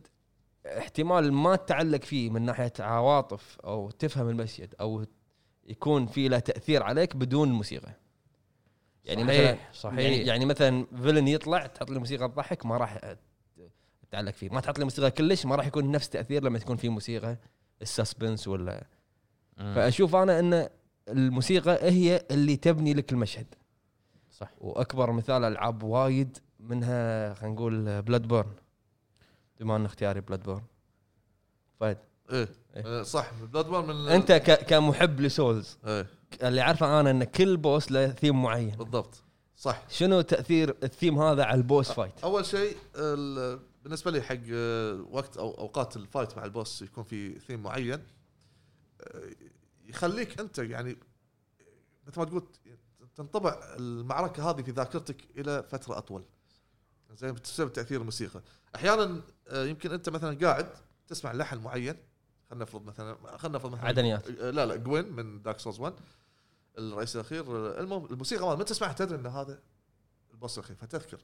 A: احتمال ما تتعلق فيه من ناحيه عواطف او تفهم المشهد او يكون في له تاثير عليك بدون موسيقى يعني مثلا يعني,
C: صحيح صحيح
A: يعني مثلا فيلن يطلع تحط لي موسيقى تضحك ما راح تتعلق فيه ما تحط لي موسيقى كلش ما راح يكون نفس تاثير لما تكون في موسيقى السسبنس ولا فاشوف انا ان الموسيقى هي اللي تبني لك المشهد
C: صح
A: واكبر مثال العاب وايد منها خلينا نقول بلاد بورن بما ان اختياري بلاد بورن فهد
E: ايه
A: إيه.
E: آه، صح بلاد بورن من
A: انت ك- كمحب لسولز
E: ايه
A: اللي عارفه انا ان كل بوس له ثيم معين
E: بالضبط صح
A: شنو تاثير الثيم هذا على البوس فايت؟
E: اول شيء ال- بالنسبه لي حق آه، وقت او اوقات الفايت مع البوس يكون في ثيم معين آه، يخليك انت يعني مثل ما تقول تنطبع المعركه هذه في ذاكرتك الى فتره اطول زين بسبب تاثير الموسيقى احيانا آه، يمكن انت مثلا قاعد تسمع لحن معين خلينا نفرض مثلا خلينا نفرض مثلا
A: عدنيات.
E: آه، لا لا جوين من دارك سولز 1 الرئيس الاخير آه، المهم الموسيقى مال- من تسمعها تدري ان هذا البوس الاخير فتذكر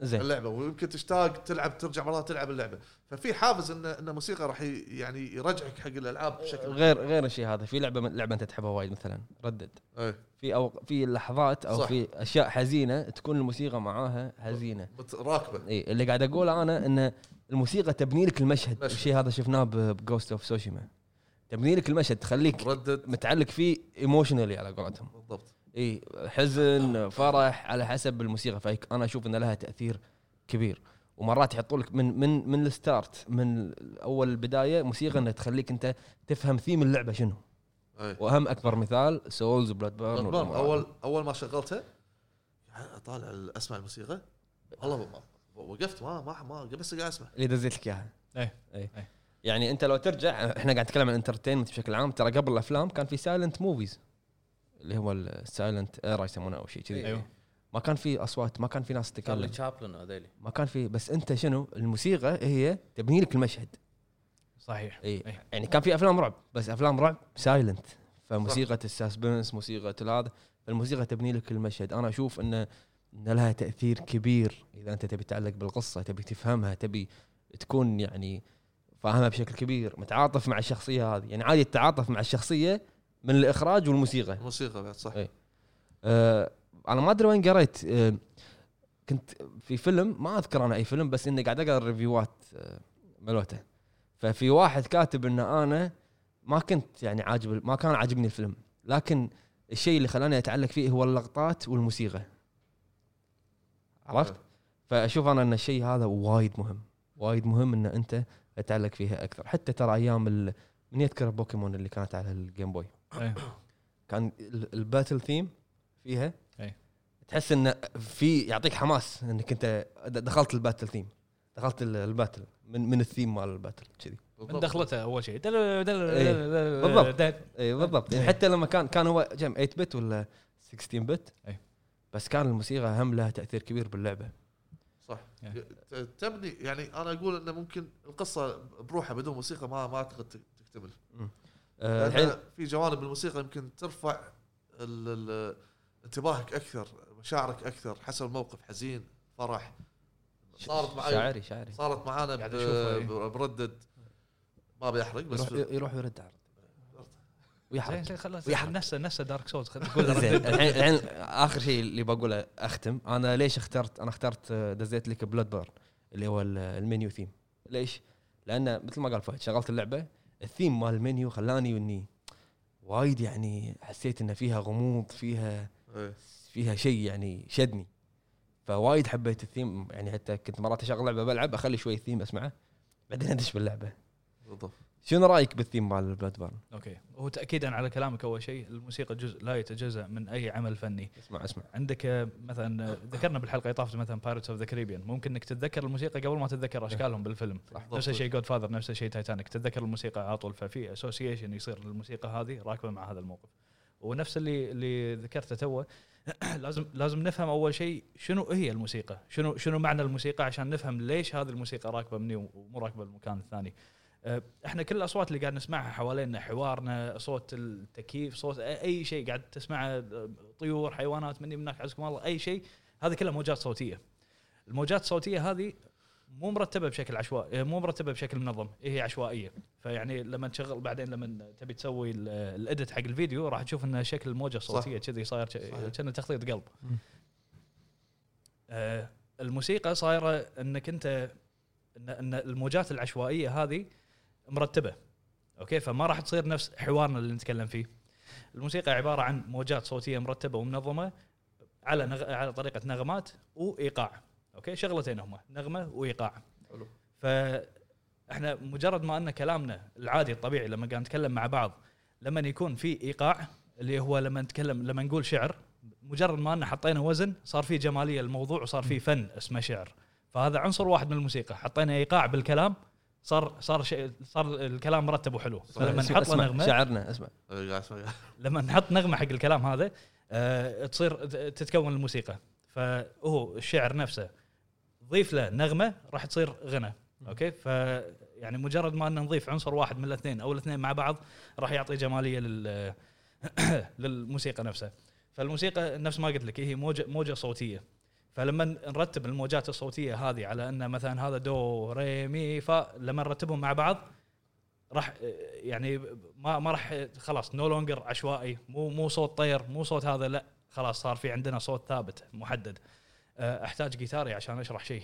A: زين
E: اللعبه ويمكن تشتاق تلعب ترجع مرات تلعب اللعبه ففي حافز ان ان الموسيقى راح ي- يعني يرجعك حق الالعاب بشكل
A: غير غير الشيء هذا في لعبه لعبه انت تحبها وايد مثلا ردد
E: ايه
A: في او في لحظات او
E: صح.
A: صح. في اشياء حزينه تكون الموسيقى معاها حزينه
E: بت- راكبه
A: اي إيه، اللي قاعد اقوله انا ان الموسيقى تبني لك المشهد
E: مشهد.
A: الشيء هذا شفناه بجوست اوف سوشيما تبني لك المشهد تخليك
E: ردد
A: متعلق فيه ايموشنالي على قولتهم
E: بالضبط
A: اي حزن فرح على حسب الموسيقى فانا اشوف ان لها تاثير كبير ومرات يحطوا لك من من من الستارت من اول البدايه موسيقى انها تخليك انت تفهم ثيم اللعبه شنو
E: ايه
A: واهم اكبر مثال سولز بلاد
E: بلاد
A: بيرن
E: بورن اول اول ما شغلتها اطالع ال- اسمع الموسيقى والله ما- وقفت ما ما ما بس قاعد اسمع
A: اللي دزيت لك اياها
D: إيه.
A: اي
D: إيه.
A: يعني انت لو ترجع احنا قاعد نتكلم عن انترتينمنت بشكل عام ترى قبل الافلام كان في سايلنت موفيز اللي هو السايلنت ايرا يسمونه او شيء كذي
D: ايوه
A: ما كان في اصوات ما كان في ناس
C: أيوه. كارلي
A: تتكلم
C: تشابلن وهذيلي
A: ما كان في بس انت شنو الموسيقى هي تبني لك المشهد
D: صحيح
A: اي
D: إيه.
A: يعني كان في افلام رعب بس افلام رعب سايلنت فموسيقى الساسبنس موسيقى هذا الموسيقى تبني لك المشهد انا اشوف انه ان لها تاثير كبير اذا انت تبي تتعلق بالقصه تبي تفهمها تبي تكون يعني فاهمها بشكل كبير متعاطف مع الشخصيه هذه يعني عادي تتعاطف مع الشخصيه من الاخراج والموسيقى
E: الموسيقى بعد صح
A: إيه. آه انا ما ادري وين قريت آه كنت في فيلم ما اذكر انا اي فيلم بس اني قاعد اقرا الريفيوات آه ملوته ففي واحد كاتب ان انا ما كنت يعني عاجب ما كان عاجبني الفيلم لكن الشيء اللي خلاني اتعلق فيه هو اللقطات والموسيقى عرفت؟ فاشوف انا ان الشيء هذا وايد مهم وايد مهم ان انت تتعلق فيها اكثر حتى ترى ايام ال... من يذكر بوكيمون اللي كانت على الجيم بوي
D: إيه.
A: كان ال- الباتل ثيم فيها
D: أي.
A: تحس انه في يعطيك حماس انك انت د- دخلت الباتل ثيم دخلت ال- الباتل من من الثيم مال الباتل كذي
D: من دخلته اول شيء دل- دل-
A: إيه.
D: دل-
A: بالضبط.
D: دل-
A: اي بالضبط يعني حتى لما كان كان هو جم 8 بت ولا 16 بت
D: أي.
A: بس كان الموسيقى هم لها تاثير كبير باللعبه
E: صح
D: إيه.
E: ت- تبني يعني انا اقول انه ممكن القصه بروحها بدون موسيقى ما ما اعتقد ت- تكتمل
A: آه، الحين
E: لأن في جوانب الموسيقى يمكن ترفع ال- ال- انتباهك اكثر مشاعرك اكثر حسب الموقف حزين فرح صارت معي
A: شاعري شاعري
E: صارت معانا
D: قاعد
E: ب-
D: أشوفها، إيه.
E: ب- بردد ما بيحرق بس
A: يروح يروح يرد عرض
D: زين
A: ويحرق
D: زين خلاص
A: ويحرق.
D: نفسه نفسه دارك سولز
A: زين الحين الحين اخر شيء اللي بقوله اختم انا ليش اخترت انا اخترت آه، دزيت لك بلاد بيرن اللي هو ال- المنيو ثيم ليش؟ لان مثل ما قال فهد شغلت اللعبه الثيم مال المنيو خلاني اني وايد يعني حسيت ان فيها غموض فيها
E: إيه.
A: فيها شيء يعني شدني فوايد حبيت الثيم يعني حتى كنت مرات اشغل لعبه بلعب اخلي شوي الثيم اسمعه بعدين ادش باللعبه
E: بالضبط
A: شنو رايك بالثيم مال بلاد بيرن؟
D: اوكي هو تاكيدا على كلامك اول شيء الموسيقى جزء لا يتجزا من اي عمل فني
A: اسمع اسمع
D: عندك آه، مثلا آه، ذكرنا بالحلقه اللي طافت مثلا بايرتس اوف ذا كاريبيان ممكن انك تتذكر الموسيقى قبل ما تتذكر اشكالهم بالفيلم نفس الشيء جود فاذر نفس الشيء تايتانيك تتذكر الموسيقى على طول ففي اسوسيشن يصير للموسيقى هذه راكبه مع هذا الموقف ونفس اللي اللي ذكرته توه لازم لازم نفهم اول شيء شنو هي الموسيقى شنو شنو معنى الموسيقى عشان نفهم ليش هذه الموسيقى راكبه مني ومو راكبه بالمكان الثاني أه، احنا كل الاصوات اللي قاعد نسمعها حوالينا حوارنا صوت التكييف صوت أ- اي شيء قاعد تسمعه أه، طيور حيوانات مني من هناك عزكم الله اي شيء هذه كلها موجات صوتيه الموجات الصوتيه هذه مو مرتبه بشكل عشوائي آه، مو مرتبه بشكل منظم هي عشوائيه فيعني لما تشغل بعدين لما تبي تسوي الاديت حق الفيديو راح تشوف ان شكل الموجه الصوتيه كذي صاير
E: صحيح.
D: كأنه تخليط قلب
A: مم.
D: آه، الموسيقى صايره انك انت ان ان الموجات العشوائيه هذه مرتبه اوكي فما راح تصير نفس حوارنا اللي نتكلم فيه الموسيقى عباره عن موجات صوتيه مرتبه ومنظمه على نغ... على طريقه نغمات وايقاع اوكي شغلتين هما نغمه وايقاع
E: حلو.
D: فاحنا مجرد ما ان كلامنا العادي الطبيعي لما قاعد نتكلم مع بعض لما يكون في ايقاع اللي هو لما نتكلم لما نقول شعر مجرد ما ان حطينا وزن صار في جماليه الموضوع وصار في فن اسمه شعر فهذا عنصر واحد من الموسيقى حطينا ايقاع بالكلام صار صار شيء صار الكلام مرتب وحلو فلما نحط له
A: اسمع
D: نغمه
A: شعرنا اسمع
E: إيه، قاعد أسمع.
D: لما نحط نغمه حق الكلام هذا آه، تصير تتكون الموسيقى فهو الشعر نفسه ضيف له نغمه راح تصير غنى اوكي ف يعني مجرد ما ان نضيف عنصر واحد من الاثنين او الاثنين مع بعض راح يعطي جماليه لل للموسيقى نفسها فالموسيقى نفس ما قلت لك هي موجه موجه صوتيه فلما نرتب الموجات الصوتيه هذه على ان مثلا هذا دو ري مي فا لما نرتبهم مع بعض راح يعني ما ما راح خلاص نو لونجر عشوائي مو مو صوت طير مو صوت هذا لا خلاص صار في عندنا صوت ثابت محدد أه، احتاج جيتاري عشان اشرح شيء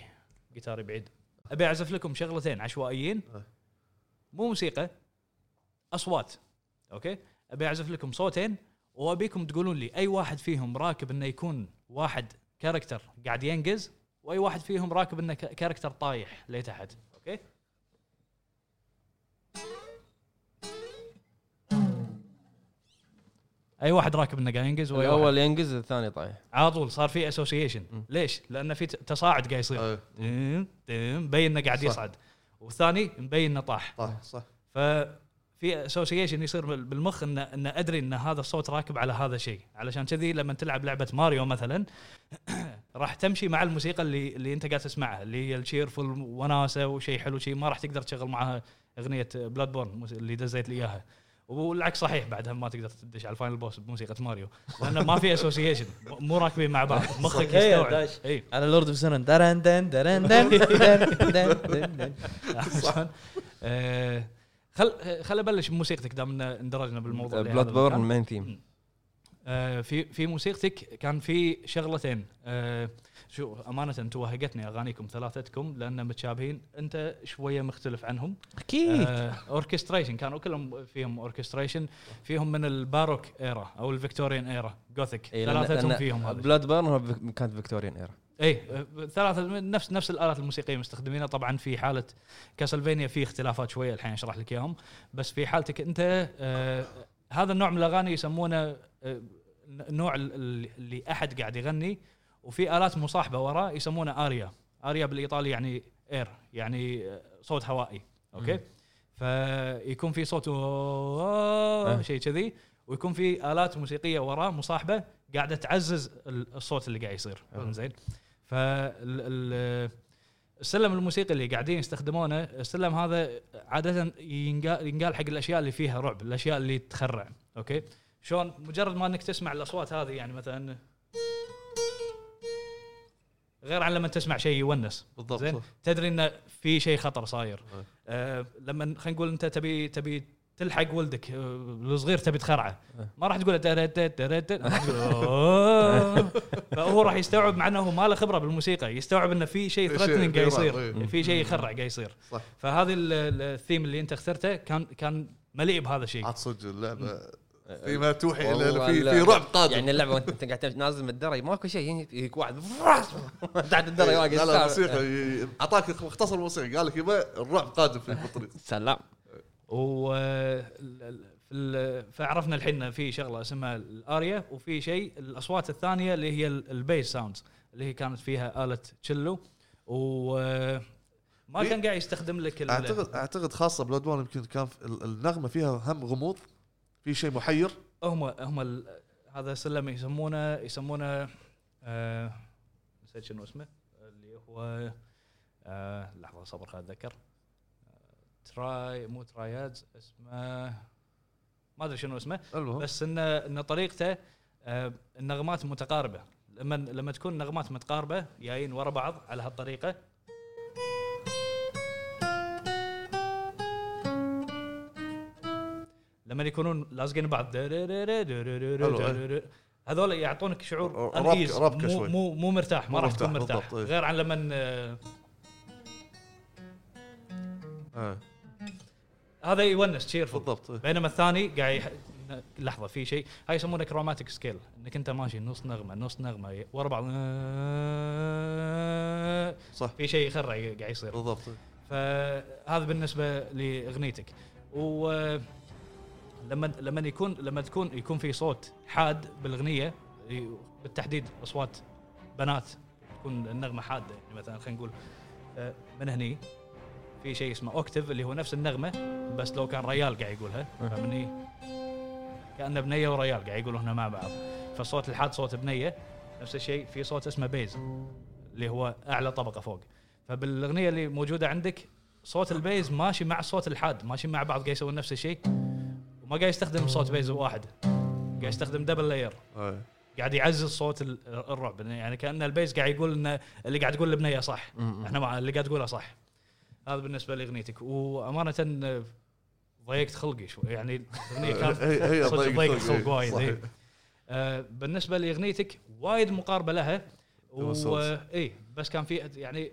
D: جيتاري بعيد ابي اعزف لكم شغلتين عشوائيين مو موسيقى اصوات اوكي ابي اعزف لكم صوتين وابيكم تقولون لي اي واحد فيهم راكب انه يكون واحد كاركتر قاعد ينقز واي واحد فيهم راكب انه ك- كاركتر طايح لتحت اوكي اي واحد راكب انه قاعد ينقز واي واحد
A: الاول ينقز الثاني طايح
D: على طول صار في اسوسيشن ليش؟ لان في ت- تصاعد قاعد يصير
E: إيه،
D: تم- تم، مبين انه قاعد
E: صح.
D: يصعد والثاني مبين انه طاح
E: صح صح
D: ففي اسوسيشن يصير بال- بالمخ ان ان ادري ان هذا الصوت راكب على هذا الشيء علشان كذي لما تلعب لعبه ماريو مثلا راح تمشي مع الموسيقى اللي اللي انت قاعد تسمعها اللي هي الشيرفول وناسه وشيء حلو شيء ما راح تقدر تشغل معها اغنيه بلاد بورن اللي دزيت لي اياها والعكس صحيح بعدها ما تقدر تدش على الفاينل بوس بموسيقى ماريو لانه ما في اسوسيشن مو راكبين مع بعض مخك
C: صحيح. إيه،
D: يستوعب
C: داش.
D: اي
C: على لورد اوف سنن درن دن درن دن درن دن دن دن.
D: عشان آه، خل خل ابلش بموسيقتك دام إن اندرجنا بالموضوع اللي
A: بلاد
D: هذا
A: بورن
D: المكان.
A: مين ثيم
D: آه، في في موسيقتك كان في شغلتين آه، شو امانه توهقتني اغانيكم ثلاثتكم لان متشابهين انت شويه مختلف عنهم
C: اكيد
D: اوركستريشن كانوا كلهم فيهم اوركستريشن فيهم من الباروك ايرا او الفيكتوريان ايرا جوثيك
A: إيه،
D: ثلاثتهم فيهم هذا
A: بلاد بورن كانت فيكتوريان ايرا
D: اي آه، ثلاثة من- نفس نفس الالات الموسيقيه مستخدمينها طبعا في حاله كاسلفينيا في اختلافات شويه الحين اشرح لك اياهم بس في حالتك انت آه هذا النوع من الاغاني يسمونه آه نوع ال- ال- اللي احد قاعد يغني وفي الات مصاحبه وراه يسمونه اريا اريا بالايطالي يعني اير يعني آه، صوت هوائي اوكي فيكون في صوت
A: أه.
D: شيء كذي ويكون في الات موسيقيه وراه مصاحبه قاعده تعزز ال- الصوت اللي قاعد يصير زين فال السلم الموسيقي اللي قاعدين يستخدمونه السلم هذا عاده ينقال, ينقال حق الاشياء اللي فيها رعب الاشياء اللي تخرع اوكي شلون مجرد ما انك تسمع الاصوات هذه يعني مثلا غير عن لما تسمع شيء يونس
E: بالضبط
D: زين.
E: صح. إيه.
D: تدري انه في شيء خطر صاير
E: أي.
D: آه لما خلينا نقول انت تبي تبي تلحق ولدك آه، الصغير تبي تخرعه
E: إيه.
A: أي.
D: ما راح تقول له ترت- ترت- ترت. راح تقول أوه. فهو راح يستوعب مع انه هو ما له خبره بالموسيقى يستوعب انه في شيء
E: في شيء إيه.
D: ثريتنينج قاعد
E: يراق،
D: يصير
E: أي.
D: في شيء يخرع قاعد يصير
E: صح.
D: فهذه ال- ال- الثيم اللي انت اخترته كان كان مليء بهذا الشيء
E: عاد صدق اللعبه فيما توحي الى
A: والله
E: في
A: لا.
E: في رعب قادم
A: يعني اللعبه وانت أنت قاعد تمشي نازل من الدرج ماكو شيء يجيك- يجيك واحد فراس تحت الدرج واقف
E: إيه، لا لا الموسيقى ي- اعطاك مختصر الموسيقى قال لك يبا الرعب قادم في الطريق
A: سلام
D: و ال- ال- في ال- فعرفنا الحين إن في شغله اسمها الاريا وفي شيء الاصوات الثانيه اللي هي ال- البيس ساوندز اللي هي كانت فيها اله تشيلو و ما
E: في-
D: كان قاعد يستخدم لك ال-
E: اعتقد اعتقد خاصه بلاد بورن يمكن كان في- ال- النغمه فيها هم غموض في شيء محير
D: هم هم ال- هذا سلم يسمونه يسمونه آه، نسيت شنو اسمه اللي هو آه، لحظه صبر خليني اتذكر تراي مو ترايادز اسمه ما ادري شنو اسمه
E: المهم
D: بس ان ان طريقته آه، النغمات متقاربه لما لما تكون نغمات متقاربه جايين ورا بعض على هالطريقه لما يكونون لازقين بعض هذول يعطونك شعور
E: ربكة-
D: unease.
E: ربكة
D: مو
E: شوي.
D: مو مو مرتاح ما
E: مو
D: راح تكون
E: مرتاح،
D: مرتاح
E: بالضبط، إيه.
D: غير عن لما آه،
E: إيه. آه.
D: هذا يونس تشيرفول
E: بالضبط إيه.
D: بينما الثاني قاعد يح... لحظه في شيء هاي يسمونه كروماتيك سكيل انك انت ماشي نص نغمه نص نغمه ورا بعض
E: صح
D: في شيء يخرع قاعد يصير
E: بالضبط
D: فهذا بالنسبه لاغنيتك و لما لما يكون لما تكون يكون في صوت حاد بالاغنيه ي- بالتحديد اصوات بنات تكون النغمه حاده يعني مثلا خلينا نقول آه، من هني في شيء اسمه اوكتيف اللي هو نفس النغمه بس لو كان ريال قاعد يقولها فمني كان بنيه وريال قاعد يقولوا هنا مع بعض فالصوت الحاد صوت بنيه نفس الشيء في صوت اسمه بيز اللي هو اعلى طبقه فوق فبالاغنيه اللي موجوده عندك صوت البيز ماشي مع صوت الحاد ماشي مع بعض قاعد يسوون نفس الشيء وما قاعد يستخدم صوت بيز واحد قاعد يستخدم دبل لاير
E: إيه.
D: قاعد يعزز صوت ال- الرعب يعني كان البيز قاعد يقول ان اللي قاعد يقول البنيه صح احنا مع اللي قاعد تقوله صح هذا بالنسبه لاغنيتك وامانه آه، ضيقت خلقي شوي يعني الاغنيه كانت
E: هي هي
D: صدق
E: ضيق
D: ضيق
E: خلق،
D: خلق وايد
E: صحيح.
D: إيه. آه، بالنسبه لاغنيتك وايد مقاربه لها
E: Demon's Souls.
D: و اي بس كان في يعني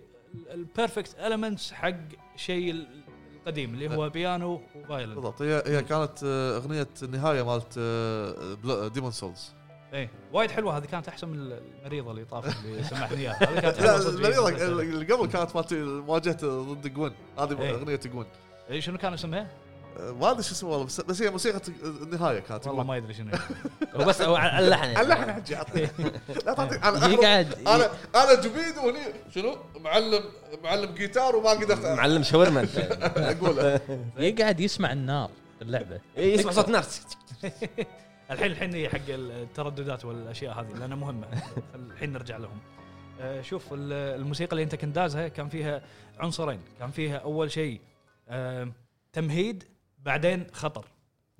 D: البيرفكت المنتس حق شيء ال- القديم اللي هو بيانو وفايلن
E: بالضبط هي هي كانت آه، اغنيه النهايه مالت آه، ديمون سولز
D: اي وايد حلوه هذه كانت احسن من المريضه اللي طافت اللي سمحني اياها هذه كانت
E: لا
D: حلوه صدق. إيه؟ يعني.
E: المريضه اللي قبل كانت مالت مواجهه ضد جوين هذه
D: إيه.
E: اغنيه جوين
D: إيه، شنو كان اسمها؟
E: آه، ما ادري شو اسمه والله بس- بس هي موسيقى النهايه كانت
D: والله ما ادري شنو
C: وبس أو- على اللحن يعني.
E: اللحن حجي عطني لا تعطيني
C: هي
E: انا
C: قاعد
E: انا انا جبيد وهني شنو معلم معلم جيتار وما قدرت
A: معلم شاورما انت
E: اقوله
C: يقعد يسمع النار باللعبه
A: إيه، يسمع صوت ناس
D: الحين الحين هي حق الترددات والاشياء هذه لانها مهمه الحين نرجع لهم آه، شوف ال- الموسيقى اللي انت كنت دازها كان فيها عنصرين كان فيها اول شيء آه، تمهيد بعدين خطر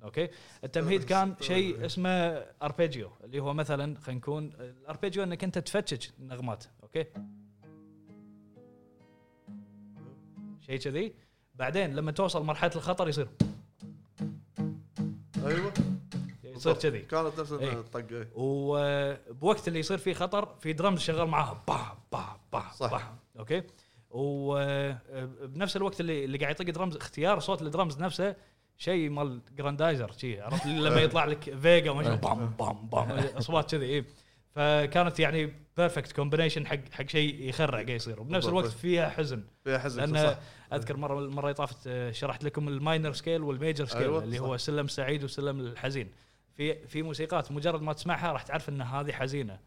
D: اوكي التمهيد كان شيء اسمه اربيجيو اللي هو مثلا خلينا نكون الاربيجيو انك انت تفتش نغمات اوكي شيء كذي بعدين لما توصل مرحله الخطر يصير
E: ايوه
D: يصير
E: بالضبط.
D: كذي
E: كانت نفس
D: إيه.
E: الطقه إيه.
D: وبوقت اللي يصير فيه خطر في درمز شغال معاها با با با
E: صح.
D: با اوكي وبنفس الوقت اللي اللي قاعد يطق درمز اختيار صوت الدرمز نفسه شيء مال جراندايزر شي عرفت اللي
E: إيه.
D: لما يطلع لك فيجا وما شنو، بام بام بام اصوات كذي اي فكانت يعني بيرفكت كومبينيشن حق حق شيء يخرع قاعد يصير وبنفس
E: بالضبط.
D: الوقت فيها حزن
E: فيها حزن
D: لان
E: صح
D: اذكر مره المره اللي طافت آه، شرحت لكم الماينر سكيل والميجر سكيل
E: أيوة،
D: أيوة اللي
E: صح.
D: هو السلم السعيد والسلم الحزين في في موسيقات مجرد ما تسمعها راح تعرف ان هذه حزينه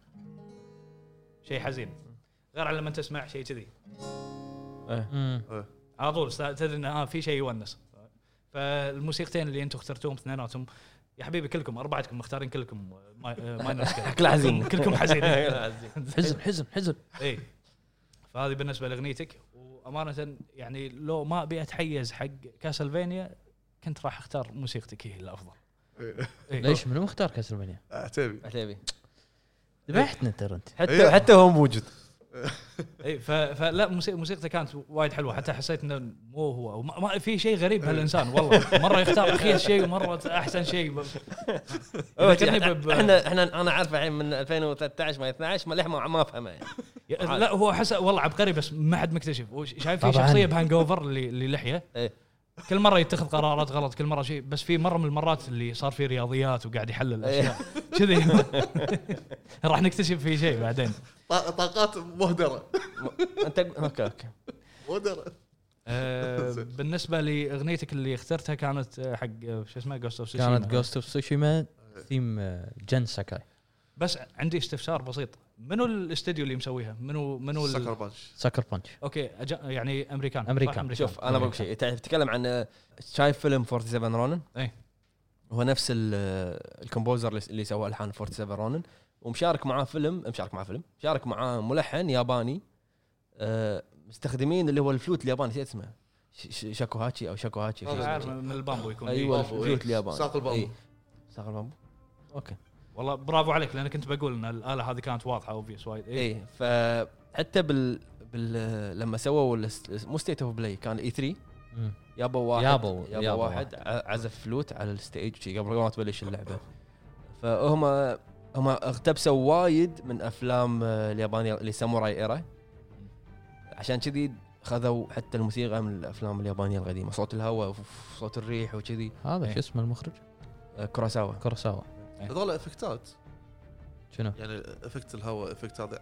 D: شيء حزين غير على لما انت تسمع شيء كذي
C: مم.
D: على طول س- تدري ان اه في شيء يونس فالموسيقتين اللي انتم اخترتوهم اثنيناتهم يا حبيبي كلكم اربعتكم مختارين كلكم آه، ماي- آه، ماينر سكيل
A: كله حزين.
D: كلكم حزينين
C: حزن حزن حزن
D: اي إيه. فهذه بالنسبه لاغنيتك وامانه يعني لو ما ابي اتحيز حق كاسلفينيا كنت راح اختار موسيقتك هي الافضل
E: إيه.
D: إي.
C: ليش منو مختار كاسلفينيا؟
E: عتيبي
A: عتيبي
C: ذبحتنا ترى انت
E: إيه.
A: حتى حتى هو موجود
D: اي إيه، ف- فلا موسي- موسيقته كانت وايد حلوه حتى حسيت انه مو هو أو ما- ما في شيء غريب بهالانسان والله مره يختار اخيس شيء ومره احسن شيء ب- ذكرني ب-
A: احنا احنا انا عارفه الحين من 2013 ما 12 ما لحمه ما افهمه يعني.
D: لا هو حس والله عبقري بس ما حد مكتشف وش- شايف في
C: طبعاً.
D: شخصيه بهانج اوفر اللي اللي لحيه
A: إيه.
D: كل مره يتخذ قرارات غلط كل مره شيء بس في مره من المرات اللي صار في رياضيات وقاعد يحلل
A: إيه.
D: اشياء كذي راح نكتشف في شيء بعدين
E: طا- طاقات مهدره
A: انت اوكي اوكي
E: مهدره
D: آه، بالنسبه لاغنيتك اللي اخترتها كانت آه، حق آه، شو اسمه جوست اوف
C: كانت جوست اوف سوشيما ثيم جن ساكاي
D: بس عندي استفسار بسيط منو الاستديو اللي مسويها منو منو ال-
E: سكر بانش
C: سكر بانش
D: اوكي أج- يعني امريكان صح؟
C: أمريكان.
A: شوف انا بقول شيء انت تتكلم عن آه، شايف فيلم 47 رونن
D: إيه.
A: هو نفس ال- آه، الكومبوزر اللي- اللي سوى الحان 47 رونن ومشارك معاه فيلم مشارك معاه فيلم مشارك معاه ملحن ياباني آه، مستخدمين اللي هو الفلوت الياباني شو اسمه ش- ش- شاكوهاتشي او شاكوهاتشي شيء
E: هذا
D: عارف
A: زي كذا.
D: من البامبو يكون
A: ايوه
E: بامبو، إيه.
A: الفلوت الياباني
E: أيوة، ساق البامبو.
A: إيه. ساق البامبو اوكي
D: والله برافو عليك لان كنت بقول ان الاله هذه كانت واضحه اوبفيس وايد إيه.
A: ايه فحتى بال, بال... لما سووا ال- مو ستيت اوف بلاي كان E اي 3
C: مم.
A: يابا واحد
C: يابوا-
A: يابا,
C: يابوا
A: واحد, ع- عزف فلوت على الستيج شي قبل ما تبلش اللعبه فهم هم اقتبسوا وايد من افلام آه، اليابانيه اللي ساموراي ايرا عشان كذي خذوا حتى الموسيقى من الافلام اليابانيه القديمه صوت الهواء وصوت الريح وكذي
C: هذا
D: إيه.
C: شو اسمه المخرج
A: آه، كوراساوا
C: كوراساوا
E: هذول افكتات
C: شنو
E: يعني افكت الهواء افكت هذا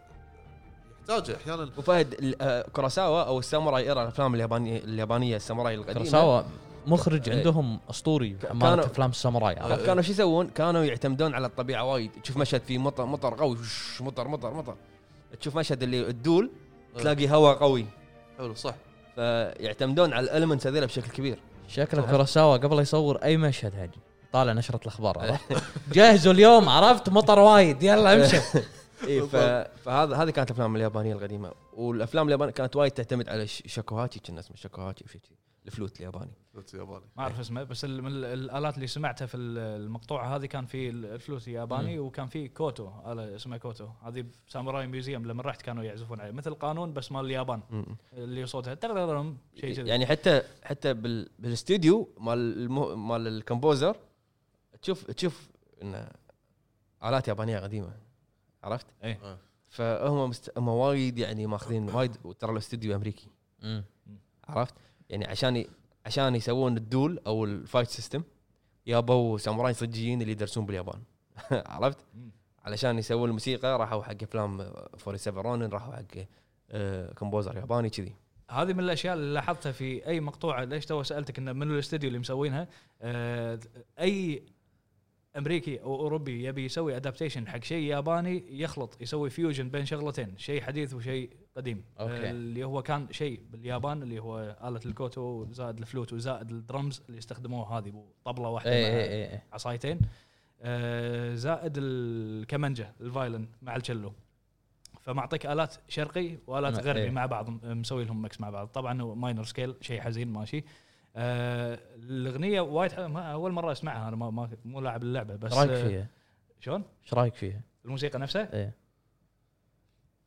E: يحتاجه احيانا
A: وفهد ال- آه، كوراساوا او الساموراي ايرا الافلام اليابانيه اليابانيه الساموراي القديمه
C: كوراساوا مخرج
A: إيه.
C: عندهم اسطوري
A: ك-
C: مالت
A: كانوا- أه.
C: افلام الساموراي
E: أه،
C: عرفت؟
A: كانوا شو يسوون؟ كانوا يعتمدون على الطبيعه وايد، تشوف مشهد فيه مطر مطر قوي وش- مطر مطر مطر تشوف مشهد اللي الدول تلاقي هواء قوي
E: أه. حلو صح
A: فيعتمدون على الالمنتس هذيلا بشكل كبير
C: شكله كوراساوا قبل يصور اي مشهد هاجي طالع نشرة الاخبار عرفت؟ جهزوا اليوم عرفت مطر وايد يلا امشي
A: اي إيه، ف...
E: بالضبط.
A: فهذا هذه كانت الافلام اليابانيه القديمه والافلام اليابانيه كانت وايد تعتمد على ش... شاكوهاتشي كان اسمه شاكوهاتشي وشي كذي الفلوت الياباني
E: قلت ياباني
D: ما اعرف اسمه بس ال- من ال- الالات اللي سمعتها في ال- المقطوعه هذه كان في ال- الفلوت الياباني وكان في كوتو اله اسمها كوتو هذه ساموراي ميوزيوم لما رحت كانوا يعزفون عليه مثل قانون بس مال اليابان
A: م-
D: اللي صوتها تغرغرم شيء كذا
A: يعني حتى حتى بال... بالاستديو مال المه... مال الكمبوزر تشوف تشوف انه الات يابانيه قديمه عرفت؟
D: إيه.
E: آه.
A: فهم مست... هم وايد يعني ماخذين وايد وترى الاستديو امريكي
C: مم.
A: عرفت؟ يعني عشان ي... عشان يسوون الدول او الفايت سيستم يابوا ساموراي صجيين اللي يدرسون باليابان عرفت؟
D: مم.
A: علشان يسوون الموسيقى راحوا حق افلام 47 رونن راحوا حق آه، كمبوزر ياباني كذي
D: هذه من الاشياء اللي لاحظتها في اي مقطوعه ليش تو سالتك انه من الاستديو اللي مسوينها آه، اي امريكي او اوروبي يبي يسوي ادابتيشن حق شيء ياباني يخلط يسوي فيوجن بين شغلتين شيء حديث وشيء قديم
C: أوكي.
D: آه، اللي هو كان شيء باليابان اللي هو اله الكوتو زائد الفلوت وزائد الدرمز اللي استخدموها هذه طبله واحده
C: اي
D: مع
C: اي اي اي
D: عصايتين آه، زائد الكمنجه الفايلن مع الشلو فمعطيك الات شرقي والات
C: مع-
D: غربي
C: إيه.
D: مع بعض م- مسوي لهم مكس مع بعض طبعا هو ماينر سكيل شيء حزين ماشي آه الاغنيه وايد ح- ما- اول مره اسمعها انا ما, ما مو لاعب اللعبه بس
C: ايش رايك
D: آه،
C: فيها؟
D: شلون
C: ايش رايك فيها؟
D: الموسيقى نفسها
C: ايه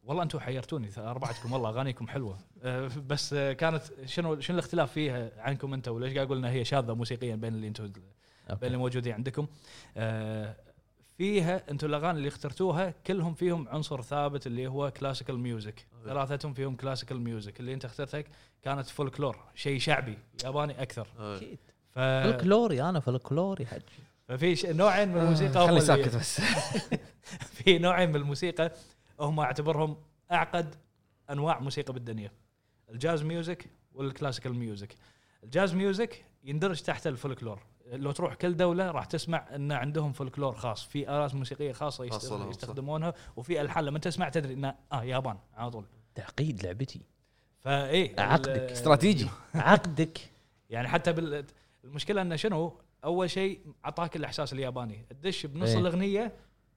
D: والله انتم حيرتوني ث- اربعتكم والله اغانيكم حلوه آه، بس آه، كانت شنو شنو الاختلاف فيها عنكم انتم وليش قاعد اقول انها هي شاذه موسيقيا بين اللي انتم بين اللي
C: اوكي
D: موجودين عندكم آه، فيها انتم الاغاني اللي اخترتوها كلهم فيهم عنصر ثابت اللي هو كلاسيكال ميوزك ثلاثتهم فيهم كلاسيكال ميوزك اللي انت اخترتها كانت فولكلور شيء شعبي ياباني اكثر
E: آه.
C: أكيد.
D: ف...
C: فلكلوري انا فلكلوري حج
D: ففي ش- نوعين من الموسيقى هم
A: خلني
D: اللي-
A: آه، ساكت بس
D: في نوعين من الموسيقى هم اعتبرهم اعقد انواع موسيقى بالدنيا الجاز ميوزك والكلاسيكال ميوزك الجاز ميوزك يندرج تحت الفولكلور لو تروح كل دوله راح تسمع ان عندهم فولكلور خاص في الات موسيقيه خاصه يست-
E: خاصة لهم، صح.
D: يستخدمونها وفي الحان لما تسمع تدري انه اه يابان على طول
C: تعقيد لعبتي
D: فايه ال-
C: عقدك.
A: استراتيجي
C: عقدك
D: يعني حتى بال... المشكله انه شنو اول شيء اعطاك الاحساس الياباني الدش بنص
C: إيه.
D: الاغنيه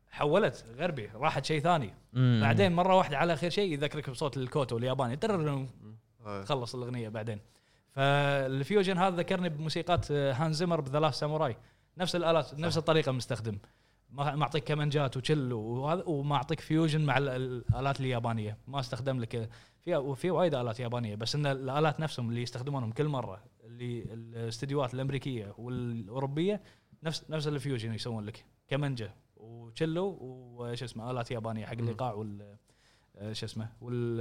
D: حولت غربي راحت شيء ثاني
C: مم.
D: بعدين مره واحده على اخر شيء يذكرك بصوت الكوتو الياباني ترر
E: آه.
D: خلص الاغنيه بعدين فالفيوجن هذا ذكرني بموسيقات آه، هان زمر بذلاث ساموراي نفس الالات نفس الطريقه مستخدم ما ما اعطيك كمانجات وشلو وهذا وما اعطيك فيوجن مع ال- ال- الالات اليابانيه ما استخدم لك آه، في وفي وايد الات يابانيه بس ان الالات نفسهم اللي يستخدمونهم كل مره اللي الاستديوهات الامريكيه والاوروبيه نفس نفس الفيوجن يسوون لك كمانجه وشلو وش اسمه الات يابانيه حق الايقاع وال آه، شو اسمه وال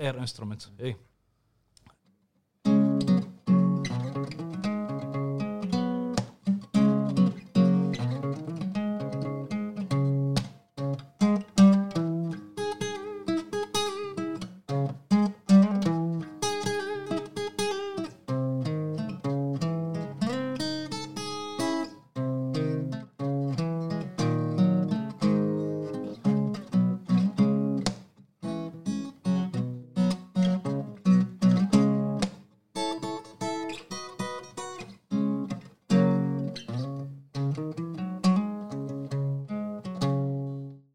D: اير انسترومنت اي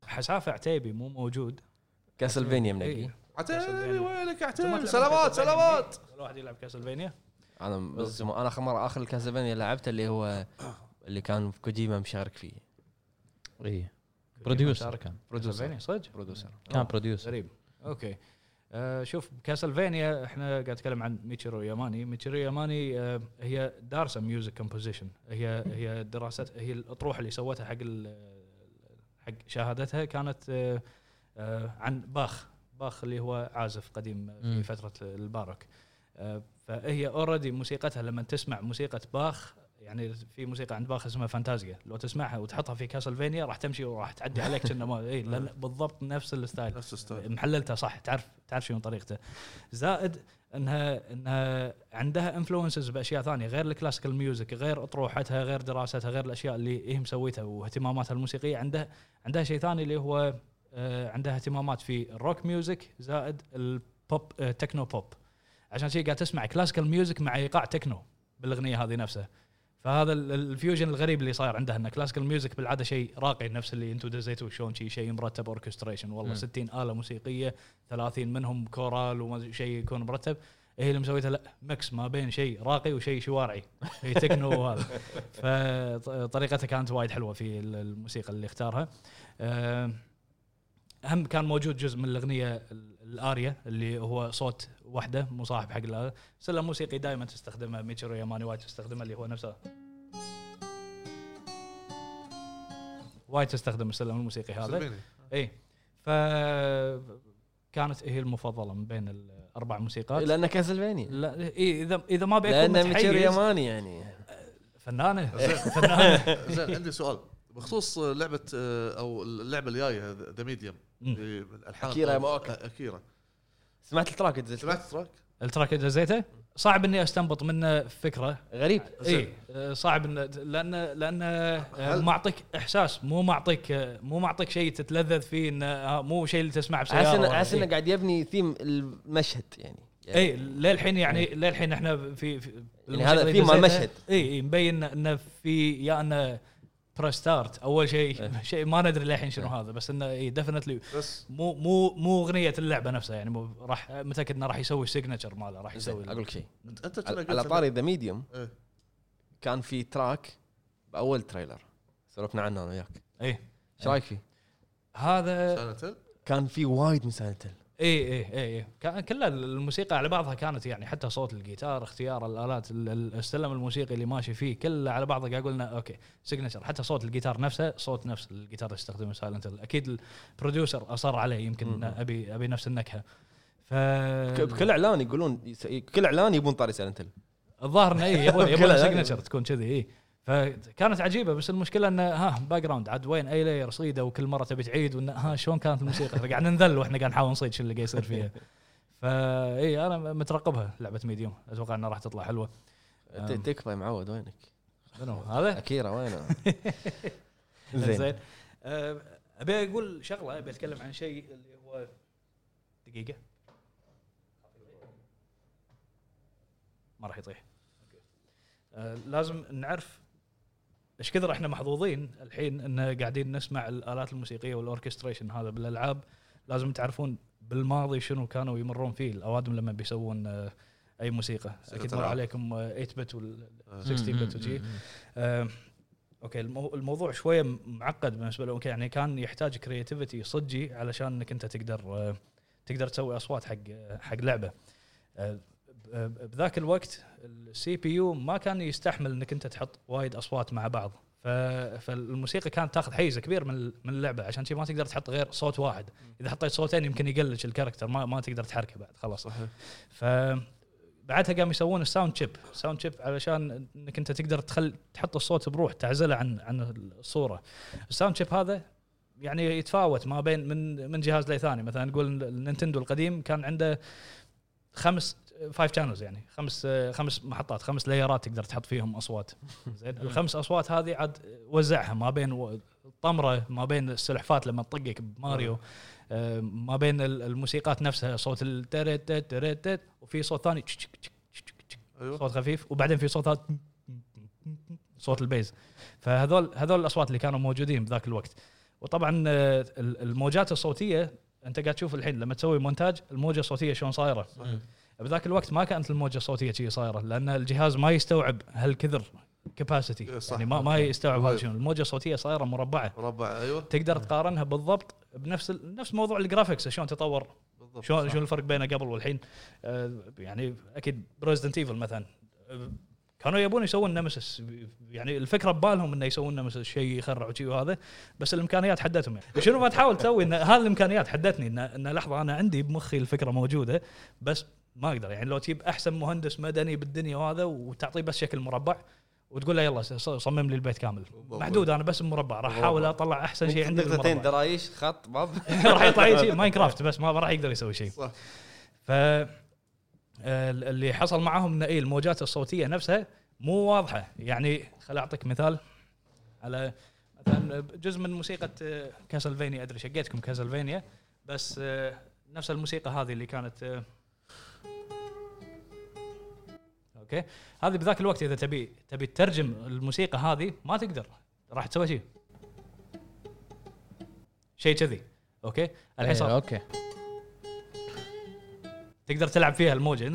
D: حسافه عتيبي مو موجود
E: إيه،
A: كاسلفينيا منقي
D: إي.
E: عتيبي وينك
D: أنت ما
E: عتيبي
D: تلعب
E: سلامات
D: كاسلفينيا
E: سلامات
D: منقي؟ الواحد يلعب كاسلفينيا
A: انا من زمان- انا اخر مره اخر كاسلفينيا لعبته اللي هو اللي كان في كوجيما مشارك فيه
D: إيه.
C: اي بروديوسر
D: شارك.
C: كان
D: كاسلفينيا آه، صدق
A: برودوسر
C: إيه. كان بروديوسر
D: غريب اوكي آه شوف كاسلفينيا احنا قاعد نتكلم عن ميتشيرو ياماني ميتشيرو ياماني آه هي دارسه ميوزك كومبوزيشن هي هي دراسات هي الاطروحه اللي سوتها حق ال- حق شهادتها كانت آه آه عن باخ باخ اللي هو عازف قديم
C: مم.
D: في فتره الباروك آه، فهي اوريدي موسيقتها لما تسمع موسيقى باخ يعني في موسيقى عند باخ اسمها فانتازيا لو تسمعها وتحطها في كاسلفينيا راح تمشي وراح تعدي عليك كأنه ما اي لأن بالضبط نفس الستايل
E: نفس الستايل
D: محللتها صح تعرف تعرف شنو طريقته زائد انها انها عندها انفلونسز باشياء ثانيه غير الكلاسيكال ميوزك غير اطروحتها غير دراستها غير الاشياء اللي هي مسويتها واهتماماتها الموسيقيه عندها عندها شيء ثاني اللي هو آه، عندها اهتمامات في الروك ميوزك زائد البوب آه، تكنو بوب عشان شيء قاعد تسمع كلاسيكال ميوزك مع ايقاع تكنو بالاغنيه هذه نفسها فهذا ال- ال- الفيوجن الغريب اللي صاير عندها ان كلاسيكال ميوزك بالعاده شيء راقي نفس اللي انتم دزيتوه شلون شيء شيء مرتب اوركستريشن والله
C: مم.
D: 60 اله موسيقيه 30 منهم كورال وشيء يكون مرتب هي اللي مسويتها لا مكس ما بين شيء راقي وشيء شوارعي هي تكنو وهذا فطريقتها كانت وايد حلوه في ال- الموسيقى اللي اختارها أه، هم كان موجود جزء من الاغنيه ال- الاريا اللي هو صوت وحده مصاحب حق الآلة. سلم موسيقي دائما تستخدمه ميتشيرو ياماني وايد تستخدمه اللي هو نفسه وايد تستخدم السلم الموسيقي هذا
E: سلميني.
D: اي إيه. ف كانت هي المفضله من بين الاربع موسيقات
A: لانه إيه، كاسلفينيا
D: لا إي، اذا اذا ما بيكون
A: لانه ميتشير
D: متحيز
A: يماني يعني
D: فنانه
E: زين.
D: فنانه
E: زين عندي سؤال بخصوص لعبه آه، او اللعبه الجايه ذا ميديوم
D: مم.
E: الحان
A: أكيرا ياماوكا.
E: اكيرا
A: سمعت التراك نزلت.
E: سمعت التراك؟
D: التراك اللي دزيته صعب اني استنبط منه فكره
A: غريب
E: إيه.
A: إيه.
D: اي صعب ان لان لان آه،
E: هل-
D: معطيك احساس مو معطيك آه، مو معطيك شيء تتلذذ فيه انه آه، مو شيء اللي تسمعه بسياره
A: حاسس إنه-
D: ولا
A: حاسس
D: شيء.
A: انه قاعد يبني ثيم المشهد يعني إيه.
D: اي للحين يعني للحين احنا في, في
A: يعني هذا في مال مشهد.
D: اي اي إيه، مبين انه في يا انه برستارت اول شيء
A: إيه.
D: شيء ما ندري للحين شنو هذا بس انه اي ديفنتلي
E: بس
D: مو مو مو اغنيه اللعبه نفسها يعني مو راح متاكد انه راح يسوي السيجنتشر ماله راح يسوي
A: زين، اقول لك شيء
E: انت أنت كنا
A: على
E: قلت
A: على
E: إن-
A: طاري ذا ميديوم
E: إيه.
A: كان في تراك باول تريلر سولفنا عنه انا وياك
D: اي
A: ايش رايك فيه؟
D: إيه. هذا
E: سايلنت هيل؟
A: كان في وايد من سايلنت
D: اي اي اي اي كان كلها الموسيقى على بعضها كانت يعني حتى صوت الجيتار اختيار الالات ال- ال- السلم الموسيقي اللي ماشي فيه كله على بعضه قاعد قلنا اوكي سيجنتشر حتى صوت الجيتار نفسه صوت نفس الجيتار اللي استخدمه سايلنت اكيد البروديوسر اصر عليه يمكن إنه ابي ابي نفس النكهه ف
A: بكل اعلان يقولون يس- كل اعلان يبون طاري سايلنت
D: الظاهر إيه، انه اي يبون يبون
A: كلها
D: سيجنتشر تكون كذي اي فكانت عجيبه بس المشكله انه ها باك جراوند عاد وين اي لاير صيده وكل مره تبي تعيد وانه ها شلون كانت الموسيقى فقاعد ننذل واحنا قاعد نحاول نصيد شو اللي قاعد يصير فيها فاي انا مترقبها لعبه ميديوم اتوقع انها راح تطلع حلوه أم.
A: تكفى معود وينك؟
D: منو هذا؟
A: اكيرا وينه؟
D: زين أه، ابي اقول شغله ابي اتكلم عن شيء اللي هو دقيقه ما راح يطيح أه، لازم نعرف ايش كثر احنا محظوظين الحين ان قاعدين نسمع الالات الموسيقيه والاوركستريشن هذا بالالعاب لازم تعرفون بالماضي شنو كانوا يمرون فيه الاوادم لما بيسوون أه، اي موسيقى
E: موسيقى
D: اكيد مر
E: ألعاب.
D: عليكم أه، 8 بت وال
E: آه.
D: 16 بت وشي آه، اوكي المو- الموضوع شويه معقد بالنسبه له يعني كان يحتاج كرياتيفيتي صجي علشان انك انت تقدر آه، تقدر تسوي اصوات حق حق لعبه آه، ب- آه، بذاك الوقت السي بي يو ما كان يستحمل انك انت تحط وايد اصوات مع بعض ف- فالموسيقى كانت تاخذ حيز كبير من ال- من اللعبه عشان شي ما تقدر تحط غير صوت واحد اذا حطيت صوتين يمكن يقلج الكاركتر ما ما تقدر تحركه بعد خلاص
E: صحيح
D: ف بعدها قاموا يسوون الساوند شيب ساوند شيب علشان انك انت تقدر تخل تحط الصوت بروح تعزله عن عن الصوره الساوند شيب هذا يعني يتفاوت ما بين من من جهاز لثاني مثلا نقول النينتندو القديم كان عنده خمس فايف شانلز يعني خمس خمس محطات خمس لايرات تقدر تحط فيهم اصوات زين الخمس اصوات هذه عاد وزعها ما بين و- الطمره ما بين السلحفات لما تطقك بماريو آه، ما بين ال- الموسيقات نفسها صوت الترت ترت ترت وفي صوت ثاني تش- تش- تش- تش- تش-
E: ايوه
D: صوت خفيف وبعدين في صوتات صوت البيز فهذول هذول الاصوات اللي كانوا موجودين بذاك الوقت وطبعا آه، ال- الموجات الصوتيه انت قاعد تشوف الحين لما تسوي مونتاج الموجه الصوتيه شلون صايره
E: صحيح.
D: بذاك الوقت ما كانت الموجه الصوتيه شي صايره لان الجهاز ما يستوعب هالكثر كباسيتي
E: إيه، صح. طيب.
D: يعني ما ما يستوعب هذا
E: وايد.
D: شنو الموجه الصوتيه صايره مربعه
E: مربع ايوه
D: تقدر تقارنها بالضبط بنفس ال- نفس موضوع الجرافكس شلون تطور
E: بالضبط
D: شلون شلون الفرق بينه قبل والحين آه، يعني اكيد بريزدنت ايفل مثلا آه، كانوا يبون يسوون نمسس يعني الفكره ببالهم انه يسوون نمسس شيء يخرع وشي وهذا بس الامكانيات حدتهم يعني شنو ما تحاول تسوي ان هذه الامكانيات حدتني ان, إن لحظه انا عندي بمخي الفكره موجوده بس ما اقدر يعني لو تجيب احسن مهندس مدني بالدنيا وهذا وتعطيه بس شكل مربع وتقول له يلا ص- صمم لي البيت كامل محدود انا بس مربع راح احاول اطلع احسن شيء عندي
A: نقطتين
D: بالمربع.
A: درايش خط باب
D: راح يطلع شيء ماين كرافت بس ما ما راح يقدر يسوي شيء
E: صح.
D: ف آه، اللي حصل معاهم ان إيه الموجات الصوتيه نفسها مو واضحه يعني خل اعطيك مثال على مثلا جزء من موسيقى آه، كاسلفينيا ادري شقيتكم كاسلفينيا بس آه، نفس الموسيقى هذه اللي كانت آه، اوكي هذه بذاك الوقت اذا تبي تبي تترجم الموسيقى هذه ما تقدر راح تسوي شيء شيء كذي اوكي الحين صار
C: إيه، اوكي
D: تقدر تلعب فيها الموجه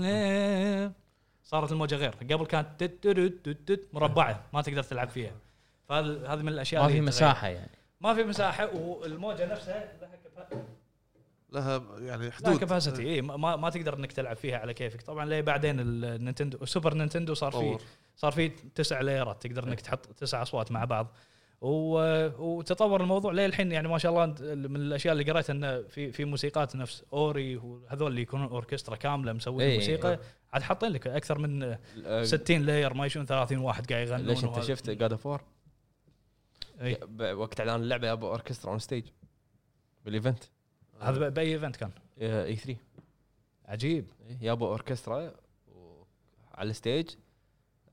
D: صارت الموجه غير قبل كانت تت- تت- تت- تت مربعه ما تقدر تلعب فيها فهذه هذه من الاشياء
C: ما
D: اللي
C: في
D: تغير.
C: مساحه يعني
D: ما في مساحه والموجه نفسها لها كفاءه
E: لها يعني
D: لا
E: حدود
D: كباسيتي اي ما, ما تقدر انك تلعب فيها على كيفك طبعا ليه بعدين النينتندو سوبر نينتندو صار في
E: تطور.
D: صار في تسع لايرات تقدر
C: إيه.
D: انك تحط تسع اصوات مع بعض و- وتطور الموضوع ليه الحين يعني ما شاء الله أنت- من الاشياء اللي قريتها انه في في موسيقات نفس اوري وهذول اللي يكونون اوركسترا كامله مسوين
C: إيه.
D: موسيقى عاد حاطين لك اكثر من 60 لاير ما يشون 30 واحد قاعد يغنون
A: ليش انت
D: وهذا.
A: شفت جاد اوف وور
D: إي.
A: وقت اعلان اللعبه ابو اوركسترا اون ستيج بالايفنت
D: هذا باي ايفنت كان
A: اي 3
D: عجيب
A: يابو اوركسترا و- إيه، على الستيج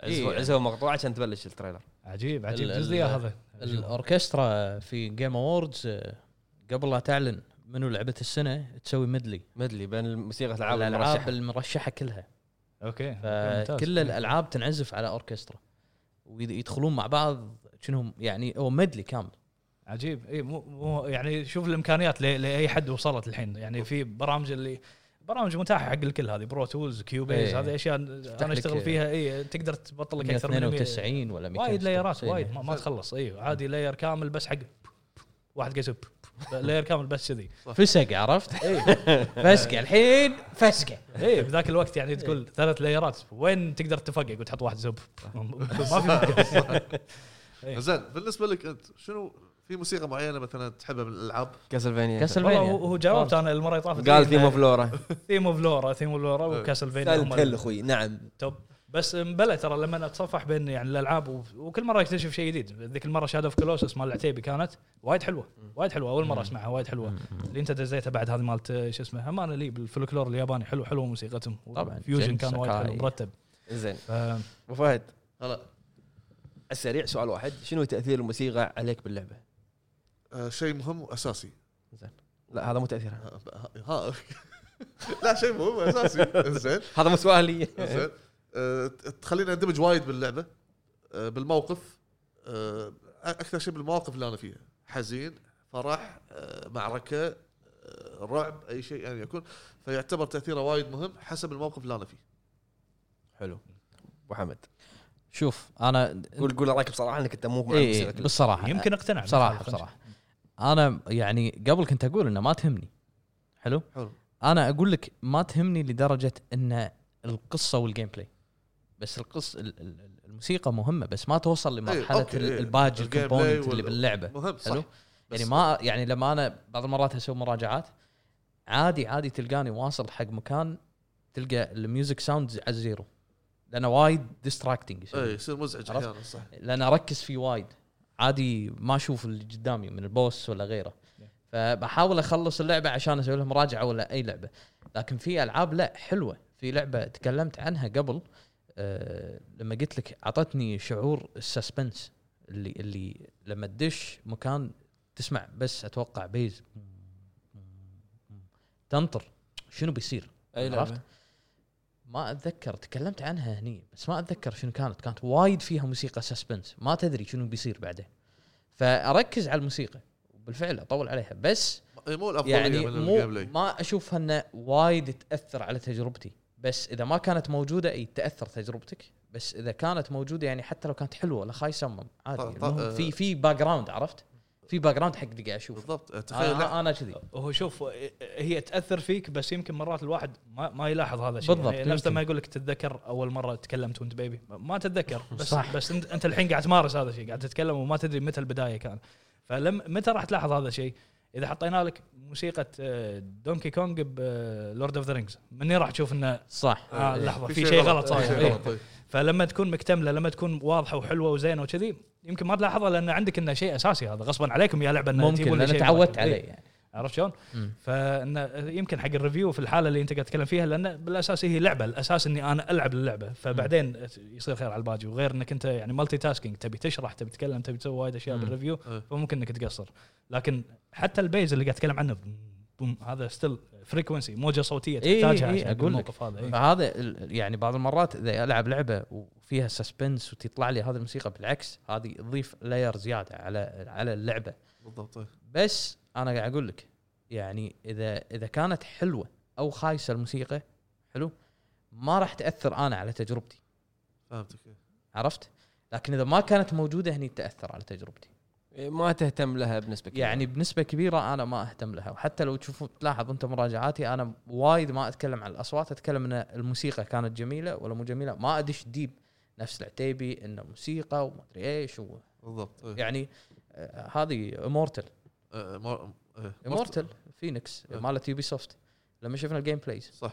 A: عزوا
C: إيه.
A: عزوا مقطوعه عشان تبلش التريلر
D: عجيب عجيب
C: ال-
D: جز لي
C: ال-
D: إياه هذا عجيب.
C: الاوركسترا في جيم اووردز قبل لا تعلن منو لعبه السنه تسوي ميدلي
A: مدلي بين الموسيقى الالعاب
C: الالعاب
A: المرشحه
C: المرشحه كلها
D: اوكي أوكي، ممتاز.
C: فكل الالعاب تنعزف على اوركسترا ويدخلون مع بعض شنهم يعني هو ميدلي كامل
D: عجيب اي مو, مو يعني شوف الامكانيات ل- لاي حد وصلت الحين يعني في برامج اللي برامج متاحه حق الكل هذه برو تولز كيوبيز
C: إيه.
D: هذه اشياء انا
C: لك-
D: اشتغل فيها اي تقدر تبطل لك اكثر من 100
C: 192 ولا 200
D: وايد لايرات
C: إيه.
D: وايد ما, ما تخلص اي عادي لاير كامل بس حق واحد قاعد يسب لاير كامل بس كذي
C: فسق عرفت؟
D: إيه.
C: فسقه الحين فسقه
D: اي بذاك الوقت يعني تقول ثلاث لايرات وين تقدر تفقق وتحط واحد سب ما في ممكن. إيه.
E: زين بالنسبه لك انت شنو في موسيقى معينه مثلا تحبها من الالعاب
A: كاسلفينيا
D: والله
C: كاسلفينيا
D: هو هو جاوبت انا المره اللي طافت إيه.
A: قال ثيم اوف لورا
D: ثيم اوف لورا ثيم اوف لورا وكاسلفينيا هم
A: سالت هل اخوي نعم
D: توب بس بلا ترى لما اتصفح بين يعني الالعاب و- وكل مره اكتشف شيء جديد ذيك المره شادو اوف كلوسس مال العتيبي كانت وايد حلوه وايد حلوه اول مره اسمعها وايد حلوه اللي انت دزيتها بعد هذه مالت آه، شو اسمه هم انا لي بالفلكلور الياباني حلو حلوه موسيقتهم
C: طبعاً.
D: فيوجن
C: جين
D: كان وايد
C: ساكاي.
D: حلو مرتب
A: زين
D: ف-
A: ابو فهد على
E: هلا
A: السريع سؤال واحد شنو تاثير الموسيقى عليك باللعبه؟
E: آه، شيء مهم واساسي
A: لا هذا مو تاثيرها
E: ها- ها لا شيء مهم اساسي زين
A: هذا مو سؤالي
D: إيه.
E: زين آه، تخليني اندمج وايد باللعبه آه، بالموقف آه، اكثر شيء بالمواقف اللي انا فيها حزين فرح آه، معركه آه، رعب اي شيء يعني يكون فيعتبر تاثيره وايد مهم حسب الموقف اللي انا فيه
A: حلو ابو حمد
C: شوف انا
A: قول قول رايك بصراحه انك انت مو مع
C: إيه
A: الموسيقى
C: بالصراحه
D: يمكن اقتنع
C: بصراحه بصراحه انا يعني قبل كنت اقول انه ما تهمني حلو
E: حلو
C: انا اقول لك ما تهمني لدرجه ان القصه والجيم بلاي بس القص ال- ال- الموسيقى مهمه بس ما توصل لمرحله
E: أوكي، إيه.
C: ال- الباج
E: الجيم بلاي
C: الكومبوننت
E: وال-
C: اللي باللعبه
E: مهم صح
C: حلو
E: بس-
C: يعني ما يعني لما انا بعض المرات اسوي مراجعات عادي عادي تلقاني واصل حق مكان تلقى الميوزك ساوند على زيرو لانه وايد ديستراكتنج
E: اي إيه، يصير مزعج
C: عرفت؟
E: احيانا صح
C: لان اركز فيه وايد عادي ما اشوف اللي قدامي من البوس ولا غيره فبحاول اخلص اللعبه عشان اسوي لها مراجعه ولا اي لعبه لكن في العاب لا حلوه في لعبه تكلمت عنها قبل أه لما قلت لك اعطتني شعور السسبنس اللي اللي لما تدش مكان تسمع بس اتوقع بيز تنطر شنو بيصير
A: اي لعبه
C: ما اتذكر تكلمت عنها هني بس ما اتذكر شنو كانت كانت وايد فيها موسيقى سسبنس ما تدري شنو بيصير بعدين فاركز على الموسيقى بالفعل اطول عليها بس
E: إي، إيه، مو الافضليه
C: يعني
E: من
C: مو
E: الجيم بلاي
C: ما اشوفها انه وايد تاثر على تجربتي بس اذا ما كانت موجوده اي تاثر تجربتك بس اذا كانت موجوده يعني حتى لو كانت حلوه لا خاي يسمم عادي
E: طا- طا-
C: المهم في في باك جراوند عرفت في باك جراوند حق دقيقه اشوف
E: آه. بالضبط إيه،
D: آه،
E: تخيل
C: انا
E: لعبة-
C: أنا كذي
D: هو شوف هي تاثر فيك بس يمكن مرات الواحد ما, ما يلاحظ هذا الشيء
C: بالضبط،
D: يعني نفس
C: يمكن.
D: ما يقول لك تتذكر اول مره تكلمت وانت بيبي ما تتذكر بس
C: صح.
D: صح. بس انت, انت الحين قاعد تمارس هذا الشيء قاعد تتكلم وما تدري متى البدايه كان فلم متى راح تلاحظ هذا الشيء اذا حطينا لك موسيقى آه، دونكي كونج بلورد اوف ذا رينجز مني راح تشوف انه
C: صح
D: آه
C: إيه.
D: لحظه في شيء غلط
E: في
D: صاير
E: شيء
D: إيه.
E: غلط إيه.
D: فلما تكون مكتمله لما تكون واضحه وحلوه وزينه وكذي يمكن ما تلاحظها لان عندك انه شيء اساسي هذا غصبا عليكم يا لعبه إن
C: ممكن
D: تجيبون لي
C: لان
D: شيء
C: تعودت
D: مركب.
C: عليه
D: إيه.
C: يعني
D: عرفت شلون؟
C: مم.
D: فانه يمكن حق الريفيو في الحاله اللي انت قاعد تتكلم فيها لان بالاساس هي لعبه الاساس اني انا العب اللعبه فبعدين يصير خير على الباجي وغير انك انت يعني مالتي تاسكينج تبي تشرح تبي تتكلم تبي تسوي وايد اشياء
C: مم.
D: بالريفيو
E: إيه.
D: فممكن انك تقصر لكن حتى البيز اللي قاعد اتكلم عنه بوم- بوم، هذا ستيل فريكونسي موجه صوتيه
C: إيه،
D: تحتاجها
C: إيه،
D: عشان
C: أقول لك.
D: الموقف هذا إيه.
C: فهذا ال- يعني بعض المرات اذا العب لعبه وفيها سسبنس وتطلع لي هذه الموسيقى بالعكس هذه تضيف لاير زياده على على اللعبه
E: بالضبط إيه.
C: بس انا قاعد اقول لك يعني اذا اذا كانت حلوه او خايسه الموسيقى حلو ما راح تاثر انا على تجربتي
E: فهمتك إيه.
C: عرفت لكن اذا ما كانت موجوده هني تاثر على تجربتي
A: ما تهتم لها بنسبه كبيرة.
C: يعني بنسبه كبيره انا ما اهتم لها وحتى لو تشوف تلاحظ انت مراجعاتي انا وايد ما اتكلم عن الاصوات اتكلم ان الموسيقى كانت جميله ولا مو جميله ما ادش ديب نفس العتيبي انه موسيقى وما ادري ايش و...
E: بالضبط إيه.
C: يعني آه، هذه امورتل
E: آه، مور- إيه.
C: امورتل فينيكس
E: آه.
C: مالت يوبي سوفت لما شفنا الجيم بلايز
E: صح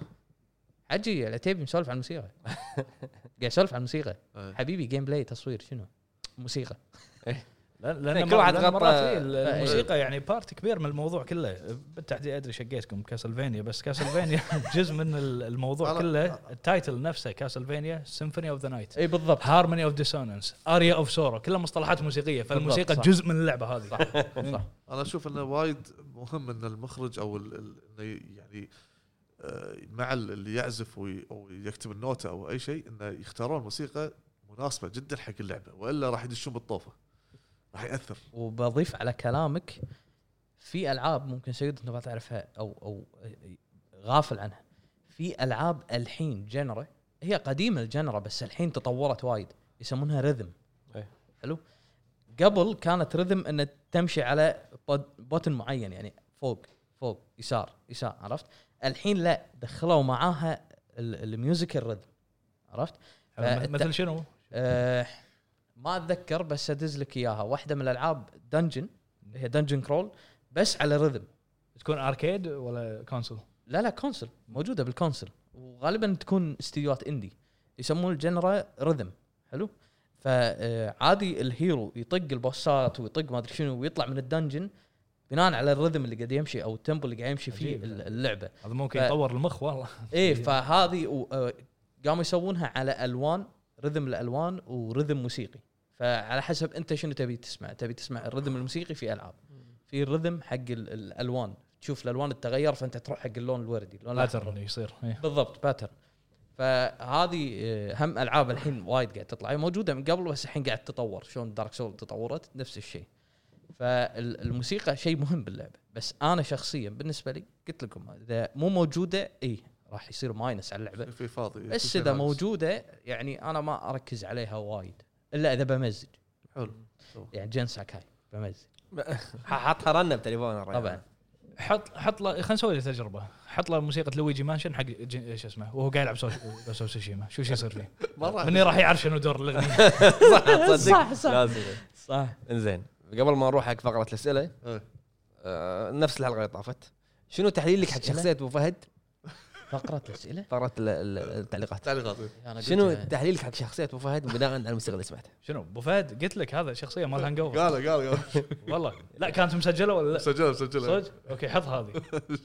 C: عجي العتيبي مسولف عن الموسيقى قاعد يسولف عن الموسيقى
E: إيه.
C: حبيبي جيم بلاي تصوير شنو؟ موسيقى
D: لا-
A: يعني
D: لان
A: كل واحد
D: لأن
A: غطى-
D: مرات إيه، ال-
C: إيه.
D: الموسيقى يعني بارت كبير من الموضوع كله بالتحديد ادري شقيتكم كاسلفينيا بس كاسلفينيا جزء من ال- الموضوع
E: أنا-
D: كله
C: آه.
D: التايتل نفسه كاسلفينيا سيمفوني اوف ذا نايت
C: اي بالضبط
D: هارموني اوف ديسونانس اريا اوف سورو كلها مصطلحات موسيقيه فالموسيقى
C: صح.
D: جزء من اللعبه هذه صح
E: انا اشوف انه وايد مهم ان المخرج او ال- ال- إنه يعني آه، مع ال- اللي يعزف وي- او يكتب النوتة او اي شيء انه يختارون موسيقى مناسبه جدا حق اللعبه والا راح يدشون بالطوفه راح ياثر
C: وبضيف على كلامك في العاب ممكن سيد انت ما تعرفها او او غافل عنها في العاب الحين جنرا هي قديمه الجنرا بس الحين تطورت وايد يسمونها رذم
A: إيه.
C: حلو قبل كانت رذم ان تمشي على بوت- بوتن معين يعني فوق فوق يسار يسار عرفت الحين لا دخلوا معاها ال- الميوزيكال رذم عرفت فالت-
D: يعني مثل شنو؟
C: آه، ما اتذكر بس ادز لك اياها واحده من الالعاب دنجن هي دنجن كرول بس على رذم
D: تكون اركيد ولا كونسول؟
C: لا لا كونسل موجوده بالكونسل وغالبا تكون استديوهات اندي يسمون الجنرا رذم حلو فعادي الهيرو يطق البوسات ويطق ما ادري شنو ويطلع من الدنجن بناء على الرذم اللي قاعد يمشي او التمبل اللي قاعد يمشي فيه
D: عجيب.
C: ال- اللعبه
D: هذا ممكن
C: ف-
D: يطور المخ والله
C: ايه فهذه و- آه، قاموا يسوونها على الوان رذم الالوان ورذم موسيقي فعلى حسب انت شنو تبي تسمع تبي تسمع الرذم الموسيقي في العاب في الرذم حق ال- الالوان تشوف الالوان تتغير فانت تروح حق اللون الوردي اللون الأحمر.
D: باترن يصير إيه.
C: بالضبط باترن فهذه آه، هم العاب الحين وايد قاعد تطلع هي موجوده من قبل بس الحين قاعد تتطور شلون دارك سول تطورت نفس الشيء فالموسيقى شيء مهم باللعبه بس انا شخصيا بالنسبه لي قلت لكم اذا مو موجوده اي راح يصير ماينس على
D: إيه.
C: اللعبه
E: في فاضي في
C: بس
E: شيء
C: اذا
E: ناقص.
C: موجوده يعني انا ما اركز عليها وايد الا اذا بمزج
E: حلو
C: يعني جين ساكاي بمزج
A: حاطها رنه بتليفون الرجال.
C: طبعا
D: حط حط له خلينا نسوي له تجربه حط له موسيقى لويجي مانشن حق جي- شو اسمه وهو قاعد يلعب سوشي- سو سوشيما شو شو يصير فيه
E: ما راح
D: مني راح يعرف شنو دور الاغنيه
A: صح
C: صح، صح.
A: لازم
C: صح
A: انزين قبل ما نروح حق فقره الاسئله
E: إيه.
A: آه، نفس الحلقه اللي طافت شنو تحليلك حق
C: أسئلة؟
A: شخصيه ابو فهد
C: فقره الاسئله
A: فقره ال- ال- التعليقات
E: تعليقات
C: أنا قلت يعني.
A: شنو
C: لها-
A: تحليلك حق شخصيه ابو فهد بناء على الموسيقى اللي سمعتها
D: شنو ابو فهد قلت لك هذا شخصيه مال هانج
E: قال
D: اوفر
E: قال قال
D: والله لا كانت مسجله ولا لا
E: سجلها سجلها
D: صدق اوكي حط هذه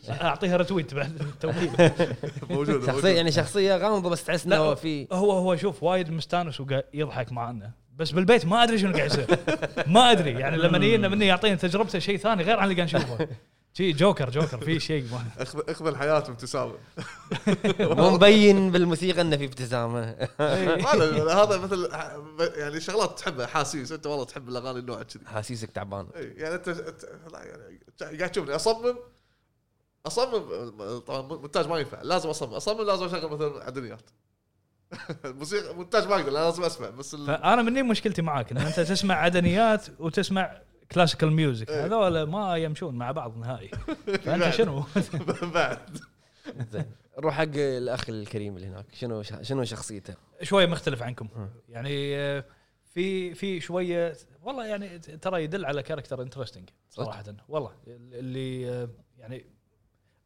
D: اعطيها رتويت بعد توقيت
E: موجوده
A: شخصيه
E: موجودة.
A: يعني شخصيه غامضه بس تحس
D: لا.
A: انه في
D: هو هو شوف وايد مستانس وقاعد يضحك معنا بس بالبيت ما ادري شنو قاعد يصير ما ادري يعني لما يجينا مني يعطينا تجربته شيء ثاني غير عن اللي قاعد نشوفه شي جوكر جوكر في شيء ما-
E: اخذ اخذ الحياه بابتسامه
A: مو مبين بالموسيقى انه في ابتسامه
E: هذا هذا مثل يعني شغلات تحبها احاسيس انت والله تحب الاغاني النوع كذي
A: حاسيسك تعبان
E: إيه، يعني انت أنت- لا يعني قاعد تشوفني اصمم اصمم طبعا مونتاج ما ينفع لازم اصمم اصمم لازم اشغل مثلا عدنيات الموسيقى مونتاج ما اقدر أنا لازم اسمع بس ال-
D: فانا مني مشكلتي معاك ان انت تسمع عدنيات وتسمع كلاسيكال ميوزك هذول ما يمشون مع بعض نهائي فانت شنو؟
E: بعد
A: زين
B: نروح حق الاخ الكريم اللي هناك شنو ش- شنو شخصيته؟
D: شويه مختلف عنكم يعني آه، في في شويه والله يعني ت- ترى يدل على كاركتر انترستنج صراحه والله اللي آه، يعني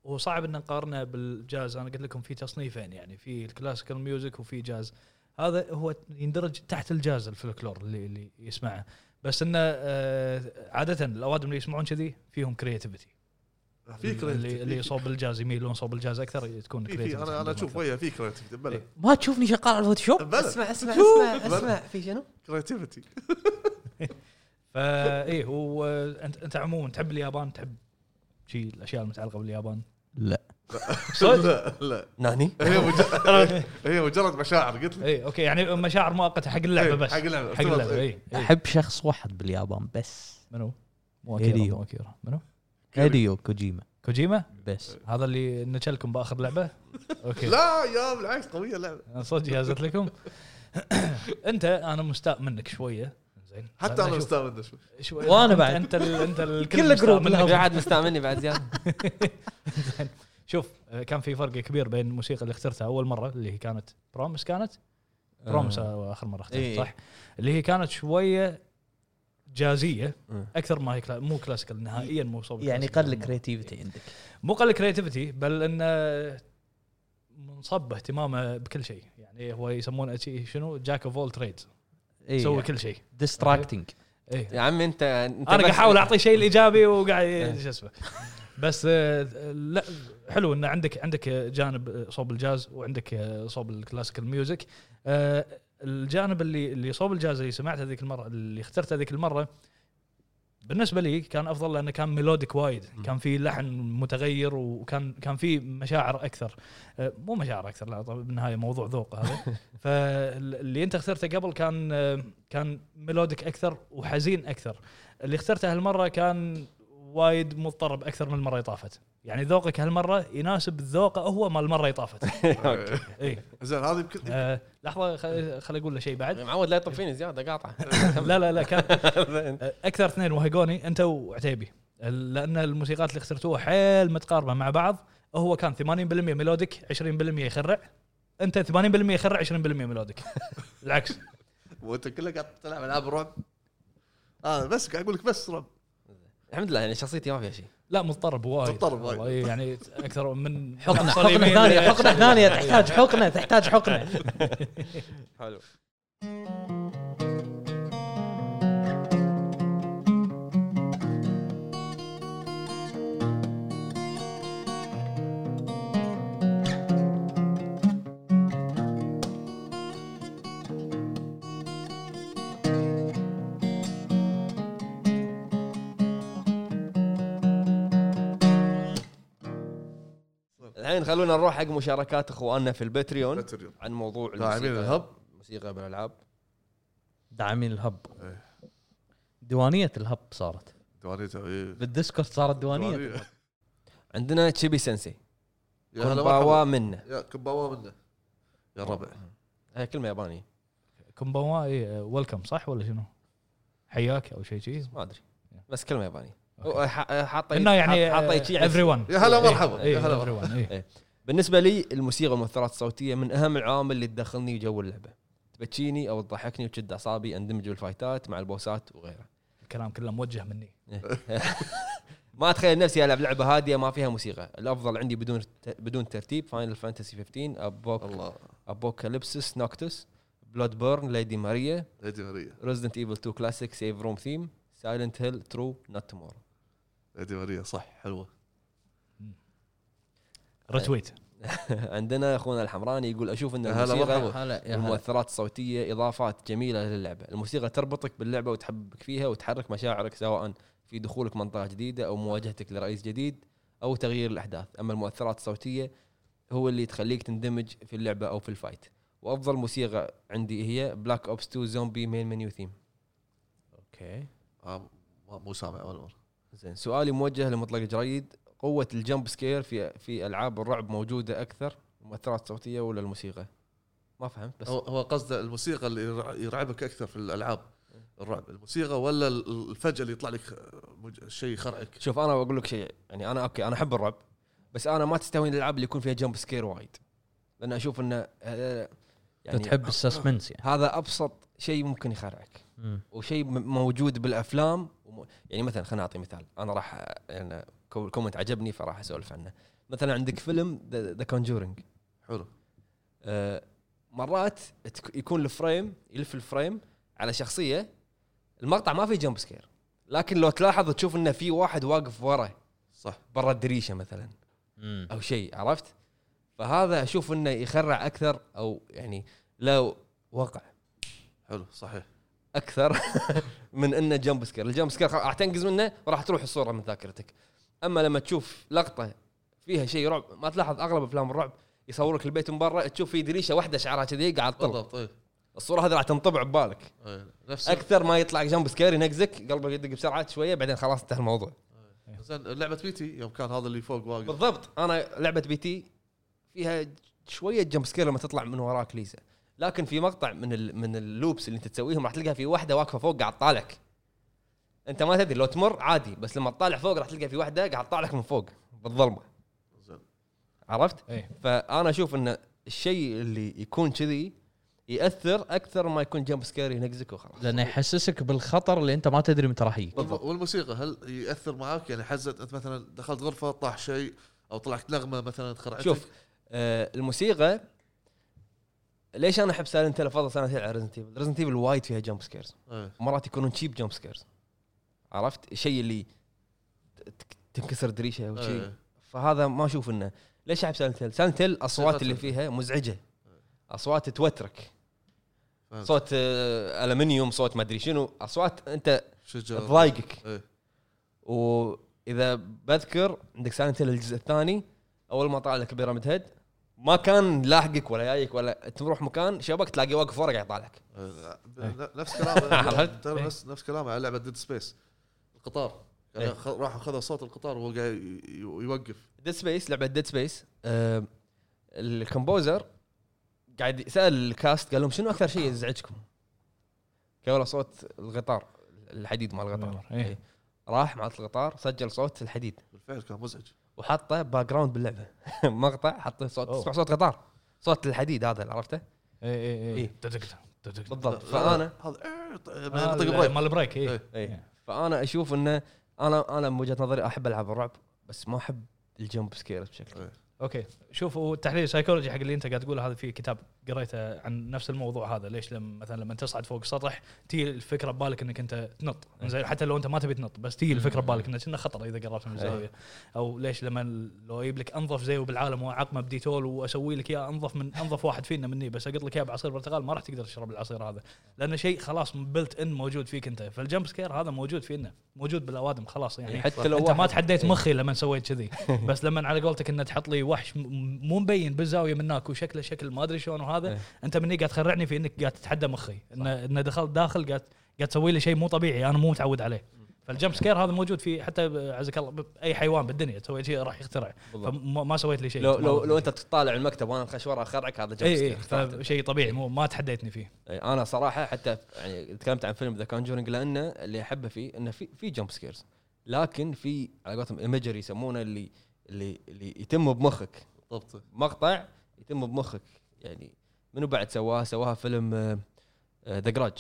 D: هو صعب ان نقارنه بالجاز انا قلت لكم في تصنيفين يعني في الكلاسيكال ميوزك وفي جاز هذا هو يندرج تحت الجاز الفلكلور اللي اللي يسمعه بس انه آه، عاده الاوادم اللي يسمعون كذي فيهم كرياتيفيتي
E: في
D: اللي اللي
E: كريتيف
D: صوب الجاز يميلون صوب الجاز اكثر تكون
E: في في
D: creativity إيه.
E: انا انا
D: عندهم
E: اشوف
D: أكثر.
E: وياه في كريتيف بلا
C: ما تشوفني شغال على الفوتوشوب
E: بلا
B: اسمع اسمع اسمع اسمع في شنو؟
E: كريتيفيتي
D: فا ايه هو انت انت عموما تحب اليابان تحب شيء الاشياء المتعلقه باليابان
C: لا
D: صدق؟
E: لا لا
A: ناني
E: هي
D: طيب.
E: مجرد هي مجرد مشاعر قلت لك
D: اي اوكي يعني مشاعر مؤقته حق اللعبه
E: إيه،
D: بس
E: حق اللعبه
D: حق إيه. اللعبه اي
C: احب شخص واحد باليابان بس
D: منو؟ مو
C: هيديو.
D: اكيرا مو اكيرا منو؟
C: هيديو كوجيما
D: كوجيما
C: بس
D: هذا اللي نشلكم باخر لعبه اوكي
E: لا يا بالعكس قويه اللعبه
D: انا صدق جهزت لكم انت انا مستاء منك شويه زين
E: حتى انا
D: أشوف-
E: مستانس شوي
D: شوي
C: وأنا
D: أنت-
C: بعد.
D: انت ال انت الكل
B: كل
D: مستاء
B: جروب
D: منك.
B: قاعد مستعملني بعد زياده
D: شوف آه، كان في فرق كبير بين الموسيقى اللي اخترتها اول مره اللي هي كانت برومس كانت برومس
C: آه.
D: اخر مره
A: إيه.
D: اخترت صح اللي هي كانت شويه جازيه
A: آه.
D: اكثر ما هي كلا مو كلاسيكال نهائيا مو صوب
C: يعني
D: كلاسيكال.
C: قل كريتيفيتي عندك
D: مو قل كريتيفيتي بل انه منصب اهتمامه بكل شيء يعني هو يسمونه شيء شنو جاك اوف اول تريدز
E: إيه.
C: إيه، يعني.
D: يسوي كل شيء
C: ديستراكتنج
D: ايه
A: يا عمي انت انت
D: انا قاعد
A: بس-
D: احاول اعطي شيء الايجابي وقاعد شو اسمه بس آه، لا حلو ان عندك عندك جانب صوب الجاز وعندك آه، صوب الكلاسيكال ميوزك آه، الجانب اللي اللي صوب الجاز اللي سمعته ذيك المره اللي اخترته ذيك المره بالنسبه لي كان افضل لانه كان ميلوديك وايد كان في لحن متغير وكان كان في مشاعر اكثر آه، مو مشاعر اكثر لا طبعا بالنهايه موضوع ذوق هذا فاللي انت اخترته قبل كان آه، كان ميلوديك اكثر وحزين اكثر اللي اخترته هالمره كان وايد مضطرب اكثر من المره اللي طافت يعني ذوقك هالمره يناسب ذوقه هو مال المره اللي طافت اي
E: زين هذه يمكن
D: آه لحظه خل- خل اقول له شيء
E: يعني
D: بعد
A: معود لا يطب فيني زياده قاطعه
D: لا لا لا كان آه، اكثر اثنين وهقوني انت وعتيبي ال- لان الموسيقات اللي اخترتوها حيل متقاربه مع بعض هو كان 80% ميلوديك 20% يخرع انت 80% يخرع 20% ميلوديك العكس
E: وانت كلك قاعد تلعب العاب رعب اه بس قاعد اقول لك بس رعب
A: الحمد لله يعني شخصيتي ما فيها شيء
D: لا مضطرب وايد
E: مضطرب وايد.
D: والله يعني اكثر من يعني
C: حقنه
D: أقصى
C: حقنه
D: اليمين
C: ثانيه حقنه ثانيه تحتاج حقنه تحتاج حقنه
A: حلو الحين خلونا نروح حق مشاركات اخواننا في البتريون
E: باتريون.
A: عن موضوع
E: داعمين
A: الموسيقى.
E: الهب
A: موسيقى بالالعاب
C: داعمين الهب
E: إيه.
C: ديوانيه الهب صارت
E: دوانيته إيه.
C: بالديسكورد صارت ديوانيه
E: دوانية.
A: عندنا تشيبي سensei
E: يا هلا
A: كومباوا
E: مرحبا.
A: منا
E: يا كباوا منه يا الربع
A: هاي كلمه يابانيه
D: كومباوا اي ويلكم إيه، صح ولا شنو؟ حياك او شيء شيء
A: ما ادري بس كلمه يابانيه
D: أوكي.
A: هو ح- حاطه
D: انه يعني إيه،
A: حاطه شيء
D: ايفري ون
E: يا هلا مرحبا
D: اي
E: يا هلا
D: ايفري
E: مرحبا
D: ون
A: بالنسبه لي الموسيقى والمؤثرات الصوتيه من اهم العوامل اللي تدخلني جو اللعبه تبكيني او تضحكني وتشد اعصابي اندمج بالفايتات مع البوسات وغيره
D: الكلام كله موجه مني
A: ما اتخيل نفسي العب لعبه هاديه ما فيها موسيقى الافضل عندي بدون بدون ترتيب فاينل فانتسي 15 أبوك
E: الله
A: ابوكاليبسس نوكتس بلاد بيرن ليدي ماريا
E: ليدي ماريا
A: ريزدنت ايفل 2 كلاسيك سيف روم ثيم سايلنت هيل ترو نوت تومورو
E: ليدي ماريا صح حلوه
A: طيب.
D: رتويت
A: عندنا اخونا الحمراني يقول اشوف ان
E: يا هلا
A: الموسيقى
E: مرحبا
C: يعني
A: المؤثرات الصوتيه اضافات جميله للعبه، الموسيقى تربطك باللعبه وتحببك فيها وتحرك مشاعرك سواء في دخولك منطقه جديده او مواجهتك لرئيس جديد او تغيير الاحداث، اما المؤثرات الصوتيه هو اللي تخليك تندمج في اللعبه او في الفايت. وافضل موسيقى عندي هي بلاك اوبس 2 زومبي مين منيو ثيم.
C: اوكي
E: آه، ما- مو سامع اول مره
A: زين سؤالي موجه لمطلق جريد قوه الجمب سكير في في العاب الرعب موجوده اكثر المؤثرات الصوتيه ولا الموسيقى؟ ما فهمت بس
E: هو- هو قصده الموسيقى اللي يرع- يرعبك اكثر في الالعاب الرعب الموسيقى ولا ال- الفجاه اللي يطلع لك مج- شيء يخرعك
A: شوف انا بقول لك شيء يعني انا اوكي انا احب الرعب بس انا ما تستهويني الالعاب اللي يكون فيها جمب سكير وايد لان اشوف انه هذا-
C: يعني تحب السسبنس يعني
A: هذا ابسط شيء ممكن يخرعك
C: مم.
A: وشيء م- موجود بالافلام وم- يعني مثلا خليني اعطي مثال انا راح أ- يعني كو- الكومنت عجبني فراح اسولف عنه مثلا عندك فيلم ذا كونجورنج
E: حلو
A: آه، مرات تك- يكون الفريم يلف الفريم على شخصيه المقطع ما فيه جمب سكير لكن لو تلاحظ تشوف انه في واحد واقف ورا
E: صح
A: برا الدريشه مثلا
C: مم.
A: او شيء عرفت؟ فهذا اشوف انه يخرع اكثر او يعني لو وقع
E: حلو صحيح
A: اكثر من انه جمب سكير، الجمب سكير خلاص راح تنقز منه وراح تروح الصوره من ذاكرتك. اما لما تشوف لقطه فيها شيء رعب ما تلاحظ اغلب افلام الرعب يصورك البيت من برا تشوف في دريشه واحده شعرها كذي قاعد تطلع
E: بالضبط اي
A: الصوره هذه راح تنطبع ببالك
E: نفس
A: اكثر ما يطلع جمب سكير ينقزك قلبك يدق بسرعه شويه بعدين خلاص انتهى الموضوع
E: زين لعبه بيتي يوم كان هذا اللي فوق واقف
A: بالضبط انا لعبه بي تي فيها شويه جمب سكير لما تطلع من وراك ليزا لكن في مقطع من ال من اللوبس اللي انت تسويهم راح تلقى في واحده واقفه فوق قاعد تطالعك انت ما تدري لو تمر عادي بس لما تطالع فوق راح تلقى في واحده قاعد تطالعك من فوق بالظلمه
E: زين
A: عرفت
D: إيه.
A: فانا اشوف ان الشيء اللي يكون كذي ياثر اكثر ما يكون جمب سكير ينقزك وخلاص
C: لانه يحسسك بالخطر اللي انت ما تدري متى راح يجيك
E: والم- والموسيقى هل ياثر معاك يعني حزت انت مثلا دخلت غرفه طاح شيء او طلعت نغمه مثلا تخرعتك
A: شوف آه الموسيقى ليش انا احب سايلنت هيل افضل سايلنت هيل على ريزنت ايفل؟ ريزنت ايفل وايد فيها جمب سكيرز
E: إيه.
A: مرات يكونون تشيب جمب سكيرز عرفت الشيء اللي تك- تنكسر دريشه او شيء
E: إيه.
A: فهذا ما اشوف انه ليش احب سايلنت هيل؟ سايلنت هيل الاصوات اللي فيها مزعجه اصوات توترك
E: إيه. فهمت.
A: صوت آه، المنيوم صوت ما ادري شنو اصوات انت
E: شجر
A: تضايقك
E: إيه.
A: واذا بذكر عندك سايلنت هيل الجزء الثاني اول ما طلع لك بيراميد هيد ما كان لاحقك ولا جايك ولا تروح مكان شبك تلاقيه واقف ورا قاعد يطالعك
E: آه، ب- نفس كلامه
A: إيه. عرفت؟ إيه.
E: ترى نفس نفس كلامه على لعبه ديد سبيس القطار يعني
A: إيه.
E: خ- راح خذ صوت القطار وهو قاعد ي- ي- يوقف
A: ديد سبيس لعبه ديد سبيس آه، الكومبوزر قاعد سال الكاست قال لهم شنو اكثر شيء يزعجكم؟ قالوا له صوت القطار الحديد مال القطار
D: إيه.
A: إيه. راح مع القطار سجل صوت الحديد
E: بالفعل كان مزعج
A: وحطه باك جراوند باللعبه مقطع حطه صوت
D: أوه.
A: تسمع صوت قطار صوت الحديد هذا اللي عرفته
D: اي اي
A: إيه.
D: اي تدقدق، تدقدق.
A: بالضبط طيب، فانا
E: هذا إيه، ط-
D: آه،
E: نطق بريك
D: مال بريك اي
E: إيه.
A: إيه. فانا اشوف انه انا انا من وجهه نظري احب العاب الرعب بس ما احب الجمب سكيرز بشكل
D: اوكي شوف هو التحليل السايكولوجي حق اللي انت قاعد تقوله هذا في كتاب قريته عن نفس الموضوع هذا ليش لما مثلا لما تصعد فوق السطح تجي الفكره ببالك انك انت تنط زين حتى لو انت ما تبي تنط بس تجي الفكره ببالك انك انه خطر اذا قربت من الزاويه او ليش لما ال- لو اجيب لك انظف زيه بالعالم واعقمه بديتول واسوي لك اياه انظف من انظف واحد فينا مني بس اقط لك اياه بعصير برتقال ما راح تقدر تشرب العصير هذا لانه شيء خلاص بلت ان موجود فيك انت فالجمب سكير هذا موجود فينا موجود بالاوادم خلاص يعني
A: يعني حتى لو
D: انت ما
A: واحد-
D: تحديت
A: إيه.
D: مخي لما سويت كذي بس لما على قولتك انه تحط لي وحش م- مو مبين بالزاويه منك وشكله شكل ما ادري شلون وهذا
A: إيه.
D: انت مني قاعد تخرعني في انك قاعد تتحدى مخي انه انه دخلت داخل قاعد قاعد تسوي لي شيء مو طبيعي انا مو متعود عليه فالجمب سكير هذا موجود في حتى ب- عزك الله ب- اي حيوان بالدنيا تسوي شيء راح يخترع
A: بالضبط.
D: فما إيه، ما إيه، سويت لي شيء
A: لو لو لو انت تطالع المكتب وانا خش ورا اخرعك هذا جمب
D: اي اي
A: سكير
D: فشيء طبيعي مو ما تحديتني فيه
A: اي انا صراحه حتى يعني تكلمت عن فيلم ذا كونجورنج لانه اللي احبه فيه انه في في جمب سكيرز لكن في على قولتهم ايمجري يسمونه اللي اللي اللي يتم بمخك
E: بالضبط
A: مقطع يتم بمخك يعني منو بعد سواها سواها فيلم آه، ذا جراج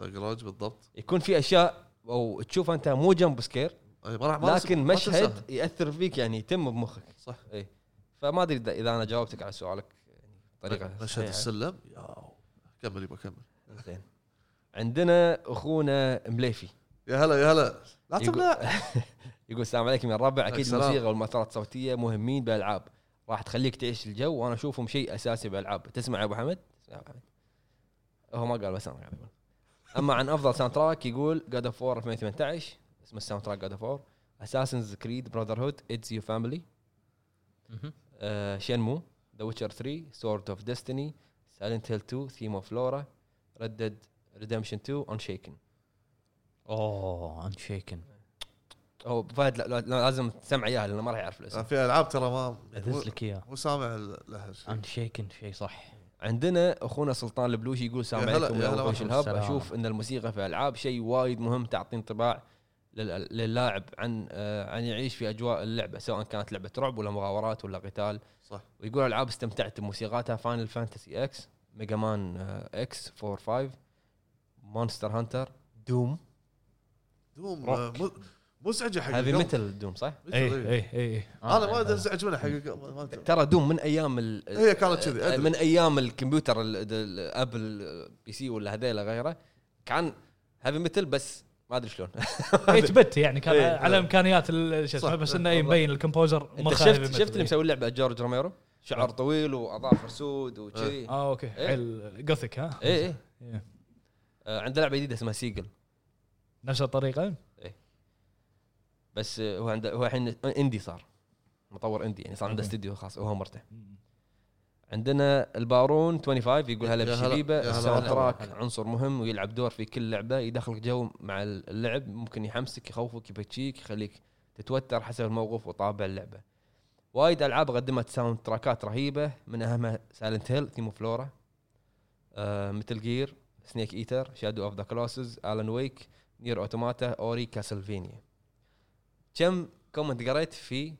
E: جراج بالضبط
A: يكون في اشياء او تشوفها انت مو جمب سكير
E: إيه، ما راح ما
A: لكن
E: ما تنساها.
A: مشهد ياثر فيك يعني يتم بمخك
E: صح
A: اي فما ادري اذا إذا انا جاوبتك على سؤالك يعني بطريقه
E: مشهد
A: صحيحة.
E: السلم ياو كمل يبا كمل
A: زين عندنا اخونا مليفي
E: يا هلا يا هلا لا
A: يقول-
E: تمنع
A: يقول السلام عليكم يا الربع اكيد
E: السلام.
A: الموسيقى والمؤثرات الصوتيه مهمين بالالعاب راح تخليك تعيش الجو وانا اشوفهم شيء اساسي بالالعاب تسمع يا ابو حمد؟ تسمع يا أبو حمد. هو ما قال بس انا قاعد اقول اما عن افضل ساوند تراك يقول جاد اوف 4 2018 اسم الساوند تراك جاد اوف 4 اساسنز كريد براذر هود اتس يو فاميلي
C: مهم.
A: شينمو ذا ويتشر 3 سورد اوف ديستني سايلنت هيل 2 ثيم اوف لورا ردد ريدمشن 2 اون شيكن
C: اوه انشيكن
A: هو فهد لا- لا- لازم تسمع اياها لانه ما راح يعرف الاسم
E: في العاب آه، ترى ما
C: ادز لك اياه
E: مو سامع ال- لها شيء
C: انشيكن شيء صح
A: عندنا اخونا سلطان البلوشي يقول السلام
E: يا هلا-
A: عليكم
E: يا
A: يا
E: هلا
A: وحوش
E: وسهلا.
A: الهب
C: السلام.
A: اشوف ان الموسيقى في الالعاب شيء وايد مهم تعطي انطباع لل- للاعب عن آه، عن يعيش في اجواء اللعبه سواء كانت لعبه رعب ولا مغامرات ولا قتال
E: صح
A: ويقول العاب استمتعت بموسيقاتها فاينل فانتسي اكس ميجا مان اكس 4 5 مونستر هانتر دوم
E: دوم
A: روك.
E: آه، مز- مزعجه حق
A: هذه
E: القلب.
A: مثل دوم صح؟
E: مثل،
D: اي
E: إيه.
D: اي اي
E: انا ما
A: آه.
E: انزعج منها حق القلب، ما- ما-
A: ترى دوم من ايام ال- آه،
E: هي إيه، كانت كذي أدري.
A: من ايام الكمبيوتر ال- ال- الابل البي سي ولا هذيلا غيره كان هذا مثل بس ما ادري شلون
D: 8 بت يعني كان
A: إيه.
D: على امكانيات ال- شو
E: صح.
D: اسمه بس انه إيه، مبين الكمبوزر
A: انت
D: مخه
A: شفت
D: heavy metal. إيه.
A: شفت اللي مسوي اللعبه جورج روميرو شعر طويل واظافر سود وكذي
D: اه اوكي
A: إيه.
D: حيل جوثيك ها
A: اي اي
D: إيه.
A: آه، عنده لعبه جديده اسمها سيجل
D: نفس الطريقه
A: بس آه، هو عنده هو الحين اندي صار مطور اندي يعني صار عنده
D: أوكي.
A: استديو خاص وهو مرته عندنا البارون 25 يقول هلا
E: يا هلا-
A: بالشبيبه
E: يا هلا
A: الساوند
E: والله.
A: تراك عنصر مهم ويلعب دور في كل لعبه يدخلك جو مع اللعب ممكن يحمسك يخوفك يبكيك يخليك تتوتر حسب الموقف وطابع اللعبه وايد العاب قدمت ساوند تراكات رهيبه من اهمها سايلنت هيل ثيم فلورا آه مثل جير سنيك ايتر شادو اوف ذا كلوسز الان ويك نير اوتوماتا اوري كاسلفينيا كم كومنت قريت في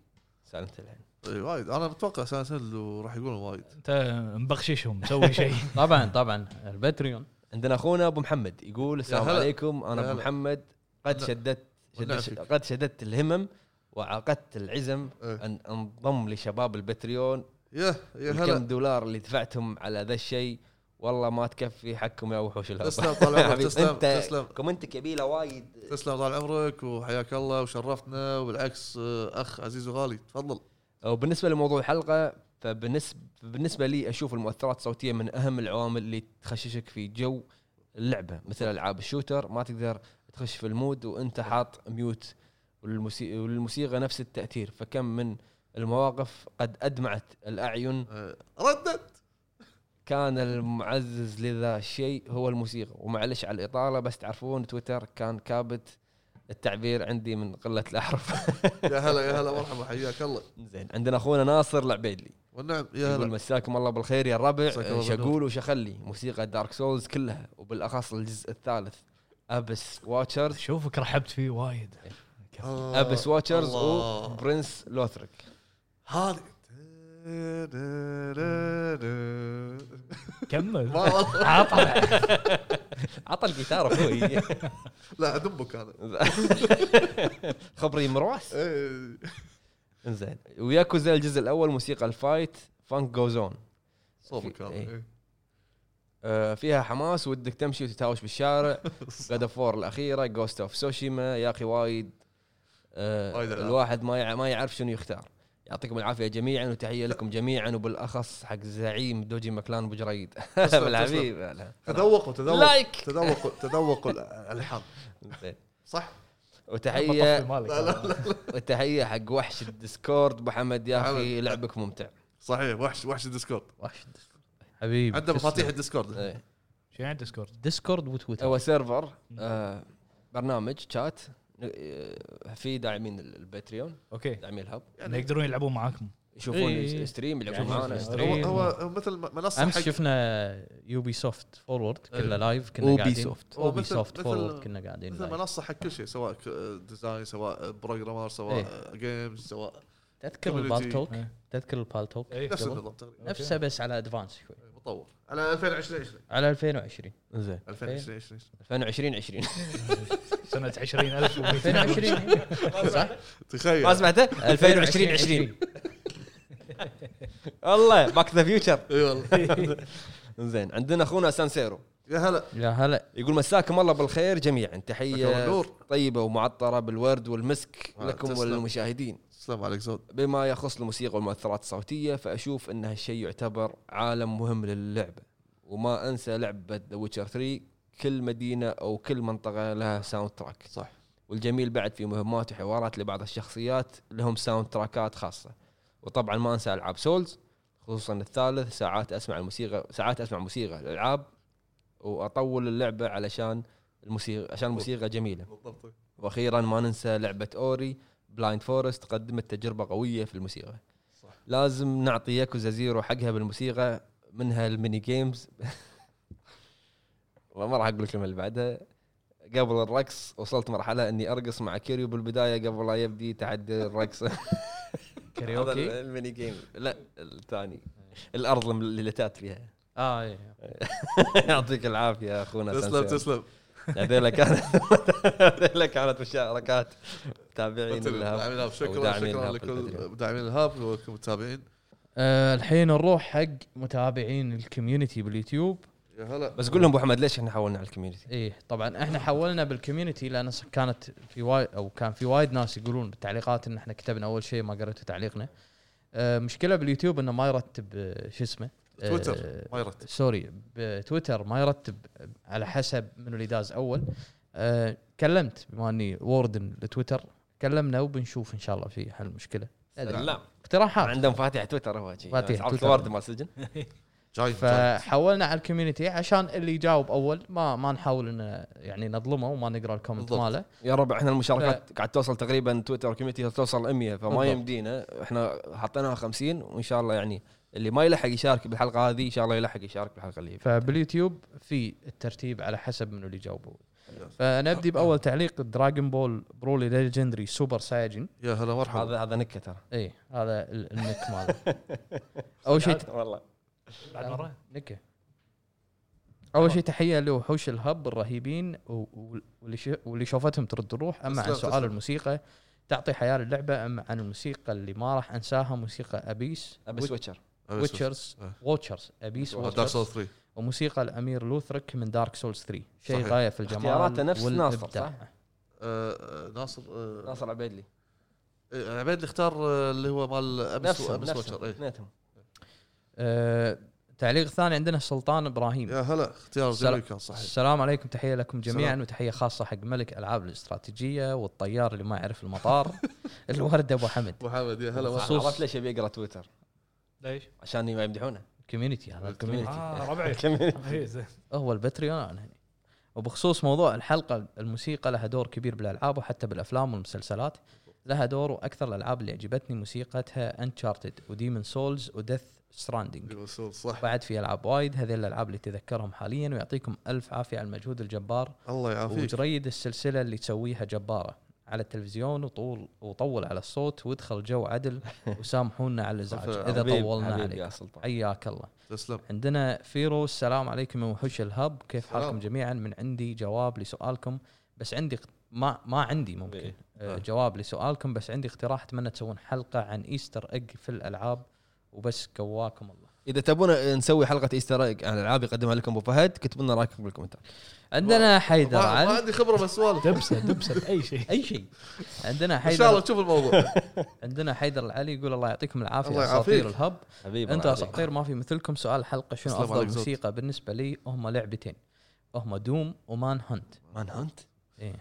A: سايلنت هيل
E: إيه، وايد انا متوقع سانسل وراح يقولون وايد
D: انت مبخششهم مسوي شيء
C: طبعا طبعا الباتريون
A: عندنا اخونا ابو محمد يقول السلام
E: هلا.
A: عليكم انا
E: يا
A: ابو
E: هلا.
A: محمد قد
E: ولا-
A: شددت شددت-
E: ولا فيك.
A: قد شددت الهمم وعقدت العزم
E: إيه.
A: ان انضم لشباب البتريون
E: يا يا هلا
A: الكم دولار اللي دفعتهم على ذا الشيء والله ما تكفي حقكم يا وحوش الهب
E: تسلم طال عمرك
A: حبيبي،
E: تسلم
A: أنت
E: تسلم
A: كومنتك يبيله وايد
E: تسلم طال عمرك وحياك الله وشرفتنا وبالعكس آه، اخ عزيز وغالي تفضل
A: وبالنسبه لموضوع الحلقه فبالنسبه بالنسبه لي اشوف المؤثرات الصوتيه من اهم العوامل اللي تخششك في جو اللعبه مثل العاب الشوتر ما تقدر تخش في المود وانت حاط ميوت والموسيقى, والموسيقى نفس التاثير فكم من المواقف قد ادمعت الاعين
E: آه، ردت
A: كان المعزز لذا الشيء هو الموسيقى ومعلش على الاطاله بس تعرفون تويتر كان كابت التعبير عندي من قله الاحرف
E: يا هلا يا هلا مرحبا حياك الله
A: زين عندنا اخونا ناصر العبيدلي
E: والنعم يا
A: يقول
E: هلا
A: مساكم الله بالخير يا الربع
E: مساك الله بالنور.
A: شقول وشخلي موسيقى دارك سولز كلها وبالاخص الجزء الثالث ابس واتشرز
D: شوفك رحبت فيه وايد
E: آه،
A: ابس واتشرز
E: الله.
A: وبرنس لوثريك
E: هذه
D: كمل
E: ما والله.
D: عطى
A: عطى الجيتار اخوي
E: لا ادبك انا
A: خبري مرواس
E: إيه.
A: انزين وياكوزا الجزء الاول موسيقى الفايت فانك جوزون
E: صوبك انا
A: إيه.
E: إيه.
A: آه، فيها حماس ودك تمشي وتتهاوش بالشارع جاد فور الاخيره جوست اوف سوشيما يا اخي وايد آه،
E: وايد ألعاب.
A: الواحد ما يع- ما يعرف شنو يختار يعطيكم العافيه جميعا وتحيه لكم جميعا وبالاخص حق زعيم دوجي مكلان ابو جريد
E: تسلم.
A: بالحبيب هلا.
E: تذوقوا تذوقوا
A: لايك
E: تذوقوا تذوقوا الالحان
A: زين.
E: صح
A: وتحيه
D: مالك
A: وتحيه حق وحش الديسكورد ابو حمد يا اخي
E: حمد.
A: لعبك ممتع
E: صحيح وحش وحش الديسكورد
A: وحش الديسكورد.
C: حبيبي
E: عنده
C: تسلم.
E: مفاتيح الديسكورد
A: إيه.
D: شو يعني ديسكورد؟
C: ديسكورد وتويتر
A: هو سيرفر آه، برنامج شات آه، في داعمين الباتريون
D: اوكي
A: داعمين الهب
D: يعني يقدرون يلعبون معاكم
A: يشوفون
C: إيه.
A: الستريم يلعبون
C: يعني
A: معانا
C: يشوفون
A: ستريم.
E: هو
C: إيه.
E: هو مثل منصه
C: امس
E: حق
C: شفنا يوبي سوفت فورورد كله
E: إيه.
C: لايف كنا
A: أوبي
C: قاعدين
A: سوفت.
E: هو
C: اوبي
E: مثل-
C: سوفت
E: مثل-
C: فورورد كنا قاعدين
E: مثل
C: لايف
E: منصه حق كل شيء سواء ك- ديزاين سواء بروجرامر سواء جيمز سواء
C: تذكر
E: community.
C: البالتوك
D: إيه.
C: تذكر البالتوك
A: إيه.
D: اي
E: نفس
C: قبل.
E: النظام تقريبا
C: نفسه بس على ادفانس شوي
E: مطور على 2020
C: على 2020
A: زين
E: 2020
A: 2020 20
D: سنه 20000
C: 2020
A: ما
E: تخيل
A: سمعته 2020 20 الله باك ذا فيوتشر
E: اي والله
A: زين عندنا اخونا سانسيرو
E: يا هلا
C: يا هلا
A: يقول مساكم الله بالخير جميعا
E: مساك الله
A: تحيه
E: بالنور.
A: طيبه ومعطره بالورد والمسك
E: آه،
A: لكم
E: تسلم.
A: وللمشاهدين
E: السلام عليك زود
A: بما يخص الموسيقى والمؤثرات الصوتيه فاشوف ان هالشيء يعتبر عالم مهم للعبه وما انسى لعبه ذا ويتشر 3 كل مدينه او كل منطقه لها ساوند تراك
E: صح
A: والجميل بعد في مهمات وحوارات لبعض الشخصيات لهم ساوند تراكات خاصه وطبعا ما انسى العاب سولز خصوصا الثالث ساعات اسمع الموسيقى ساعات اسمع موسيقى الالعاب واطول اللعبه علشان الموسيقى عشان الموسيقى جميله
E: بالضبط
A: واخيرا ما ننسى لعبه اوري بلايند فورست قدمت تجربه قويه في الموسيقى
E: صح.
A: لازم نعطي ياكوزا زيرو حقها بالموسيقى منها الميني جيمز والله ما راح اقول لكم اللي بعدها قبل الرقص وصلت مرحله اني ارقص مع كيريو بالبدايه قبل لا يبدي تحدي الرقص هذا
C: كاريوكي
A: الميني جيم لا الثاني الارض اللي لتات فيها
E: آه،
C: اه إيه.
A: يعطيك العافيه يا اخونا
E: تسلم
A: سانسيرو.
E: تسلم
A: هذيلا كانت هذيلا كانت مشاركات متابعين
E: مثل داعمين
A: لها
E: الهب شكرا
A: وداعمين
E: شكرا
A: الهب
E: لكل
A: البدري.
E: داعمين الهب ولكم متابعين
C: آه الحين نروح حق متابعين الكوميونتي باليوتيوب
E: يا هلا
A: بس قول لهم ابو حمد ليش احنا حولنا على الكوميونتي
C: ايه طبعا احنا حولنا بالكوميونتي لان ص- كانت في وايد او كان في وايد ناس يقولون بالتعليقات ان احنا كتبنا اول شيء ما قريتوا تعليقنا آه مشكله باليوتيوب انه ما يرتب آه، شو اسمه آه،
E: تويتر ما يرتب
C: سوري بتويتر ما يرتب على حسب منو اللي داز اول آه كلمت بما اني ووردن لتويتر كلمنا وبنشوف ان شاء الله في حل مشكله
A: لا
C: اقتراحات
A: عندهم فاتح تويتر هو شي.
C: آه. فاتح
A: عرفت
C: تويتر.
A: الورد مال السجن
E: جاي جاي.
C: فحولنا على الكوميونتي عشان اللي يجاوب اول ما ما نحاول ان يعني نظلمه وما نقرا الكومنت
E: بالضبط.
C: ماله
A: يا ربع احنا المشاركات قاعد توصل تقريبا تويتر كوميونتي توصل 100 فما
C: بالضبط.
A: يمدينا احنا حطيناها 50 وان شاء الله يعني اللي ما يلحق يشارك بالحلقه هذه ان شاء الله يلحق يشارك بالحلقه اللي
C: فباليوتيوب في الترتيب على حسب منو اللي جاوب اول فنبدي باول تعليق دراجون بول برولي ليجندري سوبر سايجن
E: يا هلا مرحبا
A: هذا هذا نكته ترى
C: اي إيه، هذا ال- النك ماله اول شيء
A: والله
D: بعد مره
C: نكه اول شيء تحيه لوحوش الهب الرهيبين و- و- واللي ش- واللي شوفتهم ترد الروح اما عن
E: تسلم،
C: سؤال
E: تسلم.
C: الموسيقى تعطي حياه للعبه اما عن الموسيقى اللي ما راح انساها موسيقى ابيس
A: ابي سويتشر
C: ويتشرز
E: آه.
C: ووتشرز ابيس
E: دارك سول
C: ووتشرز
E: 3
C: وموسيقى الامير لوثرك من دارك سولز 3 شيء
E: صحيح.
C: غايه في الجمال
A: اختياراته نفس ناصر
C: والإبداع.
A: صح؟
E: آه، آه، ناصر آه،
A: ناصر عبيدلي
E: آه، عبيد اللي اختار آه، اللي هو مال ابس
A: نفسه
E: ابس
A: نفسه
E: واتشر إيه.
A: اثنيناتهم
C: آه، تعليق ثاني عندنا سلطان ابراهيم
E: يا هلا اختيار
C: السلام.
E: جميل كان صحيح
C: السلام عليكم تحيه لكم جميعا
E: سلام.
C: وتحيه خاصه حق ملك العاب الاستراتيجيه والطيار اللي ما يعرف المطار الورد ابو حمد
E: ابو حمد يا هلا مرحبا.
C: خصوص-
A: عرفت ليش ابي اقرا تويتر
D: ليش؟
A: عشان ما يمدحونه
C: كوميونتي هذا الكوميونتي
D: اه ربعي إيه، زين.
C: هو البتريون انا هنا وبخصوص موضوع الحلقه الموسيقى لها دور كبير بالالعاب وحتى بالافلام والمسلسلات لها دور واكثر الالعاب اللي عجبتني موسيقتها انشارتد وديمن سولز وديث ستراندنج
E: الوصول صح
C: بعد في العاب وايد هذه الالعاب اللي تذكرهم حاليا ويعطيكم الف عافيه على المجهود الجبار
E: الله يعافيك
C: وتريد السلسله اللي تسويها جباره على التلفزيون وطول وطول على الصوت وادخل جو عدل وسامحونا على الازعاج اذا
A: حبيب-
C: طولنا
A: حبيب يا
C: عليك
A: سلطان
C: حياك الله
E: تسلم
C: عندنا فيرو السلام عليكم يا وحوش الهب كيف
E: سلام.
C: حالكم جميعا من عندي جواب لسؤالكم بس عندي اقت- ما ما عندي ممكن
A: إيه.
C: آه، جواب لسؤالكم بس عندي اقتراح اتمنى تسوون حلقه عن ايستر ايج في الالعاب وبس قواكم الله
A: اذا تبون نسوي حلقه ايستر ايج عن العاب يقدمها لكم ابو فهد كتبوا لنا رايكم بالكومنتات
C: عندنا
E: ما
C: حيدر
E: ما
C: علي
E: عندي خبره بسوالف
D: دبسه دبسه باي شيء
C: اي شيء عندنا
E: ان شاء الله
C: حيدر
E: تشوف الموضوع
C: عندنا حيدر العلي يقول الله يعطيكم العافيه
E: الله
C: اساطير
E: يعافيك.
C: الهب
A: حبيبي
C: انتوا اساطير ما في مثلكم سؤال الحلقه شنو
E: تسلم
C: افضل
E: عليك زود.
C: موسيقى بالنسبه لي هم لعبتين هم دوم ومان هانت
A: مان هانت
C: إيه.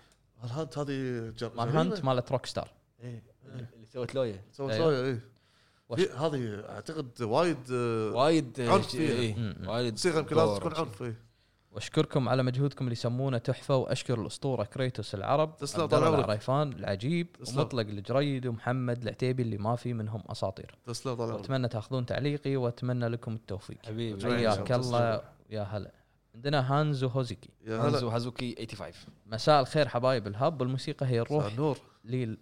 E: الهانت هذه جر-
C: مان
E: جميلة.
C: هانت مالت روك ستار
E: إيه.
A: اللي سوت لويا
E: سوى
C: إيه.
E: شوية، إيه.
C: وش-
E: في- هذه اعتقد وايد آه،
A: وايد آه،
E: عرف فيها.
A: إيه،
C: مم.
A: وايد
E: صيغه يمكن لازم تكون عرف إيه.
C: واشكركم على مجهودكم اللي يسمونه تحفه واشكر الاسطوره كريتوس العرب
E: تسلم،
C: عبد الله
E: طال عمرك.
C: العريفان العجيب
E: تسلم.
C: ومطلق الجريد ومحمد العتيبي اللي ما في منهم اساطير
E: تسلم طال عمرك
C: اتمنى تاخذون تعليقي واتمنى لكم التوفيق
A: حبيبي
E: جميل.
C: حياك
E: تسلم.
C: الله يا هلا عندنا هانزو هوزيكي
E: يا هلا
A: هانزو هازوكي 85
C: مساء الخير حبايب الهب والموسيقى هي الروح
E: مساء النور
C: لل...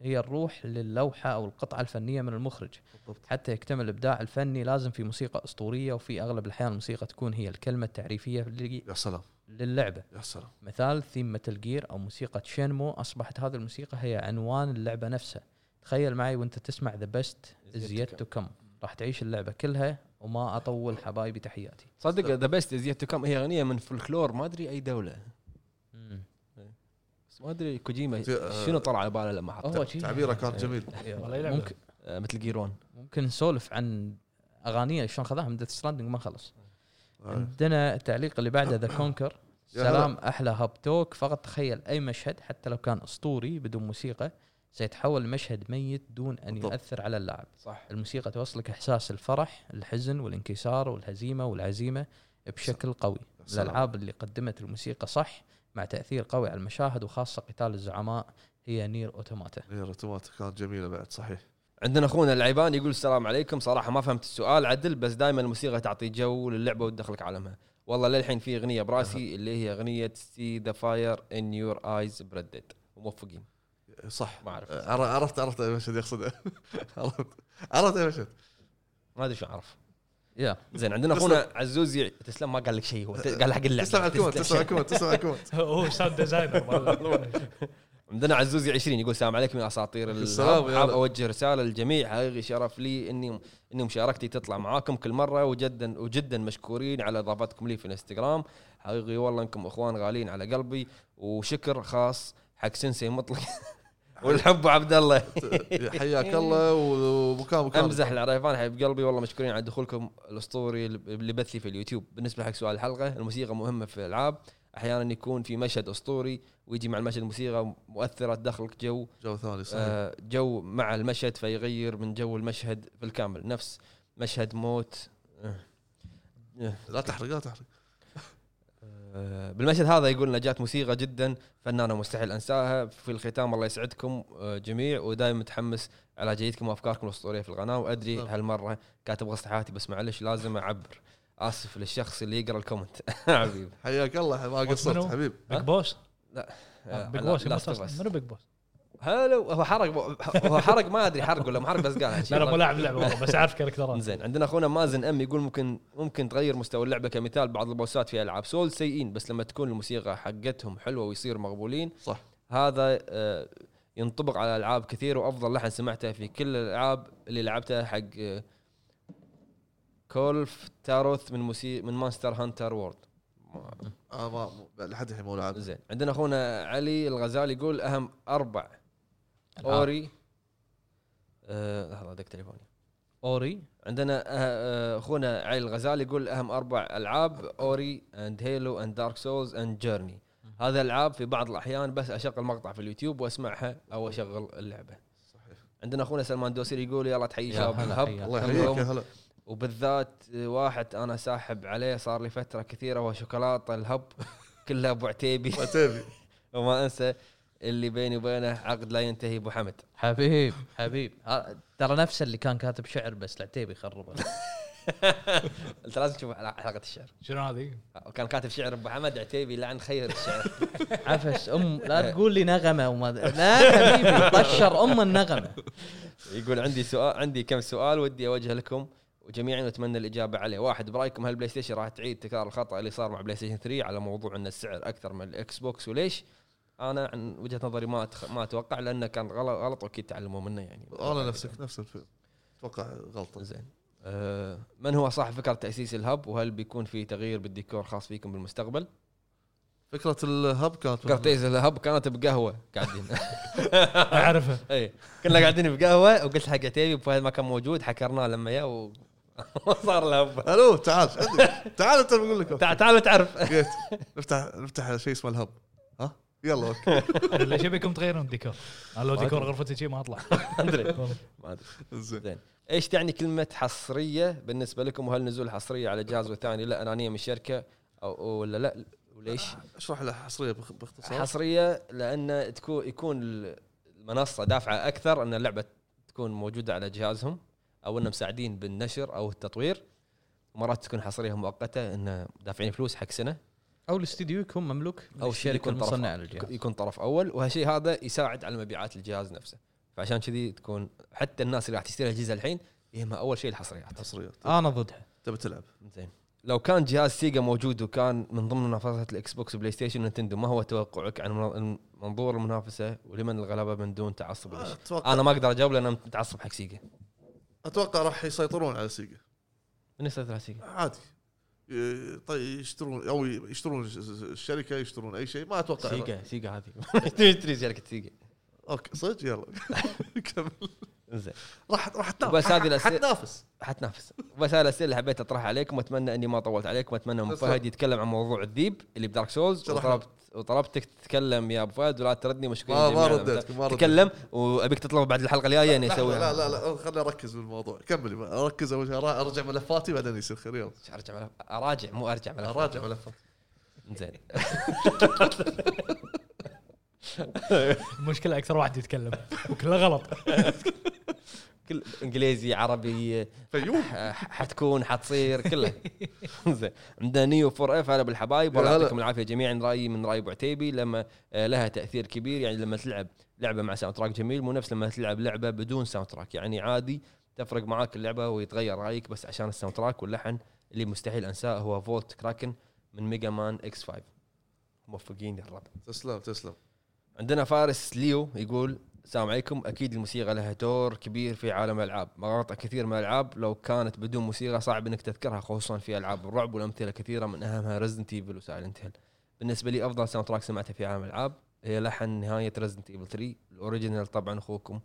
C: هي الروح للوحة أو القطعة الفنية من المخرج
E: بالضبط.
C: حتى يكتمل الإبداع الفني لازم في موسيقى أسطورية وفي أغلب الأحيان الموسيقى تكون هي الكلمة التعريفية لل-
E: يا سلام
C: للعبة
E: يا سلام
C: مثال ثيم متل جير أو موسيقى شينمو أصبحت هذه الموسيقى هي عنوان اللعبة نفسها تخيل معي وانت تسمع ذا بيست
A: Is
C: از
A: yet to
C: يت كم راح تعيش اللعبة كلها وما أطول حبايبي تحياتي
A: صدق ذا بيست از تو كم هي اغنيه من فلكلور ما ادري اي دوله بس ما ادري كوجيما
E: آه،
A: شنو طلع على باله لما حطها
C: هو شي-
E: تعبيره كان جميل
D: والله يلعبها.
C: ممكن
A: آه، مثل جيرون
C: ممكن نسولف عن اغانيه شلون خذاها من ديث ستراندنج ما خلص
E: آه.
C: عندنا التعليق اللي بعده ذا كونكر
E: يا هلا.
C: سلام احلى هاب توك فقط تخيل اي مشهد حتى لو كان اسطوري بدون موسيقى سيتحول لمشهد ميت دون ان
E: بالضبط.
C: يؤثر على اللاعب
A: صح
C: الموسيقى توصلك احساس الفرح الحزن والانكسار والهزيمه والعزيمه بشكل قوي
E: سلام.
C: الالعاب اللي قدمت الموسيقى صح مع تاثير قوي على المشاهد وخاصه قتال الزعماء هي نير اوتوماتا
E: هي الرتمات كانت جميله بعد صحيح
A: عندنا اخونا العيبان يقول السلام عليكم صراحه ما فهمت السؤال عدل بس دائما الموسيقى تعطي جو للعبه وتدخلك عالمها والله للحين في اغنيه براسي اللي هي اغنيه سي ذا فاير ان يور ايز بريدد موفقين
E: صح
A: ما اعرف
E: عر- عرفت عرفت اي مشهد يقصده عرفت عرفت اي مشهد
A: ما ادري شو اعرف
C: يا
A: زين عندنا اخونا عزوز يع- تسلم ما قال لك شيء هو ت- قال حق اللعبه
E: تسلم على الكومنت تسلم على الكومنت تسلم على الكومنت
D: هو ساوند ديزاينر
A: عندنا عزوزي 20 يقول السلام عليكم يا اساطير
E: السلام،
A: السلام
E: يلا.
A: حاب اوجه رساله للجميع حقيقي شرف لي اني اني مشاركتي تطلع معاكم كل مره وجدا وجدا مشكورين على اضافتكم لي في الانستغرام حقيقي والله انكم اخوان غاليين على قلبي وشكر خاص حق سنسي مطلق والحب أبو عبد الله
E: حياك الله ومكان مكان
A: امزح العريفان حبيب قلبي والله مشكورين على دخولكم الاسطوري لبثي في اليوتيوب بالنسبه حق سؤال الحلقه الموسيقى مهمه في الالعاب احيانا يكون في مشهد اسطوري ويجي مع المشهد موسيقى مؤثره تدخلك جو
E: جو ثاني صحيح
A: آه، جو مع المشهد فيغير من جو المشهد بالكامل نفس مشهد موت
E: لا تحرق لا تحرق
A: آه، بالمشهد هذا يقول لنا جات موسيقى جدا فنانه مستحيل انساها في الختام الله يسعدكم آه، جميع ودائما متحمس على جيدكم وافكاركم الاسطوريه في القناه وادري
E: طبعاً.
A: هالمره كاتب غصت حياتي بس معلش لازم اعبر اسف للشخص اللي يقرا الكومنت حبيبي
E: حياك الله ما
D: منو؟
E: قصرت حبيب
D: بيج بوس
A: آه،
D: بيج
A: لا-
D: بوس
A: لا تفرس.
D: منو بيج بوس؟
A: هلو هو حرق هو حرق ما ادري حرق ولا ما حرق بس قال
D: لا لا مو لاعب اللعبه والله بس عارف كاركترات
A: زين عندنا اخونا مازن ام يقول ممكن ممكن تغير مستوى اللعبه كمثال بعض البوسات في العاب سول سيئين بس لما تكون الموسيقى حقتهم حلوه ويصير مقبولين
E: صح.
A: هذا آه، ينطبق على العاب كثير وافضل لحن سمعته في كل الالعاب اللي لعبتها حق آه، كولف تاروث من موسي من مانستر هانتر وورد
E: آه ما ما- لحد الحين مو لاعب
A: زين عندنا اخونا علي الغزالي يقول اهم اربع
C: ألعاب.
A: اوري آه، لحظه دق تليفوني
C: اوري
A: عندنا آه، آه، اخونا علي الغزالي يقول اهم اربع العاب اوري اند هيلو اند دارك سولز اند جيرني هذه الالعاب في بعض الاحيان بس اشغل مقطع في اليوتيوب واسمعها او اشغل اللعبه
E: صحيح
A: عندنا اخونا سلمان دوسري يقول يلا تحيي
C: يا
A: شباب
C: هلا،
A: الهب
C: حياك.
E: الله يحييك يا هلا طيب،
A: وبالذات واحد انا ساحب عليه صار لي فتره كثيره هو شوكولاته الهب كلها ابو عتيبي
E: ما تبي
A: وما انسى اللي بيني وبينه عقد لا ينتهي ابو حمد
C: حبيب حبيب ها- ترى نفسه اللي كان كاتب شعر بس العتيبي يخربه
A: انت لازم تشوف حلقه الشعر
D: شنو هذه؟
A: وكان كاتب شعر ابو حمد عتيبي لعن خير الشعر
C: عفس ام لا تقول لي نغمه وما لا حبيبي طشر ام النغمه
A: يقول عندي سؤال عندي كم سؤال ودي اوجه لكم وجميعا واتمنى الاجابه عليه واحد برايكم هل بلاي ستيشن راح تعيد تكرار الخطا اللي صار مع بلاي ستيشن 3 على موضوع ان السعر اكثر من الاكس بوكس وليش انا عن وجهه نظري ما أتخ... ما اتوقع لانه كان غلط غلط واكيد تعلموا منه يعني
E: انا نفسك نفس الفيلم اتوقع غلطه
A: زين أه من هو صاحب فكره تاسيس الهب وهل بيكون في تغيير بالديكور خاص فيكم بالمستقبل؟
E: فكره الهب كانت
A: فكره تاسيس الهب كانت بقهوه قاعدين
D: اعرفها
A: اي كنا قاعدين بقهوه وقلت حق عتيبي وفهد ما كان موجود حكرناه لما جاء و- وصار الهب
E: الو تعال عندي. تعال انت بقول لك
A: تع- تعالوا تعرف
E: جيت نفتح نفتح شيء اسمه الهب ها يلا اوكي
D: ليش يبيكم تغيرون الديكور؟ انا لو ديكور غرفتي شي ما اطلع
A: ادري
D: والله.
A: ما ادري
E: زين
A: ايش تعني كلمه حصريه بالنسبه لكم وهل نزول حصريه على جهاز وثاني لا انانيه من الشركه أو- أو ولا لا وليش
E: اشرح له حصريه بخ- باختصار
A: حصريه لان تكون يكون المنصه دافعه اكثر ان اللعبه تكون موجوده على جهازهم او انهم مساعدين بالنشر او التطوير مرات تكون حصريه مؤقته ان دافعين فلوس حق سنه
C: او الاستديو يكون مملوك
A: او
C: او
A: شيء
C: الشركه
A: يكون طرف
C: المصنعه للجهاز
A: يكون طرف اول وهالشيء هذا يساعد على مبيعات الجهاز نفسه فعشان كذي تكون حتى الناس اللي راح تشتري الاجهزه الحين يهمها اول شيء الحصريات
E: حصريه
C: انا ضدها
E: تبي تلعب
A: زين لو كان جهاز سيجا موجود وكان من ضمن منافسه الاكس بوكس وبلاي ستيشن ونتندو ما هو توقعك عن من- منظور المنافسه ولمن الغلبه من دون تعصب ليش؟
E: اتوقع
A: انا ما اقدر اجاوب لان أنا متعصب حق سيجا
E: اتوقع راح يسيطرون على سيجا
A: من يستثمر سيجا؟
E: عادي ي- طيب يشترون او يشترون ش- ش- الشركه يشترون اي شيء ما اتوقع
A: سيجا سيجا هذه تشتري شركه سيجا
E: اوكي صدق يلا كمل
A: زين
E: راح راح تنافس
A: بس هذه الأسئلة-
E: حتنافس
A: حتنافس بس هاي الاسئله اللي حبيت اطرحها عليكم واتمنى اني ما طولت عليكم واتمنى ابو
E: بس
A: فهد يتكلم عن موضوع الذيب اللي بدارك سولز
E: شرح
A: وطلبت وطلبتك تتكلم يا ابو فهد ولا تردني مشكلة
E: ما- ما
A: جميعاً.
E: رديتك، ما رديت.
A: تكلم وابيك تطلب بعد الحلقه الجايه اني اسويها
E: لا لا لا خليني اركز بالموضوع كمل اركز اول شيء أرا- ارجع ملفاتي بعدين يصير خير يلا
A: شو ارجع ملف اراجع مو ارجع ملف
E: اراجع ملفاتي
A: زين
D: المشكله اكثر واحد يتكلم وكله غلط
A: كل انجليزي عربي
E: فيوم
A: ح- حتكون حتصير كله زين عندنا نيو فور اف هلا بالحبايب والله
E: يا هلا.
A: يعطيكم العافيه جميعا رايي من راي ابو عتيبي لما آه، لها تاثير كبير يعني لما تلعب لعبه مع ساوند تراك جميل مو نفس لما تلعب لعبه بدون ساوند تراك يعني عادي تفرق معاك اللعبه ويتغير رايك بس عشان الساوند تراك واللحن اللي مستحيل انساه هو فولت كراكن من ميجا مان اكس 5 موفقين يا رب
E: تسلم تسلم
A: عندنا فارس ليو يقول السلام عليكم اكيد الموسيقى لها دور كبير في عالم الالعاب مقاطع كثير من الالعاب لو كانت بدون موسيقى صعب انك تذكرها خصوصا في العاب الرعب والامثله كثيره من اهمها ريزدنت ايفل وسايلنت هيل بالنسبه لي افضل ساوند تراك سمعته في عالم الالعاب هي لحن نهايه ريزدنت ايفل 3 الاوريجينال طبعا اخوكم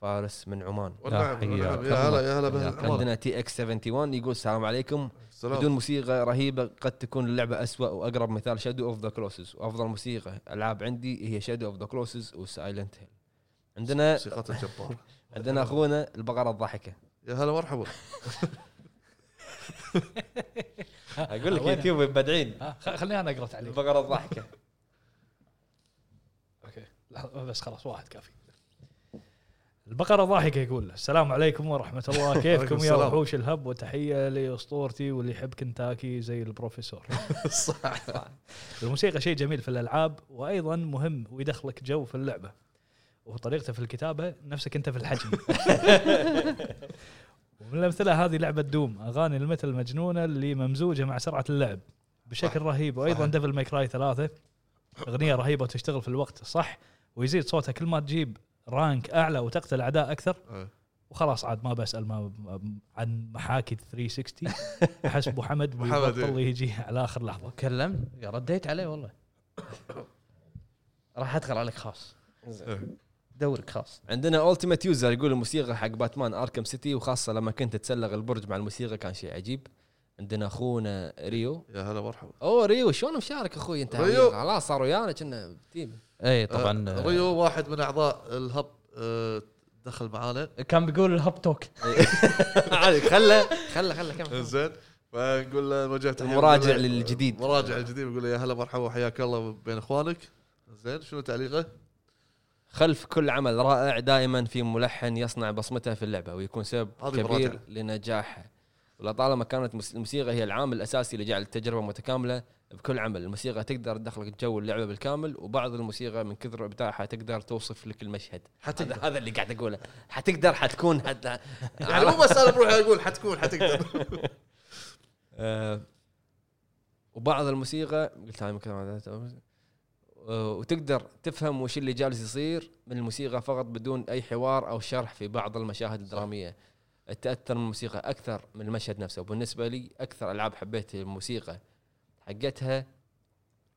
A: فارس من عمان
E: والنعم
C: حياك
E: والنعم. يا
C: الله.
E: هلا يا هلا بهالعمر
A: عندنا تي اكس 71 يقول السلام عليكم بدون
E: سلام
A: موسيقى رهيبه قد تكون اللعبه اسوء واقرب مثال شادو اوف ذا كلوسز وافضل موسيقى العاب عندي هي شادو اوف ذا كلوسز وسايلنت هيل عندنا
E: موسيقى الجبار
A: عندنا اخونا البقره الضاحكه
E: يا هلا مرحبا
A: اقول لك
D: وينها؟
A: يوتيوب مبدعين
D: ها، خ- خليني انا اقرا تعليق
A: البقره الضاحكه
D: اوكي لحظة، بس خلاص واحد كافي البقرة ضاحكة يقول السلام عليكم ورحمة الله
E: وعليكم
D: كيفكم يا
E: السلام.
D: وحوش الهب وتحية لأسطورتي واللي يحب كنتاكي زي البروفيسور
E: صح
D: الموسيقى شيء جميل في الألعاب وأيضا مهم ويدخلك جو في اللعبة وطريقته في الكتابة نفسك أنت في الحجم ومن الأمثلة هذه لعبة دوم أغاني المثل المجنونة اللي ممزوجة مع سرعة اللعب بشكل رهيب وأيضا ديفل ماي كراي ثلاثة أغنية رهيبة وتشتغل في الوقت الصح ويزيد صوتها كل ما تجيب رانك أعلى وتقتل أعداء أكثر
E: إيه.
D: وخلاص عاد ما بسأل ما ما- عن محاكي 360 أحس أبو حمد
E: أبو حمد، إيه.
D: بيبطل يجي على آخر لحظة
C: كلمت يا رديت عليه والله راح ادخل عليك خاص دورك خاص
A: عندنا التيمت يوزر يقول الموسيقى حق باتمان اركم سيتي وخاصه لما كنت تتسلق البرج مع الموسيقى كان شيء عجيب عندنا اخونا ريو
E: يا هلا مرحبا
A: اوه ريو شلون مشارك اخوي انت
E: ريو.
A: خلاص صار ويانا كنا تيم
C: اي
E: طبعا
C: طبعا
A: آه،
E: أه، ريو آه، واحد من اعضاء الهب آه، دخل معانا
C: آه، كان بيقول الهب توك
A: عادي، خله خله خله كمل
E: زين فنقول له نوجه تحيه
A: مراجع
E: نقول له-
A: للجديد.
E: مراجع الجديد نقول له يا هلا مرحبا وحياك الله بين اخوانك زين شنو تعليقه؟
A: خلف كل عمل رائع دائما في ملحن يصنع بصمته في اللعبه ويكون سبب
E: هذه
A: كبير
E: مراتب.
A: لنجاحه ولطالما كانت مس- الموسيقى هي العامل الاساسي اللي جعل التجربه متكامله بكل عمل الموسيقى تقدر تدخلك جو اللعبه بالكامل وبعض الموسيقى من كثر ابداعها تقدر توصف لك المشهد هذا, هذا اللي قاعد اقوله حتقدر حتكون حتى
E: يعني مو مساله بروحي اقول حتكون حتقدر
A: آه، وبعض الموسيقى قلت هاي ممكن هذا- آه، وتقدر تفهم وش اللي جالس يصير من الموسيقى فقط بدون اي حوار او شرح في بعض المشاهد الدراميه تاثر من الموسيقى اكثر من المشهد نفسه وبالنسبه لي اكثر العاب حبيت الموسيقى حقتها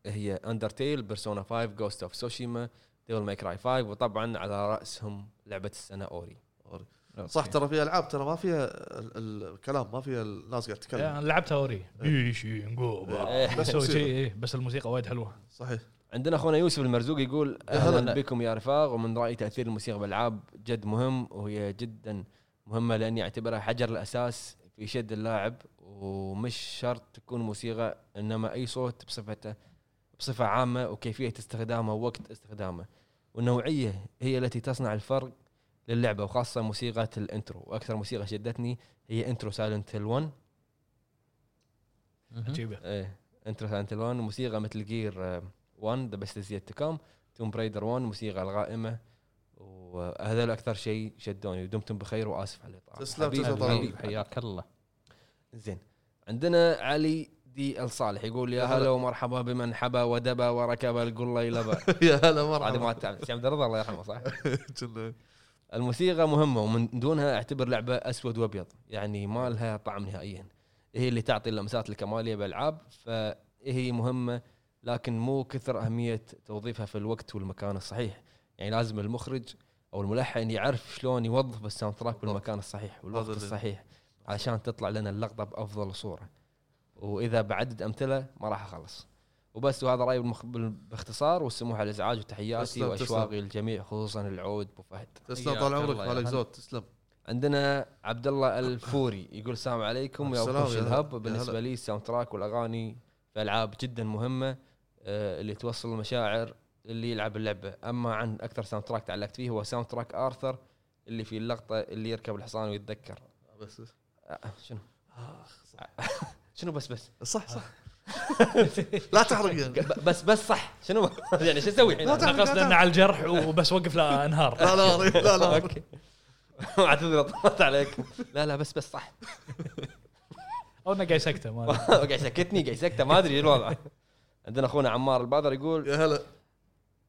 A: هي اندرتيل بيرسونا 5 جوست اوف سوشيما ديفل ماي كراي 5 وطبعا على راسهم لعبه السنه اوري
E: صح ترى في العاب ترى ما فيها ال- الكلام ما فيها الناس قاعد تتكلم
D: انا يعني لعبتها اوري بيشي
A: إيه.
D: نقوبة بس هو شيء إيه، بس الموسيقى وايد حلوه
E: صحيح
A: عندنا اخونا يوسف المرزوق يقول
E: يا هلا.
A: اهلا بكم يا رفاق ومن رايي تاثير الموسيقى بالالعاب جد مهم وهي جدا مهمه لاني اعتبرها حجر الاساس في شد اللاعب ومش شرط تكون موسيقى انما اي صوت بصفته بصفه عامه وكيفيه استخدامه ووقت استخدامه والنوعيه هي التي تصنع الفرق للعبه وخاصه موسيقى الانترو واكثر موسيقى شدتني هي انترو سايلنت هيل 1
D: عجيبه
A: ايه انترو سايلنت هيل 1 موسيقى مثل جير آه، 1 ذا بيست از يت تو كام توم برايدر 1 موسيقى الغائمه وهذول اكثر شيء شدوني ودمتم بخير واسف على الاطاله
E: تسلم،
A: حبيبي،
E: تسلم طال
A: حبيبي،
E: عمرك.
A: حياك
C: حياك الله
A: زين عندنا علي دي الصالح يقول يا
E: يا هلا.
A: هلا ومرحبا بمن حبى ودبى وركب القليلبه
E: يا هلا
A: هذه ما
E: مرحبا
A: تعرف سي عبد الرضا الله يرحمه صح؟
E: كنا-
A: الموسيقى مهمة ومن دونها اعتبر لعبة اسود وابيض، يعني ما لها طعم نهائيا. هي اللي تعطي اللمسات الكمالية بالالعاب فهي مهمة لكن مو كثر اهمية توظيفها في الوقت والمكان الصحيح. يعني لازم المخرج او الملحن يعرف شلون يوظف الساوند تراك بالمكان الصحيح والوقت
E: هذا اللي-
A: الصحيح عشان تطلع لنا اللقطة بافضل صورة. واذا بعدد امثلة ما راح اخلص. وبس وهذا رايي بالمخ- بال- باختصار والسموح على الازعاج وتحياتي
E: تسلم، تسلم.
A: واشواقي للجميع خصوصا العود ابو فهد.
E: تسلم طال عمرك
C: الله، يا
E: مالك
C: هلا.
E: زود تسلم
A: عندنا عبد الله الفوري يقول السلام عليكم يا
E: السلام،
A: وحوش
E: يا هلا.
A: الهب
E: يا
A: بالنسبه
E: هلا.
A: لي الساوند تراك والاغاني في العاب جدا مهمه آه، اللي توصل المشاعر اللي يلعب اللعبه اما عن اكثر ساوند تراك تعلقت فيه هو ساوند تراك ارثر اللي في اللقطه اللي يركب الحصان ويتذكر
E: بس
A: آه، شنو شنو بس بس
E: صح صح لا تحرق يعني.
A: ب- بس بس صح شنو يعني شو اسوي الحين
E: لا
A: أنا؟
D: انا قصدي انه على الجرح وبس وقف لا انهار
E: لا لا لا لا
A: اوكي اعتذر طلعت عليك لا لا بس بس صح
D: او انه قاعد سكته ما أدري.
A: قاعد يسكتني قاعد يسكته ما ادري إيه الوضع عندنا اخونا عمار البادر يقول
E: يا هلا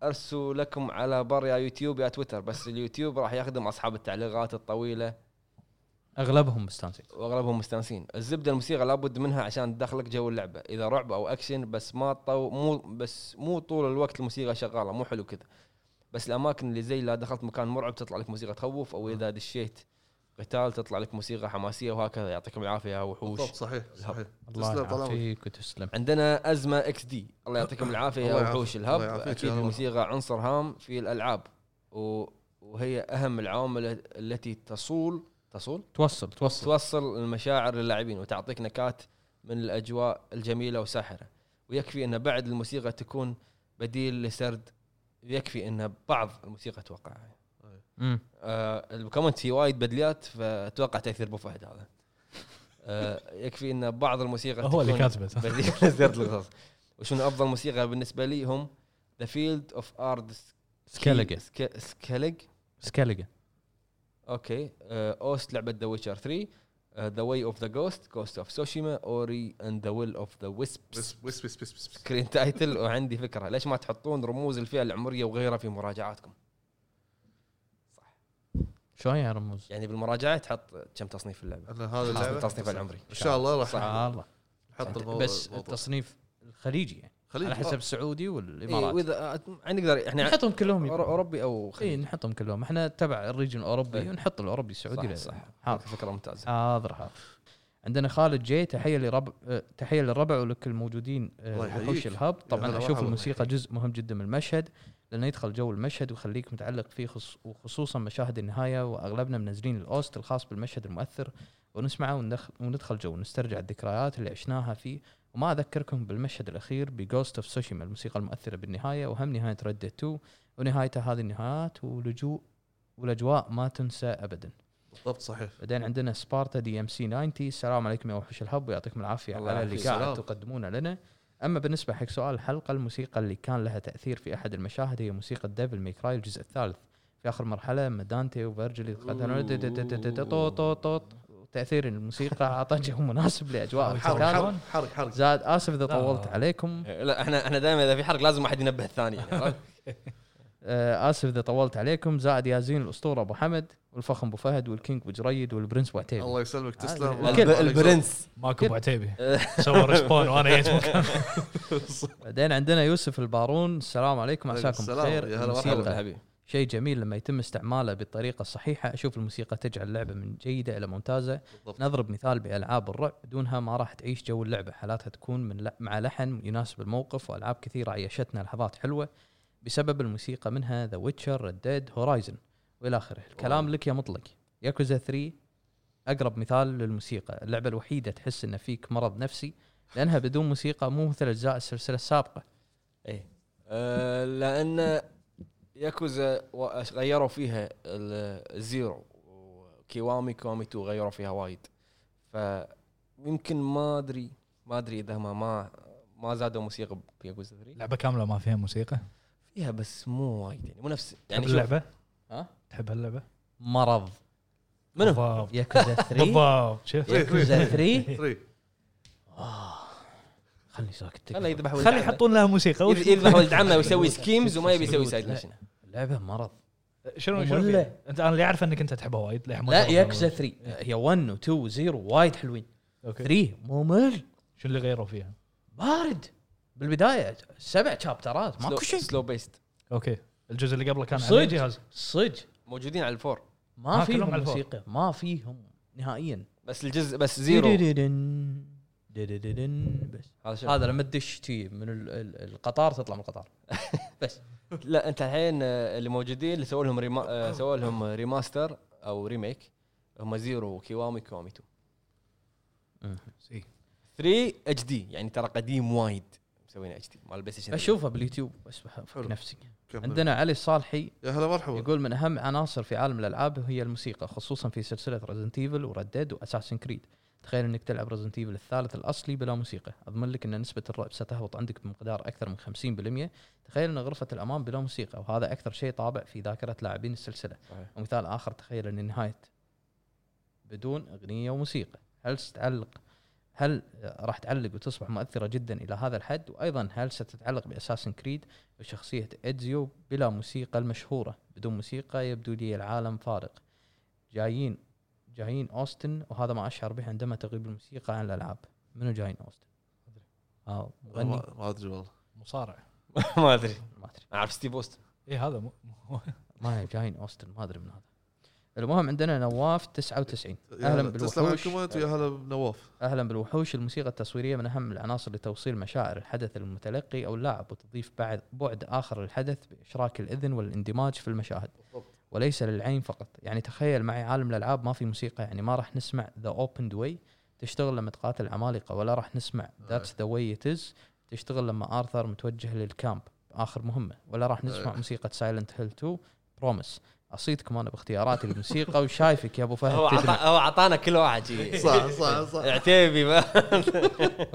A: ارسوا لكم على بر يا يوتيوب يا تويتر بس اليوتيوب راح يخدم اصحاب التعليقات الطويله
C: اغلبهم مستانسين
A: واغلبهم مستانسين الزبده الموسيقى لابد منها عشان تدخلك جو اللعبه اذا رعب او اكشن بس ما طو مو بس مو طول الوقت الموسيقى شغاله مو حلو كذا بس الاماكن اللي زي لا دخلت مكان مرعب تطلع لك موسيقى تخوف او اذا دشيت قتال تطلع لك موسيقى حماسيه وهكذا يعطيكم العافيه يا وحوش
E: بالضبط صحيح صحيح
C: الله
E: تسلم، طال عمرك.
C: يعافيك وتسلم
A: عندنا ازمه اكس دي الله يعطيكم العافيه يا
E: الله يعافيك،
A: وحوش
E: الله
A: الهب
E: يعافيك،
A: اكيد
E: يا رب.
A: الموسيقى عنصر هام في الالعاب و- وهي اهم العوامل التي تصول تصول
C: توصل توصل
A: توصل المشاعر للاعبين وتعطيك نكات من الاجواء الجميله والساحره ويكفي ان بعد الموسيقى تكون بديل لسرد يكفي ان بعض الموسيقى اتوقع
C: مم.
A: آه الكومنت في وايد بدليات فاتوقع تاثير ابو فهد هذا آه يكفي ان بعض الموسيقى
D: هو اللي
A: تكون-
D: كاتبه
A: بديل لسرد القصص وشنو افضل موسيقى بالنسبه لي هم ذا فيلد اوف ارد
C: سكالجا
A: سكالج
C: سكالجا
A: اوكي آه، اوست لعبه ذا ويتشر 3 ذا واي اوف ذا جوست جوست اوف سوشيما اوري اند ذا ويل اوف ذا ويسبس
E: بس بس بس بس بس
A: سكرين تايتل وعندي فكره ليش ما تحطون رموز الفئه العمريه وغيرها في مراجعاتكم
C: شلون يا رموز؟
A: يعني بالمراجعه تحط كم تصنيف اللعبه
E: أنا هذا
A: خاصة
E: اللعبه
A: التصنيف العمري
E: ان شاء الله راح
C: الله
E: نحط الموضوع آه،
C: بس
E: الموضوع.
C: التصنيف الخليجي يعني
E: خليج
C: على حسب
E: حسب
C: السعودي
A: إيه،
C: والامارات
A: واذا آه، نقدر احنا
C: نحطهم كلهم
A: أورو-
C: يبقى. إيه،
A: اوروبي او
C: اي
A: خليجي
C: نحطهم كلهم احنا تبع الريجن الاوروبي
A: إيه.
C: ونحط الاوروبي السعودي
A: صح
C: لأ-
A: صح
C: حاضر
A: فكره ممتازه
C: حاضر حاضر عندنا خالد جي تحيه لربع آه، تحيه للربع ولكل الموجودين آه،
E: الله يحييك.
C: وحوش الهب
E: هلا
C: طبعا اشوف
E: مرحبا.
C: الموسيقى جزء مهم جدا من المشهد لانه يدخل جو المشهد ويخليك متعلق فيه خص وخصوصا مشاهد النهايه واغلبنا منزلين الاوست الخاص بالمشهد المؤثر ونسمعه وندخل, وندخل جو ونسترجع الذكريات اللي عشناها فيه وما اذكركم بالمشهد الاخير بجوست اوف سوشيما الموسيقى المؤثره بالنهايه وهم نهايه ريد 2 ونهايتها هذه النهايات ولجوء والاجواء ما تنسى ابدا
E: بالضبط صحيح
C: بعدين عندنا سبارتا دي ام سي 90 السلام عليكم يا وحوش الهب ويعطيكم العافيه
A: الله
C: على
A: يعافيك.
C: اللي قاعد
E: سلام.
C: تقدمونه لنا اما بالنسبه حق سؤال الحلقه الموسيقى اللي كان لها تاثير في احد المشاهد هي موسيقى ديفل ميك راي الجزء الثالث في اخر مرحله لما دانتي وفيرجيل يتقاتلون دت- دت- دت- دت- طوط- طوط- طوط. تاثير الموسيقى اعطى جو مناسب لاجواء
E: حرق
C: المكان
E: حرق حرق حرق
C: زاد اسف اذا
D: لا.
C: طولت عليكم
A: إيه، لا احنا احنا دائما اذا في حرق لازم واحد ينبه الثاني يعني، عرفت؟
C: آه، اسف اذا طولت عليكم زائد يازين الاسطوره ابو حمد والفخم ابو فهد والكينج ابو جريد والبرنس ابو عتيبي
E: الله يسلمك
C: هذا
E: تسلم
C: الكل.
E: الله
A: الب-
E: يبارك فيك.
A: البرنس
D: ماكو ابو عتيبي سوى ريسبون وانا جيت مكان
C: بعدين عندنا يوسف البارون السلام عليكم
E: عليكم
C: عساكم
E: السلام.
C: بخير
E: يا هلا
A: مرحبا
C: الموسيقى
A: حبيبي
C: شيء جميل لما يتم استعماله بالطريقه الصحيحه اشوف الموسيقى تجعل اللعبه من جيده الى ممتازه
E: بالضبط.
C: نضرب مثال بالعاب الرعب دونها ما راح تعيش جو اللعبه حالاتها تكون من ل... مع لحن يناسب الموقف والعاب كثيره عيشتنا لحظات حلوه بسبب الموسيقى منها ذا ويتشر ريد ديد هورايزن والى اخره الكلام لك يا مطلق ياكوزا 3 اقرب مثال للموسيقى اللعبه الوحيده تحس ان فيك مرض نفسي لانها بدون موسيقى مو مثل اجزاء السلسله السابقه
A: ايه آه، لان ياكوزا و- غيروا فيها ال- الزيرو وكيوامي كوامي 2 غيروا فيها وايد فيمكن ما ادري ما ادري اذا ما ما ما زادوا موسيقى بياكوزا 3
D: لعبه كامله ما فيها موسيقى
A: فيها بس مو وايد يعني مو نفس
D: تحب
A: يعني شوف
D: اللعبه؟
C: ها؟
D: تحب هاللعبه؟
C: مرض
A: منو؟
D: بالضبط.
C: ياكوزا 3
D: بالضبط شفت؟
C: ياكوزا 3
E: ثري.
C: خلني ساكت
A: خليه يذبح ولد
D: خلي
A: عمه.
D: يحطون لها موسيقى
A: يذ- يذبح ولد عمه ويسوي سكيمز وما يبي يسوي سايد ميشن
C: لعبه مرض
D: شنو شنو
C: مملة.
D: فيها؟ انت انا اللي اعرف انك انت تحبها وايد للحين ما
C: لا
D: جربتها.
C: ياكوزا 3 هي 1 و 2 و 0 وايد حلوين
D: اوكي
C: 3 ممل
D: شنو اللي غيروا فيها؟
C: بارد بالبدايه سبع شابترات ماكو شيء
A: سلو بيست
D: اوكي الجزء اللي قبله كان
C: صدق؟
D: على جهاز
C: صدق
A: موجودين على الفور
C: ما
D: آه، كلهم
C: فيهم
D: على الفور.
C: موسيقى ما فيهم نهائيا
A: بس الجزء بس زيرو
C: دددن، دددن، بس
A: هذا شنو؟
C: هذا لما تدش تي من ال- ال- القطار تطلع من القطار
A: لا انت الحين آه، اللي موجودين اللي سووا لهم ريما... آه، سووا لهم ريماستر او ريميك هم زيرو وكيوامي كيوامي 2 3 اتش دي يعني ترى قديم وايد
B: مسوينا اتش دي مال البلاي ستيشن
C: اشوفه باليوتيوب بس بحفظ
E: حلو.
C: نفسي
E: كمل.
C: عندنا علي الصالحي
E: يا هلا مرحبا
C: يقول من اهم عناصر في عالم الالعاب هي الموسيقى خصوصا في سلسله ريزنت ايفل وردد واساسن كريد تخيل انك تلعب ريزنت ايفل الثالث الاصلي بلا موسيقى اضمن لك ان نسبه الرعب ستهبط عندك بمقدار اكثر من 50% تخيل ان غرفه الامان بلا موسيقى وهذا اكثر شيء طابع في ذاكره لاعبين السلسله
B: صحيح.
C: ومثال اخر تخيل ان نهايه بدون اغنيه وموسيقى هل ستعلق هل راح تعلق وتصبح مؤثره جدا الى هذا الحد وايضا هل ستتعلق باساسن كريد وشخصية إدزيو بلا موسيقى المشهورة بدون موسيقى يبدو لي العالم فارق جايين جايين أوستن وهذا ما أشعر به عندما تغيب الموسيقى عن الألعاب منو جايين أوستن؟
D: أدري.
C: آه مغني
E: ما ما ادري والله
D: مصارع
B: ما ادري
C: ما أدري
B: اعرف ستيف اوست
D: اي هذا مو مو-
C: ما هي جايين أوستن ما أدري من هذا المهم عندنا نواف 99
E: يا
C: أهلا
E: هلا تسلم على
C: بالوحوش
E: الكومنت ويا هلا بنواف
C: اهلا بالوحوش الموسيقى التصويريه من اهم العناصر لتوصيل مشاعر الحدث للمتلقي او اللاعب وتضيف بعد بعد اخر للحدث باشراك الاذن والاندماج في المشاهد وليس للعين فقط يعني تخيل معي عالم الالعاب ما في موسيقى يعني ما راح نسمع ذا اوبند واي تشتغل لما تقاتل عمالقه ولا راح نسمع ذاتس ذا واي تز تشتغل لما ارثر متوجه للكامب اخر مهمه ولا راح نسمع
E: أه.
C: موسيقى سايلنت هيل 2 بروميس اصيدكم انا باختياراتي للموسيقى وشايفك يا ابو فهد
B: هو
C: تدمع.
B: عطا- هو اعطانا كل واحد شي.
E: صح صح صح
B: عتيبي ما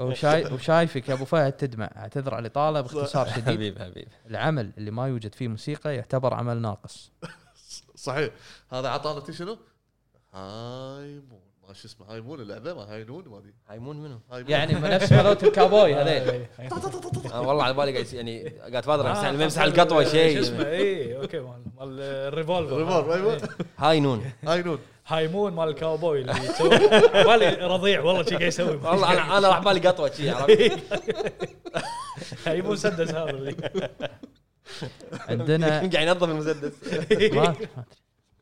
C: وشاي وشايفك يا ابو فهد تدمع اعتذر على الاطاله باختصار شديد
B: حبيب حبيب
C: العمل اللي ما يوجد فيه موسيقى يعتبر عمل ناقص
E: صحيح هذا عطانا تي شنو؟ هاي مون ما شو اسمه هاي مون اللعبه ما هاي نون ما ادري
B: هايمون منو؟
E: هاي مون.
C: يعني نفس مالوت الكابوي هذيل
D: إي.
B: أنا والله على بالي قاعد يصير- يعني قاعد فاضر
D: آه،
B: امسح امسح
D: قصدي
B: القطوه
D: شو اسمه
B: شيء
D: اي اوكي مال مال الريفولفر
E: ريفولفر، أيوة.
B: هاي نون
E: هاي نون
D: هايمون مال الكاوبوي اللي يسوي بالي رضيع والله شي قاعد يسوي
B: والله انا انا راح بالي قطوه شي عرفت؟
D: هايمون سدس هذا اللي
C: عندنا
B: قاعد ينظف المسدس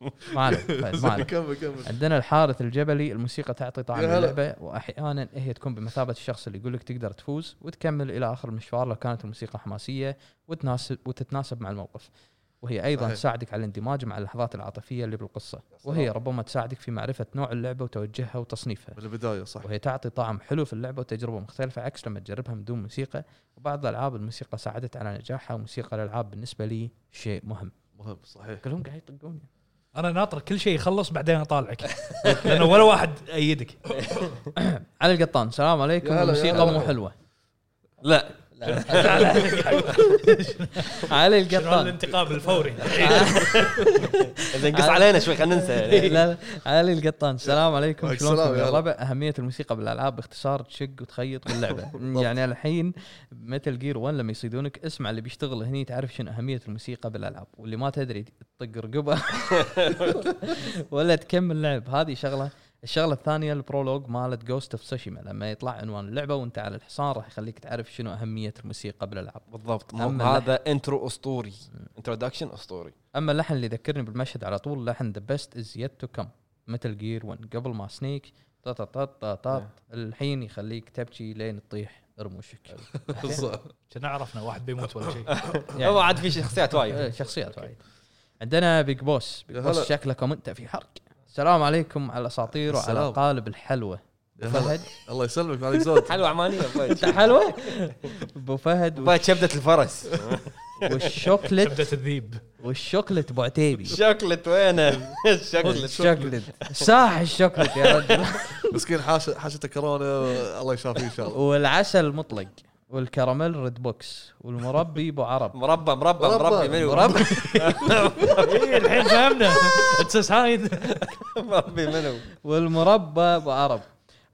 C: ما أدري- ما أدري. ما عليك فهد، ما عليك
E: كمل كمل
C: عندنا الحارث الجبلي الموسيقى تعطي طعم
E: يا هلا.
C: اللعبه واحيانا هي تكون بمثابه الشخص اللي يقول لك تقدر تفوز وتكمل الى اخر المشوار لو كانت الموسيقى حماسيه وتناسب وتتناسب مع الموقف وهي ايضا
E: صحيح.
C: تساعدك على الاندماج مع اللحظات العاطفيه اللي بالقصه وهي ربما تساعدك في معرفه نوع اللعبه وتوجهها وتصنيفها
E: من البدايه صح
C: وهي تعطي طعم حلو في اللعبه وتجربه مختلفه عكس لما تجربها من دون موسيقى وبعض الالعاب الموسيقى ساعدت على نجاحها وموسيقى الالعاب بالنسبه لي شيء مهم
E: مهم صحيح
C: كلهم قاعد يطقون
D: انا ناطر كل شيء يخلص بعدين اطالعك لانه ولا واحد ايدك
C: على القطان السلام عليكم
E: يا هلا، يا
C: الموسيقى
E: هلا.
C: مو حلوه
B: لا
C: علي
D: شنو
C: القطان
D: الانتقام الفوري
B: زين قص علينا شوي خلينا ننسى يعني.
C: لا لا علي القطان السلام عليكم
E: وعليكم السلام
C: شلونكم
E: يا
C: يا
E: هلا.
C: ربع اهميه الموسيقى بالالعاب باختصار تشق وتخيط باللعبه يعني الحين متل جير 1 لما يصيدونك اسمع اللي بيشتغل هني تعرف شنو اهميه الموسيقى بالالعاب واللي ما تدري تطق رقبه ولا تكمل لعب هذه شغله الشغله الثانيه البرولوج مالت جوست اوف سوشيما لما يطلع عنوان اللعبه وانت على الحصان راح يخليك تعرف شنو اهميه الموسيقى بالالعاب
B: بالضبط
C: أما
B: مو- هذا انترو اسطوري انتروداكشن اسطوري
C: اما اللحن اللي يذكرني بالمشهد على طول لحن ذا بيست از يت تو كم متل جير 1 قبل ما سنيك طا طا طا طا
E: نعم.
C: طا الحين يخليك تبكي لين تطيح رموشك
E: صح.
D: كنا عرفنا واحد بيموت ولا شيء
C: يعني-
B: هو عاد في شخصيات
C: آه،
B: وايد
C: شخصيات وايد عندنا بيج بوس بيج
E: يا
C: بوس
E: هلا.
C: شكلكم انت في حرق السلام عليكم على الاساطير وعلى
E: السلام.
C: قالب الحلوه
E: يا هلا.
C: فهد
E: الله يسلمك ما عليك زود
B: حلوه عمانيه
C: انت
B: فايد
C: حلوه ابو فهد
B: فايد شبده طيب، الفرس
C: والشوكلت
D: شبدة الذيب
C: والشوكلت ابو عتيبي
B: شوكلت وينه؟ شوكلت
C: الشوكلت ساح الشوكلت يا رجل
E: مسكين حاش حاشته كورونا الله يشافيه ان شاء الله
C: والعسل مطلق والكراميل ريد بوكس والمربي ابو عرب
B: مربى مربى
E: مربى.
B: مربى منو؟
C: مربى
D: اي إيه، الحين فهمنا اتس هاين
B: مربى منو؟
C: والمربى ابو عرب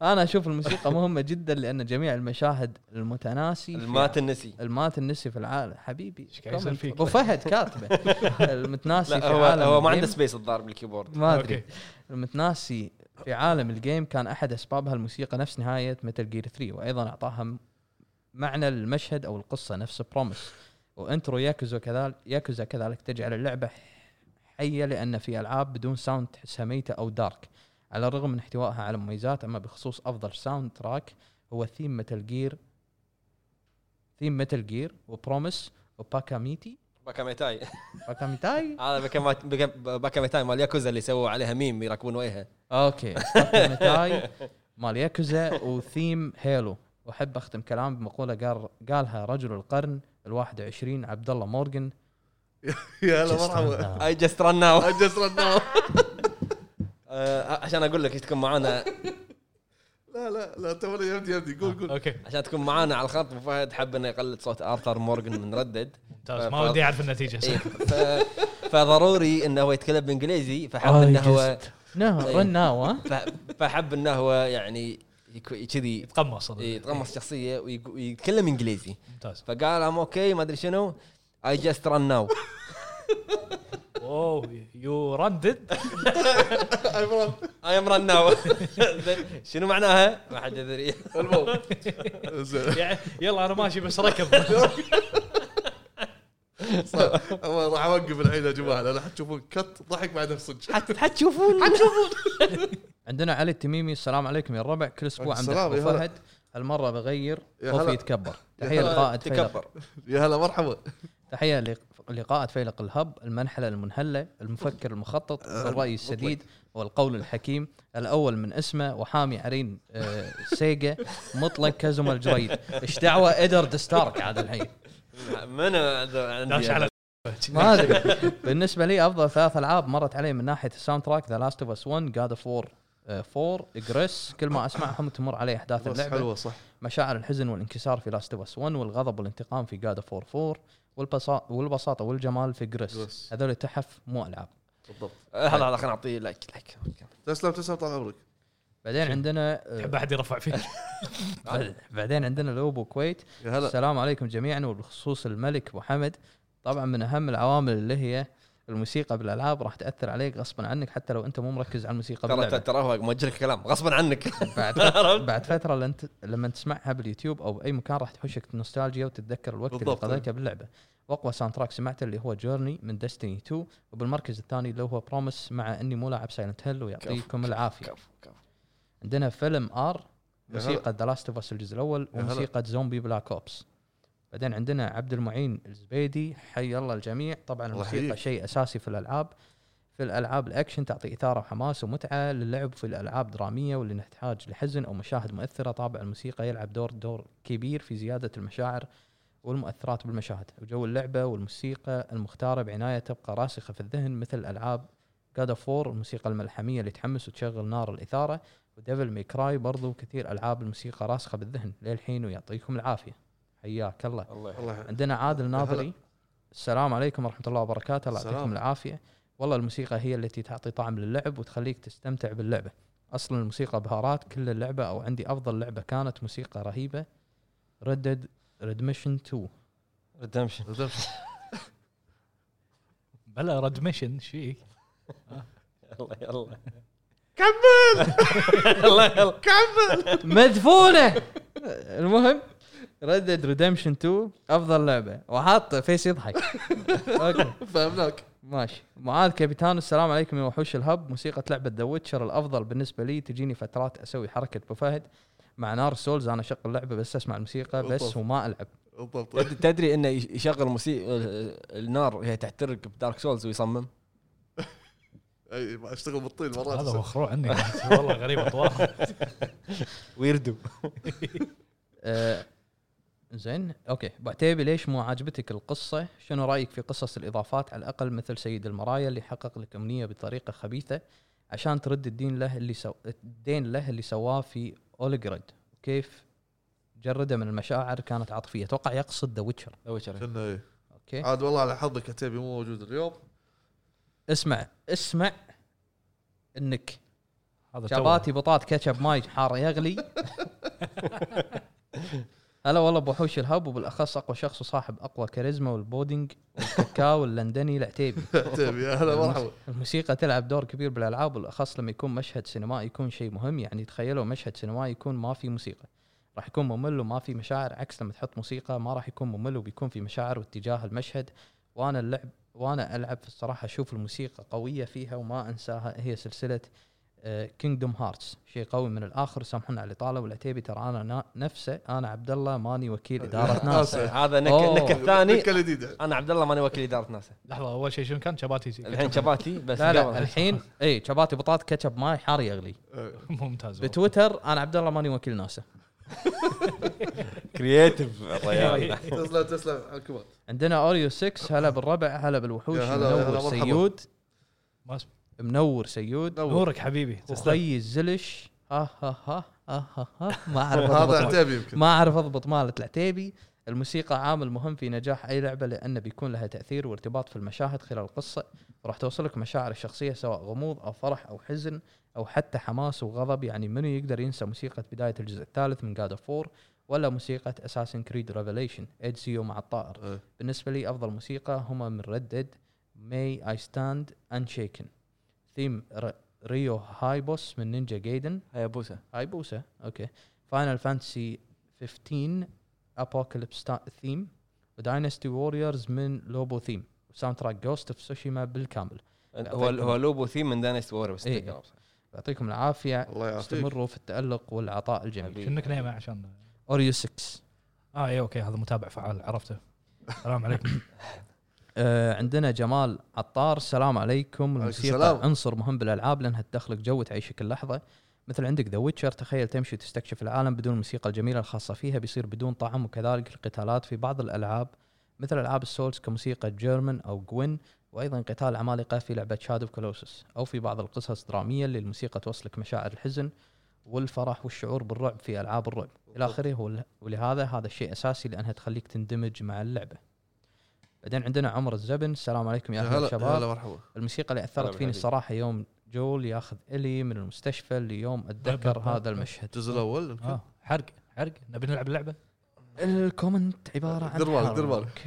C: انا اشوف الموسيقى مهمه جدا لان جميع المشاهد المتناسي فيها.
B: المات النسي
C: المات النسي في العالم حبيبي
D: قاعد يصير فيك؟
C: ابو فهد كاتبه المتناسي
B: لا
C: في
B: هو
C: عالم
B: هو ما
C: الجيم-
B: عنده سبيس الظاهر بالكيبورد
C: ما ادري
D: أوكي.
C: المتناسي في عالم الجيم كان احد اسبابها الموسيقى نفس نهايه متل جير 3 وايضا اعطاها م- معنى المشهد او القصه نفس بروميس وانترو ياكوزا كذلك ياكوزا كذلك تجعل اللعبه حيه لان في العاب بدون ساوند تحسها ميته او دارك على الرغم من احتوائها على مميزات اما بخصوص افضل ساوند تراك هو ثيم متل جير ثيم متل جير وبروميس وباكاميتي
B: باكاميتاي
C: باكاميتاي
B: هذا باكامات- باكا- باكاميتاي مال ياكوزا اللي سووا عليها ميم يراكبون وجهها
C: اوكي باكاميتاي مال ياكوزا وثيم هيلو واحب اختم كلامي بمقوله قال قالها رجل القرن الواحد 21 عبد الله مورجن
E: يا هلا مرحبا
A: اي جاست رن ناو
E: I just run now.
A: أه، عشان اقول لك تكون معانا
E: لا لا لا تبغى يمدي يمدي قول قول
D: اوكي
A: عشان تكون معانا على الخط ابو فهد حب انه يقلد صوت ارثر مورجن من ردد
D: ممتاز ما ودي اعرف النتيجه
A: إيه، ف- فضروري انه هو يتكلم بانجليزي فحب انه هو
C: نو رن ناو ها
A: ف- فحب انه هو يعني يك- كذي
D: تقمص
A: يتغمص شخصيه ويق- ويتكلم انجليزي
D: ممتاز
A: فقال ام اوكي ما ادري شنو اي جاست رن ناو
D: اوه يو راندد
A: اي ام رن ناو شنو معناها؟ ما حد يدري
E: المهم زين.
D: يعني يلا انا ماشي بس ركب
E: صح. أنا راح اوقف الحين يا جماعه لان حتشوفون كت ضحك بعد صدق
A: حتشوفون
C: عندنا علي التميمي السلام عليكم يا الربع كل اسبوع
E: عليكم
C: عند
E: السلام،
C: ابو
E: يا هلا.
C: فهد هالمره بغير
E: يا
C: خوفي
E: هلا.
C: يتكبر
E: يا
C: تحيه
E: هلا.
C: لقائد فيلق
A: تكبر
E: يا هلا مرحبا
C: تحيه لق- لقائد فيلق الهب المنحله المنهله المفكر المخطط الراي السديد والقول الحكيم الاول من اسمه وحامي عرين آه، سيجا مطلق كازوما الجريد ايش دعوه ادرد ستارك عاد الحين
A: من
D: داش على
C: ما ادري بالنسبه لي افضل ثلاث العاب مرت علي من ناحيه الساوند تراك ذا لاست اوف اس 1 جاد اوف 4 4 اجريس أه، كل ما اسمعهم تمر علي احداث
E: بس
C: اللعبه
E: حلوه صح
C: مشاعر الحزن والانكسار في لاست اوف اس 1 والغضب والانتقام في جاد اوف 4 والبساطه والبساطه والجمال في جريس
E: Gris.
C: هذول تحف مو العاب
E: بالضبط
A: هذا هذا خلينا نعطيه لايك لايك
E: تسلم تسلم طال عمرك
C: بعدين عندنا آه،
D: تحب احد يرفع فيك
C: بعدين عندنا لوبو كويت
E: يا هلا
C: السلام عليكم جميعا وبخصوص الملك ابو حمد طبعا من اهم العوامل اللي هي الموسيقى بالالعاب راح تاثر عليك غصبا عنك حتى لو انت مو مركز على الموسيقى باللعبة.
A: ترى ترى هو موجه لك كلام غصبا عنك
C: بعد فترة بعد فتره لن ت- لما تسمعها باليوتيوب او باي مكان راح تحوشك نوستالجيا وتتذكر الوقت
E: بالضبط.
C: اللي قضيته باللعبه واقوى ساوند تراك سمعته اللي هو جورني من ديستني 2 وبالمركز الثاني اللي هو بروميس مع اني مو لاعب سايلنت هيل ويعطيكم العافيه
A: كفو كفو
C: عندنا فيلم ار
E: يا
C: موسيقى ذا لاست اوف اس الجزء الاول
E: يا هلا.
C: وموسيقى زومبي بلاك اوبس بعدين عندنا عبد المعين الزبيدي حي الله الجميع طبعا
E: الله
C: الموسيقى
E: يحييك.
C: شيء اساسي في الالعاب في الالعاب الاكشن تعطي اثاره وحماس ومتعه للعب في الالعاب دراميه واللي نحتاج لحزن او مشاهد مؤثره طابع الموسيقى يلعب دور دور كبير في زياده المشاعر والمؤثرات بالمشاهد وجو اللعبه والموسيقى المختاره بعنايه تبقى راسخه في الذهن مثل العاب جاد اوف الموسيقى الملحميه اللي تحمس وتشغل نار الاثاره وديفل مي كراي برضو كثير العاب الموسيقى راسخه بالذهن للحين ويعطيكم العافيه حياك الله
A: الله يحفظك.
E: الله يحفظك.
C: عندنا عادل ناظري السلام عليكم ورحمه الله وبركاته الله يعطيكم
E: السلام.
C: العافيه والله الموسيقى هي التي تعطي طعم للعب وتخليك تستمتع باللعبه اصلا الموسيقى بهارات كل اللعبه او عندي افضل لعبه كانت موسيقى رهيبه ردد ريدمشن 2
A: ريدمشن
D: بلا رد ميشن ايش فيك؟
A: يلا يلا
C: مدفونه المهم ردد ريدمشن 2 افضل لعبه وحاط فيس يضحك اوكي
E: فهمناك
C: ماشي معاذ كابيتان السلام عليكم يا وحوش الهب موسيقى لعبه ذا ويتشر الافضل بالنسبه لي تجيني فترات اسوي حركه ابو فهد مع نار سولز انا اشغل اللعبه بس اسمع الموسيقى بس
E: أوف.
C: وما العب
E: بالضبط
A: تدري انه يش- يشغل موسيقى آه، النار وهي تحترق بدارك سولز ويصمم
E: أي، ما اشتغل بالطين مرات
D: هذا مخروع عني والله غريب اطوار
A: ويردو
C: آه زين اوكي أبو عتيبي ليش مو عاجبتك القصه؟ شنو رايك في قصص الاضافات على الاقل مثل سيد المرايا اللي حقق لك امنيه بطريقه خبيثه عشان ترد الدين له اللي سو... الدين له اللي سواه في اولجريد كيف جرده من المشاعر كانت عاطفيه اتوقع يقصد ذا ويتشر
E: كنا إيه.
C: اوكي
E: عاد والله على حظك عتيبي مو موجود اليوم
C: اسمع اسمع انك
D: هذا
C: شباتي بطاط كاتشب ماي حار يغلي هلا والله بوحوش الهب وبالاخص اقوى شخص وصاحب اقوى كاريزما والبودنج والكاكاو اللندني العتيبي
E: عتيبي يا هلا مرحبا
C: الموسيقى تلعب دور كبير بالالعاب والاخص لما يكون مشهد سينمائي يكون شيء مهم يعني تخيلوا مشهد سينمائي يكون ما في موسيقى راح يكون ممل وما في مشاعر عكس لما تحط موسيقى ما راح يكون ممل وبيكون في مشاعر واتجاه المشهد وانا اللعب وانا العب في الصراحه اشوف الموسيقى قويه فيها وما انساها هي سلسله كينجدوم هارتس شيء قوي من الاخر سامحونا على الاطاله والعتيبي ترى انا نا- نفسه انا عبد الله ماني وكيل اداره ناسا
A: هذا
C: أوه.
A: نك نك الثاني
E: النكهه الجديده
A: انا عبد الله ماني وكيل اداره ناسا
D: لحظه اول شيء شنو كان شباتي زي-
A: الحين شباتي بس
C: لا لا
A: قبل.
C: الحين اي شباتي بطاط كاتشب ماي حار يغلي
D: ممتاز والله.
C: بتويتر انا عبد الله ماني وكيل ناسا
A: كرييتف الرجال
E: تسلم تسلم على الكبر
C: عندنا اوريو 6 هلا بالربع هلا بالوحوش
E: يا هلا- يا هلا
C: منور
E: مرحبا.
C: سيود
D: ما اسمه
C: منور سيود
D: نورك حبيبي تسلم.
C: اخي الزلش ها ها ها ها ها, ها. آه، ما اعرف
E: هذا
C: أضبط.
E: عتيبي يمكن
C: ما اعرف اضبط مالة العتيبي الموسيقى عامل مهم في نجاح اي لعبه لانه بيكون لها تاثير وارتباط في المشاهد خلال القصه وراح توصلك مشاعر الشخصيه سواء غموض او فرح او حزن او حتى حماس وغضب يعني منو يقدر ينسى موسيقى بدايه الجزء الثالث من جاد فور ولا موسيقى اساسن كريد ريفليشن سيو مع الطائر
E: إيه.
C: بالنسبه لي افضل موسيقى هما من ردد ماي اي ستاند انشيكن ثيم ريو هايبوس من نينجا جايدن
B: هيا بوسه
C: هاي بوسه اوكي فاينل فانتسي 15 ابوكاليبس ثيم وداينستي ووريرز من لوبو ثيم وساوند تراك جوست اوف سوشيما بالكامل
B: هو هو لوبو ثيم من دانست وور بس
C: إيه.
B: تذكر.
C: يعطيكم العافيه
E: الله يعافيك
C: استمروا في التالق والعطاء الجميل
D: شنك نايمه عشان
C: اوريو 6
D: اه اي اوكي هذا متابع فعال عرفته السلام عليكم
C: آه عندنا جمال عطار السلام عليكم الموسيقى
E: السلام.
C: عنصر مهم بالالعاب لانها تدخلك جو وتعيشك اللحظه مثل عندك ذا ويتشر تخيل تمشي وتستكشف العالم بدون الموسيقى الجميله الخاصه فيها بيصير بدون طعم وكذلك القتالات في بعض الالعاب مثل العاب السولز كموسيقى جيرمن او جوين وايضا قتال عمالقه في لعبه شاد اوف كولوسس او في بعض القصص الدراميه اللي الموسيقى توصلك مشاعر الحزن والفرح والشعور بالرعب في العاب الرعب الى اخره ول- ولهذا هذا الشيء اساسي لانها تخليك تندمج مع اللعبه بعدين عندنا عمر الزبن السلام عليكم يا
E: يا
C: اهلا
E: هلا يا هلا
C: شباب
E: مرحبا
C: الموسيقى اللي اثرت
B: هلا
C: فيني
B: بالحبيب.
C: الصراحه يوم جول ياخذ الي من المستشفى ليوم اتذكر
D: طيب، طيب،
C: هذا
D: طيب.
C: المشهد
E: الجزء الاول
C: آه.
E: يمكن
D: اه حرق حرق نبي نلعب اللعبه
C: الكومنت عباره عن
E: دير بالك، دير
C: حرق.
E: بالك.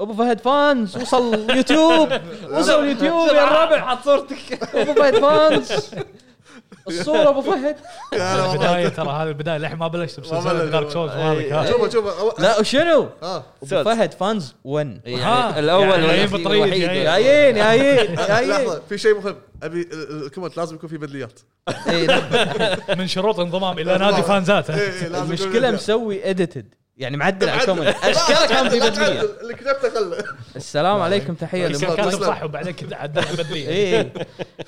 C: ابو فهد فانز وصل يوتيوب وصل يوتيوب يا الربع حط صورتك ابو فهد فانز الصوره ابو فهد
E: يا هلا والله.
D: البدايه ترى هذه البدايه للحين ما بلشت
E: ما
D: بسلسله
E: بلشت.
D: دارك سولز وهذا كان.
A: إيه.
E: شوفه شوفه أو-
C: لا وشنو
E: اه
C: ابو فهد إيه، فانز 1
D: ها،
B: يعني الاول
D: يعني
B: والأخير
D: هي بطريق،
B: الوحيد.
D: يعني.
A: إيه،
C: جايين جايين جايين
E: لحظه في شيء مهم ابي ال- الكومنت لازم يكون في بدليات
C: إيه، لا،
D: آه. من شروط انضمام الى نادي فانزات
E: إيه، إيه، لازم يكون
C: المشكله
E: بدليات.
C: مسوي اديتد يعني معدل على
E: معدل.
C: الكومنت اشكاله كان في
E: لا
C: بدلية
E: تعدل، اللي كتبته خله
C: السلام عليكم تحيه
D: كاتب
C: للمطلق
D: صح وبعدين كنت عدل بدري
A: إيه.
C: اي إي. إيه.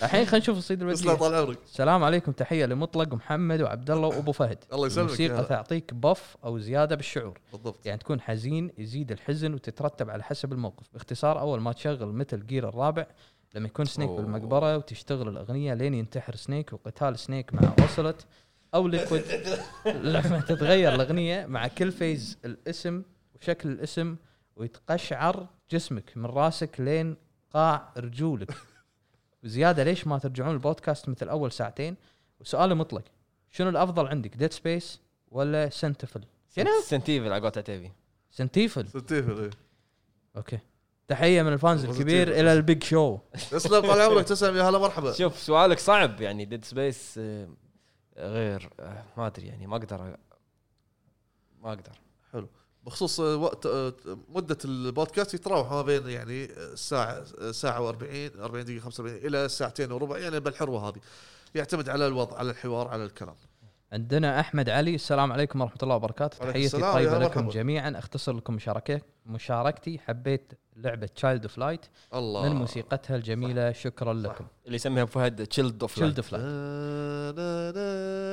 C: الحين خلينا نشوف الصيد
E: تسلم
C: البدلية
E: طال عمرك
C: السلام عليكم تحيه لمطلق ومحمد وعبد الله وابو فهد
E: الله يسلمك. يا
C: الموسيقى
E: هلا.
C: تعطيك بف او زياده بالشعور
E: بالضبط
C: يعني تكون حزين يزيد الحزن وتترتب على حسب الموقف باختصار اول ما تشغل مثل جير الرابع لما يكون سنيك
B: أوه.
C: بالمقبره وتشتغل الاغنيه لين ينتحر سنيك وقتال سنيك مع اوسلت او ليكويد لما تتغير الاغنيه مع كل فيز الاسم وشكل الاسم ويتقشعر جسمك من راسك لين قاع رجولك وزياده ليش ما ترجعون البودكاست مثل اول ساعتين وسؤال مطلق شنو الافضل عندك ديد سبيس ولا سنتفل شنو
B: سنتيفل على قولة عتيبي
C: سنتيفل
E: ستيفن إيه.
C: اوكي تحيه من الفانز
E: Positive.
C: الكبير الى البيج شو
E: تسلم طال عمرك تسلم يا هلا مرحبا
B: شوف سؤالك صعب يعني ديد سبيس غير آه، ما ادري يعني ما اقدر أ- ما اقدر
E: بخصوص آه، وقت آه، مده البودكاست يتراوح ما بين يعني آه، ساعه آه، ساعه و40 40 دقيقه 45 الى ساعتين وربع يعني بالحروه هذه يعتمد على الوضع على الحوار على الكلام
C: عندنا احمد علي السلام عليكم ورحمه الله وبركاته
E: وعليكم
C: تحيتي
E: السلام،
C: الطيبه
E: يا
C: لكم
E: مرحبا.
C: جميعا اختصر لكم مشاركه مشاركتي حبيت لعبه تشايلد اوف لايت
E: الله
C: من موسيقتها الجميله شكرا لكم
B: اللي يسميها أبو فهد تشيلد اوف
C: تشايلد اوف لايت
E: نا- نا-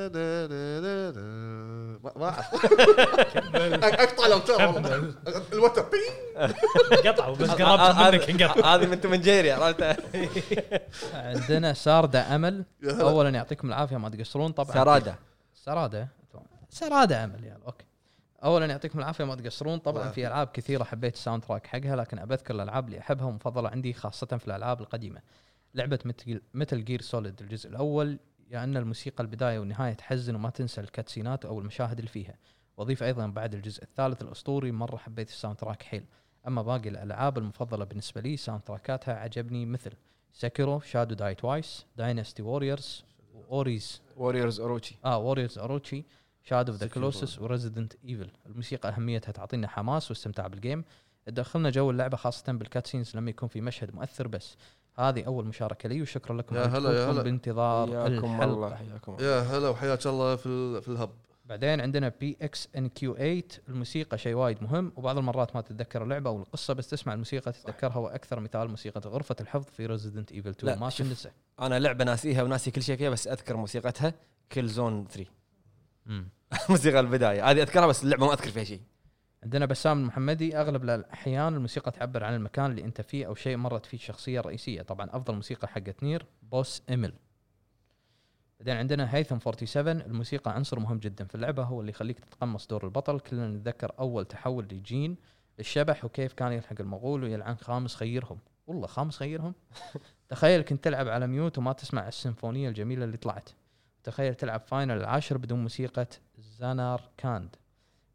E: نا- نا- نا- نا- نا. ما ما اعرف اقطع لو ترى والله الوتر بينج.
D: قطعوا
B: آه،
A: آه،
D: بس قربت منك انقطع
B: هذه من توم أند جيري عرفتها
C: عندنا سارده امل
E: يا هلا.
C: اولا يعطيكم العافيه ما تقصرون طبعا
B: سراده
C: سرادة أتوقع. سرادة أمل يلا أوكي أولا يعطيكم العافية ما تقصرون طبعا
E: الله
C: في ألعاب كثيرة حبيت الساوند تراك حقها لكن أذكر الألعاب اللي أحبها ومفضلة عندي خاصة في الألعاب القديمة لعبة متل جير سوليد الجزء الأول يا أن الموسيقى البداية والنهاية تحزن وما تنسى الكاتسينات أو المشاهد اللي فيها وأضيف أيضا بعد الجزء الثالث الأسطوري مرة حبيت الساوند تراك حيل أما باقي الألعاب المفضلة بالنسبة لي ساوند تراكاتها عجبني مثل سكيرو شادو دايت وايس داينستي ووريرز وأوريز
B: ووريرز اوروتشي
C: اه ووريرز اوروتشي شاد اوف ذا
E: Sekiro.
C: كلوسس وريزيدنت ايفل الموسيقى اهميتها تعطينا حماس واستمتاع بالجيم تدخلنا جو اللعبه خاصه بالكاتسينز لما يكون في مشهد مؤثر بس هذه اول مشاركه لي وشكرا لكم
E: يا
C: على
E: هلا، يا
C: دخولكم
E: هلا.
C: بانتظار
B: حياكم الله
C: الحلقه
B: حياكم الله
E: يا هلا وحياك الله في ال- في الهب
D: إيه.
C: بعدين عندنا بي اكس ان كيو 8 الموسيقى شيء وايد مهم وبعض المرات ما تتذكر اللعبه او القصه بس تسمع الموسيقى تتذكرها واكثر مثال موسيقى غرفه الحفظ في ريزيدنت ايفل 2
B: لا،
C: ما
B: شوف.
C: تنسى
B: انا لعبه ناسيها وناسي كل شيء فيها بس اذكر موسيقتها كل زون 3
F: موسيقى البدايه هذه اذكرها بس اللعبه ما اذكر فيها شيء
C: عندنا بسام المحمدي اغلب الاحيان الموسيقى تعبر عن المكان اللي انت فيه او شيء مرت فيه الشخصيه الرئيسيه طبعا افضل موسيقى حقت نير بوس ايميل بعدين عندنا هيثم 47 الموسيقى عنصر مهم جدا في اللعبه هو اللي يخليك تتقمص دور البطل كلنا نتذكر اول تحول لجين الشبح وكيف كان يلحق المغول ويلعن خامس خيرهم والله خامس خيرهم تخيل كنت تلعب على ميوت وما تسمع السيمفونيه الجميله اللي طلعت تخيل تلعب فاينل العاشر بدون موسيقى زانار كاند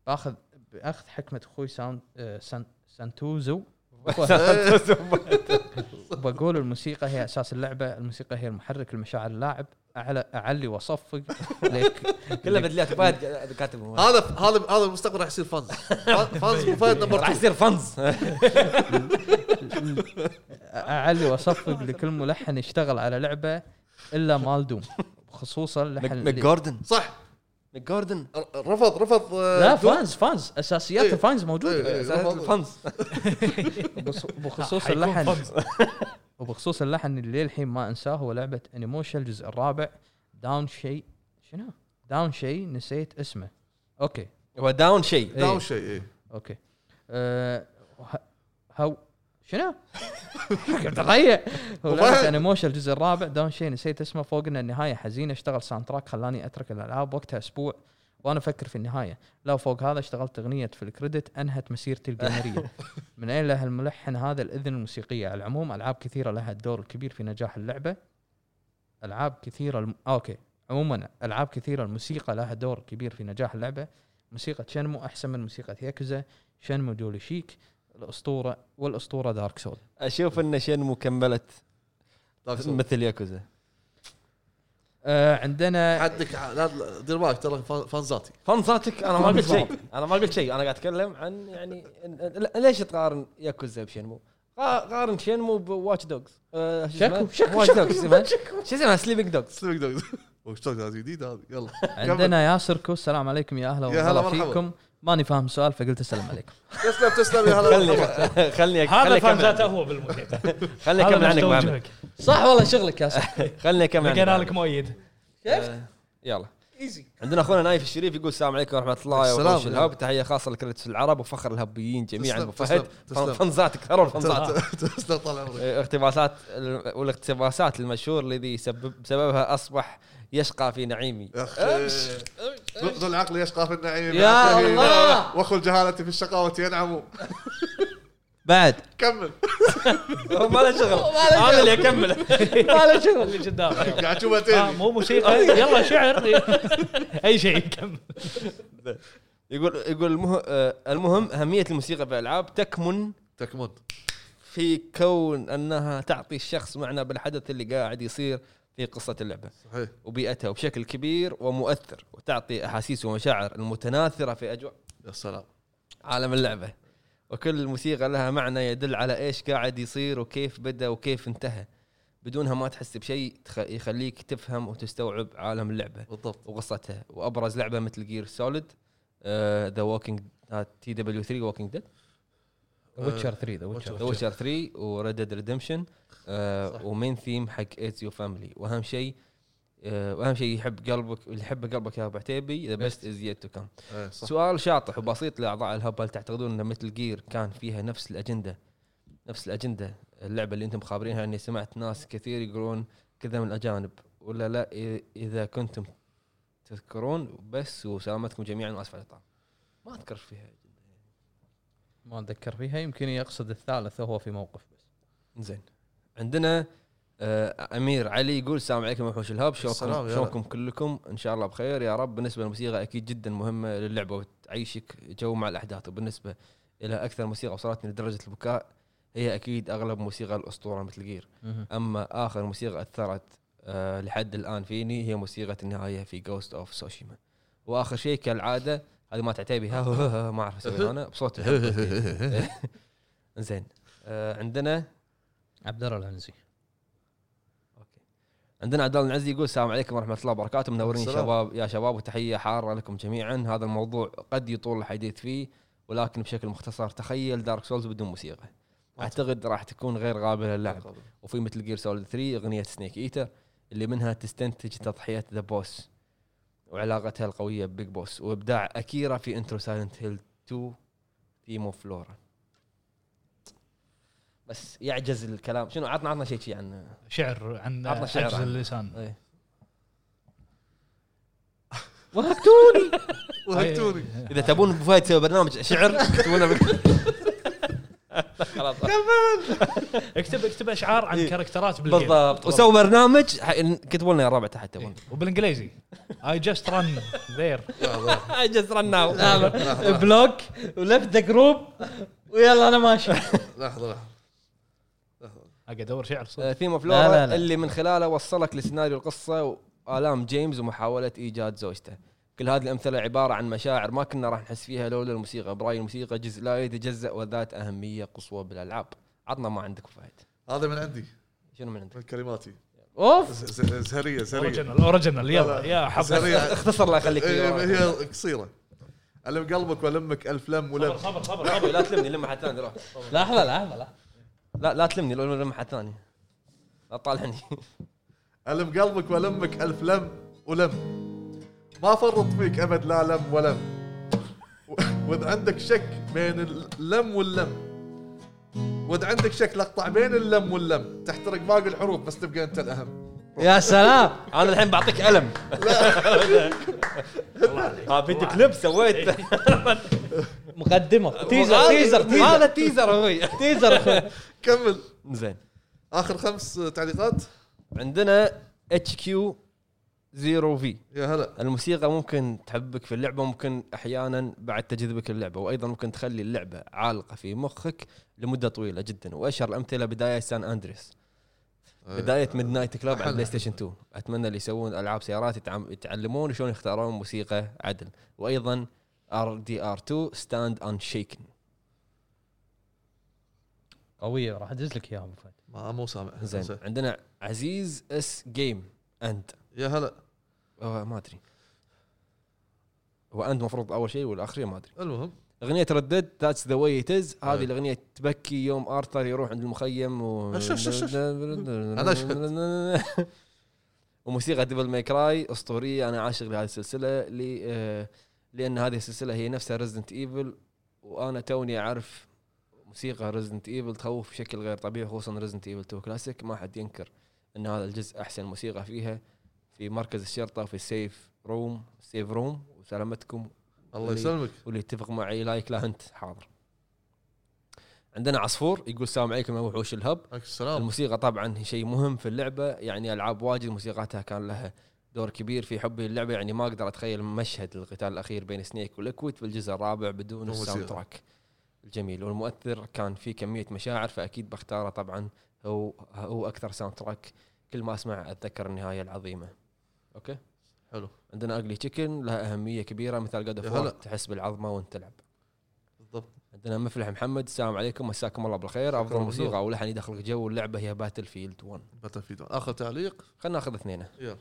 C: باخذ باخذ حكمه اخوي ساوند آه، سان سانتوزو بقول الموسيقى هي اساس اللعبه الموسيقى هي المحرك لمشاعر اللاعب اعلى اعلي واصفق ليك
A: كلها بدلات فهد كاتبهم
D: آه،
E: هذا هذا هذا المستقبل راح يصير فانز فانز فايد نمبر
A: راح
E: 2
A: يصير فنز
C: اعلي واصفق لكل ملحن يشتغل على لعبه الا مال دوم خصوصا لحن اللي-
A: ماجوردن
E: صح
A: ماجوردن
E: رفض رفض آه،
C: لا
E: دوم.
C: فانز فانز اساسيات
E: إيه.
C: الفانز موجوده
E: إيه، رفض.
A: فنز
C: بخص-
A: آه،
C: بخصوص
D: حيكون
C: اللحن
D: فوز.
C: وبخصوص اللحن اللي للحين ما انساه هو لعبه انيموشن الجزء الرابع داون شيء شنو؟ داون شيء نسيت اسمه اوكي
A: هو داون شيء
E: داون شيء إيه.
C: اوكي أه وه- هاو شنو؟ قاعد اضيع هو لعبه انيموشن الجزء الرابع داون شيء نسيت اسمه فوق ان النهايه حزينه اشتغل ساوند تراك خلاني اترك الالعاب وقتها اسبوع وانا افكر في النهايه لا فوق هذا اشتغلت اغنيه في الكريدت انهت مسيرتي الجيمريه من اين له الملحن هذا الاذن الموسيقيه على العموم العاب كثيره لها الدور الكبير في نجاح اللعبه العاب كثيره الم... اوكي عموما العاب كثيره الموسيقى لها دور كبير في نجاح اللعبه موسيقى شنمو احسن من موسيقى ياكوزا شنمو دولي شيك الاسطوره والاسطوره دارك سول
A: اشوف ان شن مكمله
E: دارك سول.
A: مثل ياكوزا
C: آه عندنا
E: حدك ع- لا- لا، دير بالك ترى فان- فانزاتي
A: فنزاتك انا ما قلت شيء انا ما قلت شيء انا قاعد اتكلم عن يعني إن- إن- ليش تقارن ياكوزا بشنمو؟ قا- قارن شنمو بواتش دوجز
C: شكو- شكو-
A: واتش
C: شكو-
A: دوجز شو اسمها سليبنج دوجز
E: سلمك دوغز وشتوك هذا جديد هذا يلا
C: عندنا ياسر كوس السلام عليكم يا اهلا
E: يا هلا
C: وسهلا
E: مرحبا.
C: فيكم ماني فاهم سؤال فقلت السلام عليكم
E: تسلم تسلم يا هلا
A: خلني خلني
D: هذا
A: خلني
D: فان
A: أكمل-
D: ذاته هو بالموسيقى
A: خلني اكمل عنك أبو أحمد.
D: وجهك
C: صح والله شغلك ياسر
A: خلني اكمل عنك
D: لقينا
A: أبو
D: لك مؤيد
A: آه، يلا عندنا اخونا نايف الشريف يقول السلام عليكم ورحمه الله
E: السلام.
A: وبركاته الهب تحيه خاصه لكريتس العرب وفخر الهبيين جميعا
E: تسلم،
A: ابو فهد
E: تسلم، تسلم.
A: فنزاتك ترى الفنزات
E: تسلم طال عمرك
A: آه، اقتباسات ال- والاقتباسات المشهور الذي سبب بسببها اصبح يشقى في نعيمي
E: يا أخي. ذو العقل يشقى في النعيم
A: يا
E: عقله-
A: الله.
E: واخو الجهالة في الشقاوة ينعم
C: بعد
E: كمل
A: هو ما له شغل انا اللي اكمل
C: ما له شغل
D: اللي قدام
E: قاعد تشوفها
D: آه،
E: تاني
D: مو موسيقى
A: أيوه.
D: يلا شعر اي شيء كمل
A: يقول يقول المه... آه، المهم اهميه الموسيقى في الالعاب تكمن
E: تكمن
A: في كون انها تعطي الشخص معنى بالحدث اللي قاعد يصير في قصه اللعبه
E: صحيح
A: وبيئتها بشكل كبير ومؤثر وتعطي احاسيس ومشاعر المتناثره في اجواء
E: يا سلام
A: عالم اللعبه وكل موسيقى لها معنى يدل على ايش قاعد يصير وكيف بدا وكيف انتهى بدونها ما تحس بشيء تخ- يخليك تفهم وتستوعب عالم اللعبه
E: بالضبط
A: وقصتها وابرز لعبه مثل آه، جير سوليد ذا ووكينج تي دبليو 3 ووكينج ديد
C: ويتشر 3 ذا ويتشر
A: ذا ويتشر 3 وريد ديد ريدمشن
E: صح.
A: آه، ومين ثيم حق ايتيو فاميلي واهم شيء آه، واهم شيء يحب قلبك اللي يحبه قلبك يا ابو عتيبي ذا بيست از يت تو كم
E: إيه، صح
A: سؤال شاطح وبسيط لاعضاء الهب هل تعتقدون ان مثل جير كان فيها نفس الاجنده نفس الاجنده اللعبه اللي انتم خابرينها اني سمعت ناس كثير يقولون كذا من الاجانب ولا لا إي- اذا كنتم تذكرون بس وسلامتكم جميعا واسف على الاطاله ما اذكر فيها
C: ما اتذكر فيها يمكن يقصد الثالث وهو في موقف بس
A: زين عندنا آه، امير علي يقول السلام عليكم وحوش الهب
E: السلام
A: شلونكم
E: يا
A: شلونكم كلكم ان شاء الله بخير يا رب بالنسبه للموسيقى اكيد جدا مهمه للعبه وتعيشك جو مع الاحداث وبالنسبه الى اكثر موسيقى وصلتني لدرجه البكاء هي اكيد اغلب موسيقى الاسطوره مثل جير
C: مهم.
A: اما اخر موسيقى اثرت آه لحد الان فيني هي موسيقى النهايه في جوست اوف سوشيما واخر شيء كالعاده هذه ما تعتبي ها ها- ها- ما اعرف اسويها انا بصوت الحب. زين آه عندنا
C: عبد الله العنزي
A: عندنا عدال العزي يقول السلام عليكم ورحمه الله وبركاته منورين
E: السلام.
A: شباب يا شباب وتحيه حاره لكم جميعا هذا الموضوع قد يطول الحديث فيه ولكن بشكل مختصر تخيل دارك سولز بدون موسيقى اعتقد راح تكون غير قابله للعب وفي مثل جير سوليد 3 اغنيه سنيك ايتر اللي منها تستنتج تضحيه ذا بوس وعلاقتها القويه ببيج بوس وابداع اكيرا في انترو سايلنت هيل 2 ثيم اوف فلورا بس يعجز الكلام شنو عطنا عطنا شيء شيء عن
D: شعر عن
A: عطنا شعر
D: عجز
A: عن-
D: اللسان
A: إيه.
C: وهكتوني
E: وهكتوني
A: اذا تبون أبو فهد يسوي برنامج شعر تكتبونه بال-
C: خلاص
D: اكتب اكتب اشعار عن
A: إيه.
D: كاركترات بالجيم.
A: بالضبط وسووا برنامج كتبوا لنا يا الربع تحت
D: إيه.
A: تبون
D: وبالانجليزي اي جاست رن ذير
A: جست رن نعم.
C: بلوك ولفت ذا جروب ويلا انا ماشي
E: لحظه لحظه لحظة.
D: اقعد ادور شعر صدق
A: ثيم اوف
C: لا، لا،
A: لورا
C: لا.
A: اللي من خلاله وصلك لسيناريو القصه والام جيمس ومحاوله ايجاد زوجته كل هذه الامثله عباره عن مشاعر ما كنا راح نحس فيها لولا الموسيقى براي الموسيقى جزء لا يتجزا وذات اهميه قصوى بالالعاب عطنا ما عندك فهد
E: هذا من عندي
A: شنو من عندك
E: من كلماتي
C: اوف
E: ز- ز- زهريه زهريه
D: اوريجنال اوريجنال
E: لا،
D: يلا
E: لا.
D: يا حظ
E: زهريه
A: اختصر لا خليك في
E: إيه،
A: ورا.
E: هي قصيره الم قلبك والمك الف لم
D: صبر
E: ولم
D: صبر صبر
A: لا، لا تلمني لما حد ثاني روح.
C: لحظه لحظه لحظه
A: لا لا تلمني لو- لما حد ثاني لا تطالعني
E: الم قلبك والمك الف لم ولم ما فرط فيك ابد لا لم ولم و- واذا عندك شك بين اللم واللم واذا عندك شك لقطع بين اللم واللم تحترق باقي الحروف بس تبقى انت الاهم
C: يا سلام
A: انا الحين بعطيك علم ها فيديو كليب سويت
C: مقدمه تيزر تيزر
A: هذا
C: تيزر
A: تيزر اخوي
C: تيزر أخوي.
E: كمل
A: زين
E: اخر خمس تعليقات
A: عندنا اتش كيو 0 في
E: يا هلا
A: الموسيقى ممكن تحبك في اللعبه ممكن احيانا بعد تجذبك اللعبه وايضا ممكن تخلي اللعبه عالقه في مخك لمده طويله جدا واشهر الامثله بدايه سان اندريس
E: إيه.
A: بدايه ميد نايت كلاب على البلاي ستيشن 2 اتمنى اللي يسوون العاب سيارات يتعم- يتعلمون شلون يختارون موسيقى عدل وايضا ار دي ار 2 ستاند ان شيكن
C: قويه راح ادز لك اياها أبو فهد.
E: ما مو سامع
A: زين عندنا عزيز اس جيم اند
E: يا هلا
A: أوه، آه، ما ادري هو اند مفروض اول شيء والاخير ما ادري
E: المهم
A: اغنيه ردد ذاتس ذا واي ات از هذه
E: أي.
A: الاغنيه تبكي يوم ارثر يروح عند المخيم و
E: أش- أش- أش- أش. أنا
A: وموسيقى ديفل ماي كراي اسطوريه انا عاشق لهذه السلسله لي آه، لان هذه السلسله هي نفسها ريزدنت ايفل وانا توني اعرف موسيقى ريزدنت ايفل تخوف بشكل غير طبيعي خصوصا ريزدنت ايفل 2 كلاسيك ما حد ينكر ان هذا الجزء احسن موسيقى فيها في مركز الشرطه في السيف روم سيف روم وسلامتكم
E: الله
A: اللي-
E: يسلمك
A: واللي يتفق معي لايك لا انت حاضر عندنا عصفور يقول السلام عليكم يا وحوش الهب
E: عليك السلام
A: الموسيقى طبعا هي شيء مهم في اللعبه يعني العاب واجد موسيقاتها كان لها دور كبير في حبي للعبه يعني ما اقدر اتخيل مشهد القتال الاخير بين سنيك وليكويد في الجزء الرابع بدون
E: موسيقى.
A: الساوند تراك الجميل والمؤثر كان في كميه مشاعر فاكيد بختاره طبعا هو هو اكثر ساوند تراك كل ما اسمع اتذكر النهايه العظيمه اوكي
E: حلو
A: عندنا اجلي تشيكن لها اهميه كبيره مثل
E: يا
A: قد
E: هلا.
A: تحس بالعظمه وانت تلعب
E: بالضبط
A: عندنا مفلح محمد السلام عليكم مساكم الله بالخير افضل
E: شكراً
A: موسيقى
E: بالنور.
A: او لحن يدخلك جو اللعبه هي باتل فيلد 1
E: باتل فيد اخر تعليق
A: خلينا ناخذ اثنين
E: يلا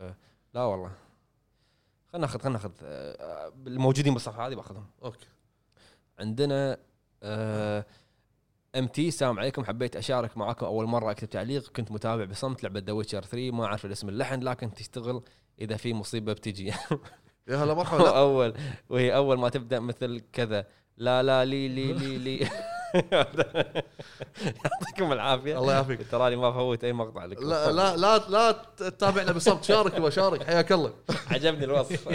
A: أه لا والله خلينا ناخذ خلينا ناخذ أه، أه، الموجودين بالصفحه هذه باخذهم
E: اوكي
A: عندنا ام تي السلام عليكم حبيت اشارك معاكم اول مره اكتب تعليق كنت متابع بصمت لعبه ذا ويتشر 3 ما اعرف الاسم اللحن لكن تشتغل اذا في مصيبه بتجي
E: يا هلا مرحبا لا.
A: اول وهي اول ما تبدا مثل كذا لا لا لي لي لي لي يعطيكم العافيه
E: الله يعافيك.
A: تراني ما فوت اي مقطع لك
E: لا لا لا لا تتابعنا بالصمت شارك وشارك حياك الله
A: عجبني الوصف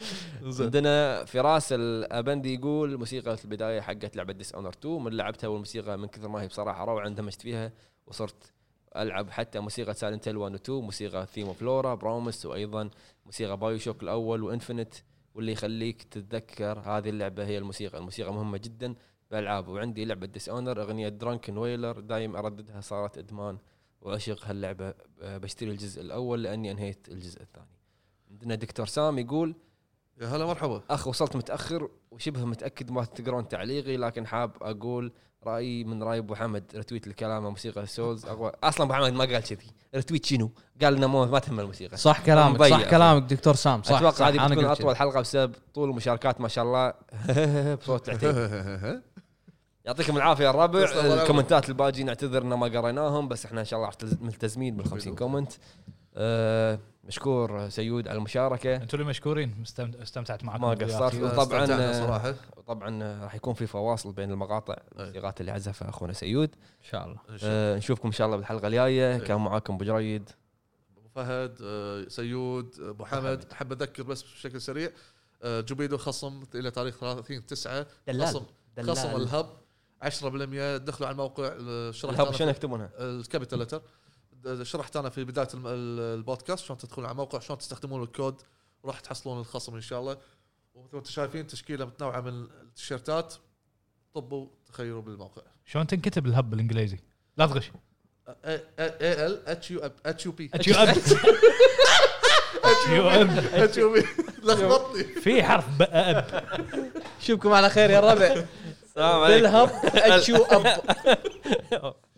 A: عندنا فراس الابندي يقول موسيقى البدايه حقت لعبه ديس اونر 2 من لعبتها والموسيقى من كثر ما هي بصراحه روعه اندمجت فيها وصرت العب حتى موسيقى سايلنت هيل 1 و 2 موسيقى ثيم اوف لورا برومس وايضا موسيقى بايو شوك الاول وانفنت واللي يخليك تتذكر هذه اللعبه هي الموسيقى، الموسيقى مهمه جدا بالالعاب وعندي لعبه ديس اونر اغنيه درانكن ويلر دايم ارددها صارت ادمان واعشق هاللعبه أه، بشتري الجزء الاول لاني انهيت الجزء الثاني. عندنا دكتور سام يقول
E: يا هلا مرحبا
A: اخ وصلت متاخر وشبه متاكد ما تقرون تعليقي لكن حاب اقول رايي من راي ابو حمد رتويت الكلام موسيقى سولز اقوى اصلا ابو حمد ما قال كذي رتويت شنو؟ قال انه مو- ما تهم الموسيقى
C: صح كلامك
A: مضيع.
C: صح كلامك دكتور سام صح صح،
A: اتوقع هذه
C: أنا
A: بتكون
C: قلت
A: اطول حلقه بسبب طول المشاركات ما شاء الله بصوت العتيب
E: أه،
A: يعطيكم العافيه يا
E: يسلم الله
A: الربع
E: يعافيك.
A: الكومنتات الباجي نعتذر ان ما قريناهم بس احنا ان شاء الله راح تلز- ملتزمين بال 50 كومنت آه، مشكور سيود على المشاركه
D: انتم اللي مشكورين مستمت- استمتعت معكم
A: ما قصرت.
D: يا أخي.
A: وطبعاً- آه،
E: استمتعنا صراحه
A: وطبعا آه، راح يكون في فواصل بين المقاطع الموسيقات اللي عزفها اخونا سيود
C: ان شاء الله
E: إن شاء الله.
A: آه، نشوفكم ان شاء الله بالحلقه الجايه كان معاكم ابو جريد
E: ابو فهد آه، سيود آه، ابو حمد احب اذكر بس بشكل سريع آه، جوبيدو خصم الى تاريخ 30 9
B: دلال.
E: خصم خصم الهب 10% دخلوا على الموقع آه، شرحت
A: الهب
E: أنا
A: شنو
E: في-
A: يكتبونها؟
E: الكابيتال لتر شرحت انا في بدايه الم- ال- البودكاست شلون تدخلون على الموقع شلون تستخدمون الكود وراح تحصلون الخصم ان شاء الله ومثل ما انتم شايفين تشكيله متنوعه من التيشيرتات طبوا تخيروا بالموقع
D: شلون تنكتب الهب بالانجليزي؟ لا تغش
E: اي ال اتش يو اتش يو بي
D: اتش يو اب اتش يو اب
E: اتش يو بي لخبطني
D: في حرف ب اب
C: نشوفكم على خير يا الربع
A: السلام
C: بالهب اتشو اب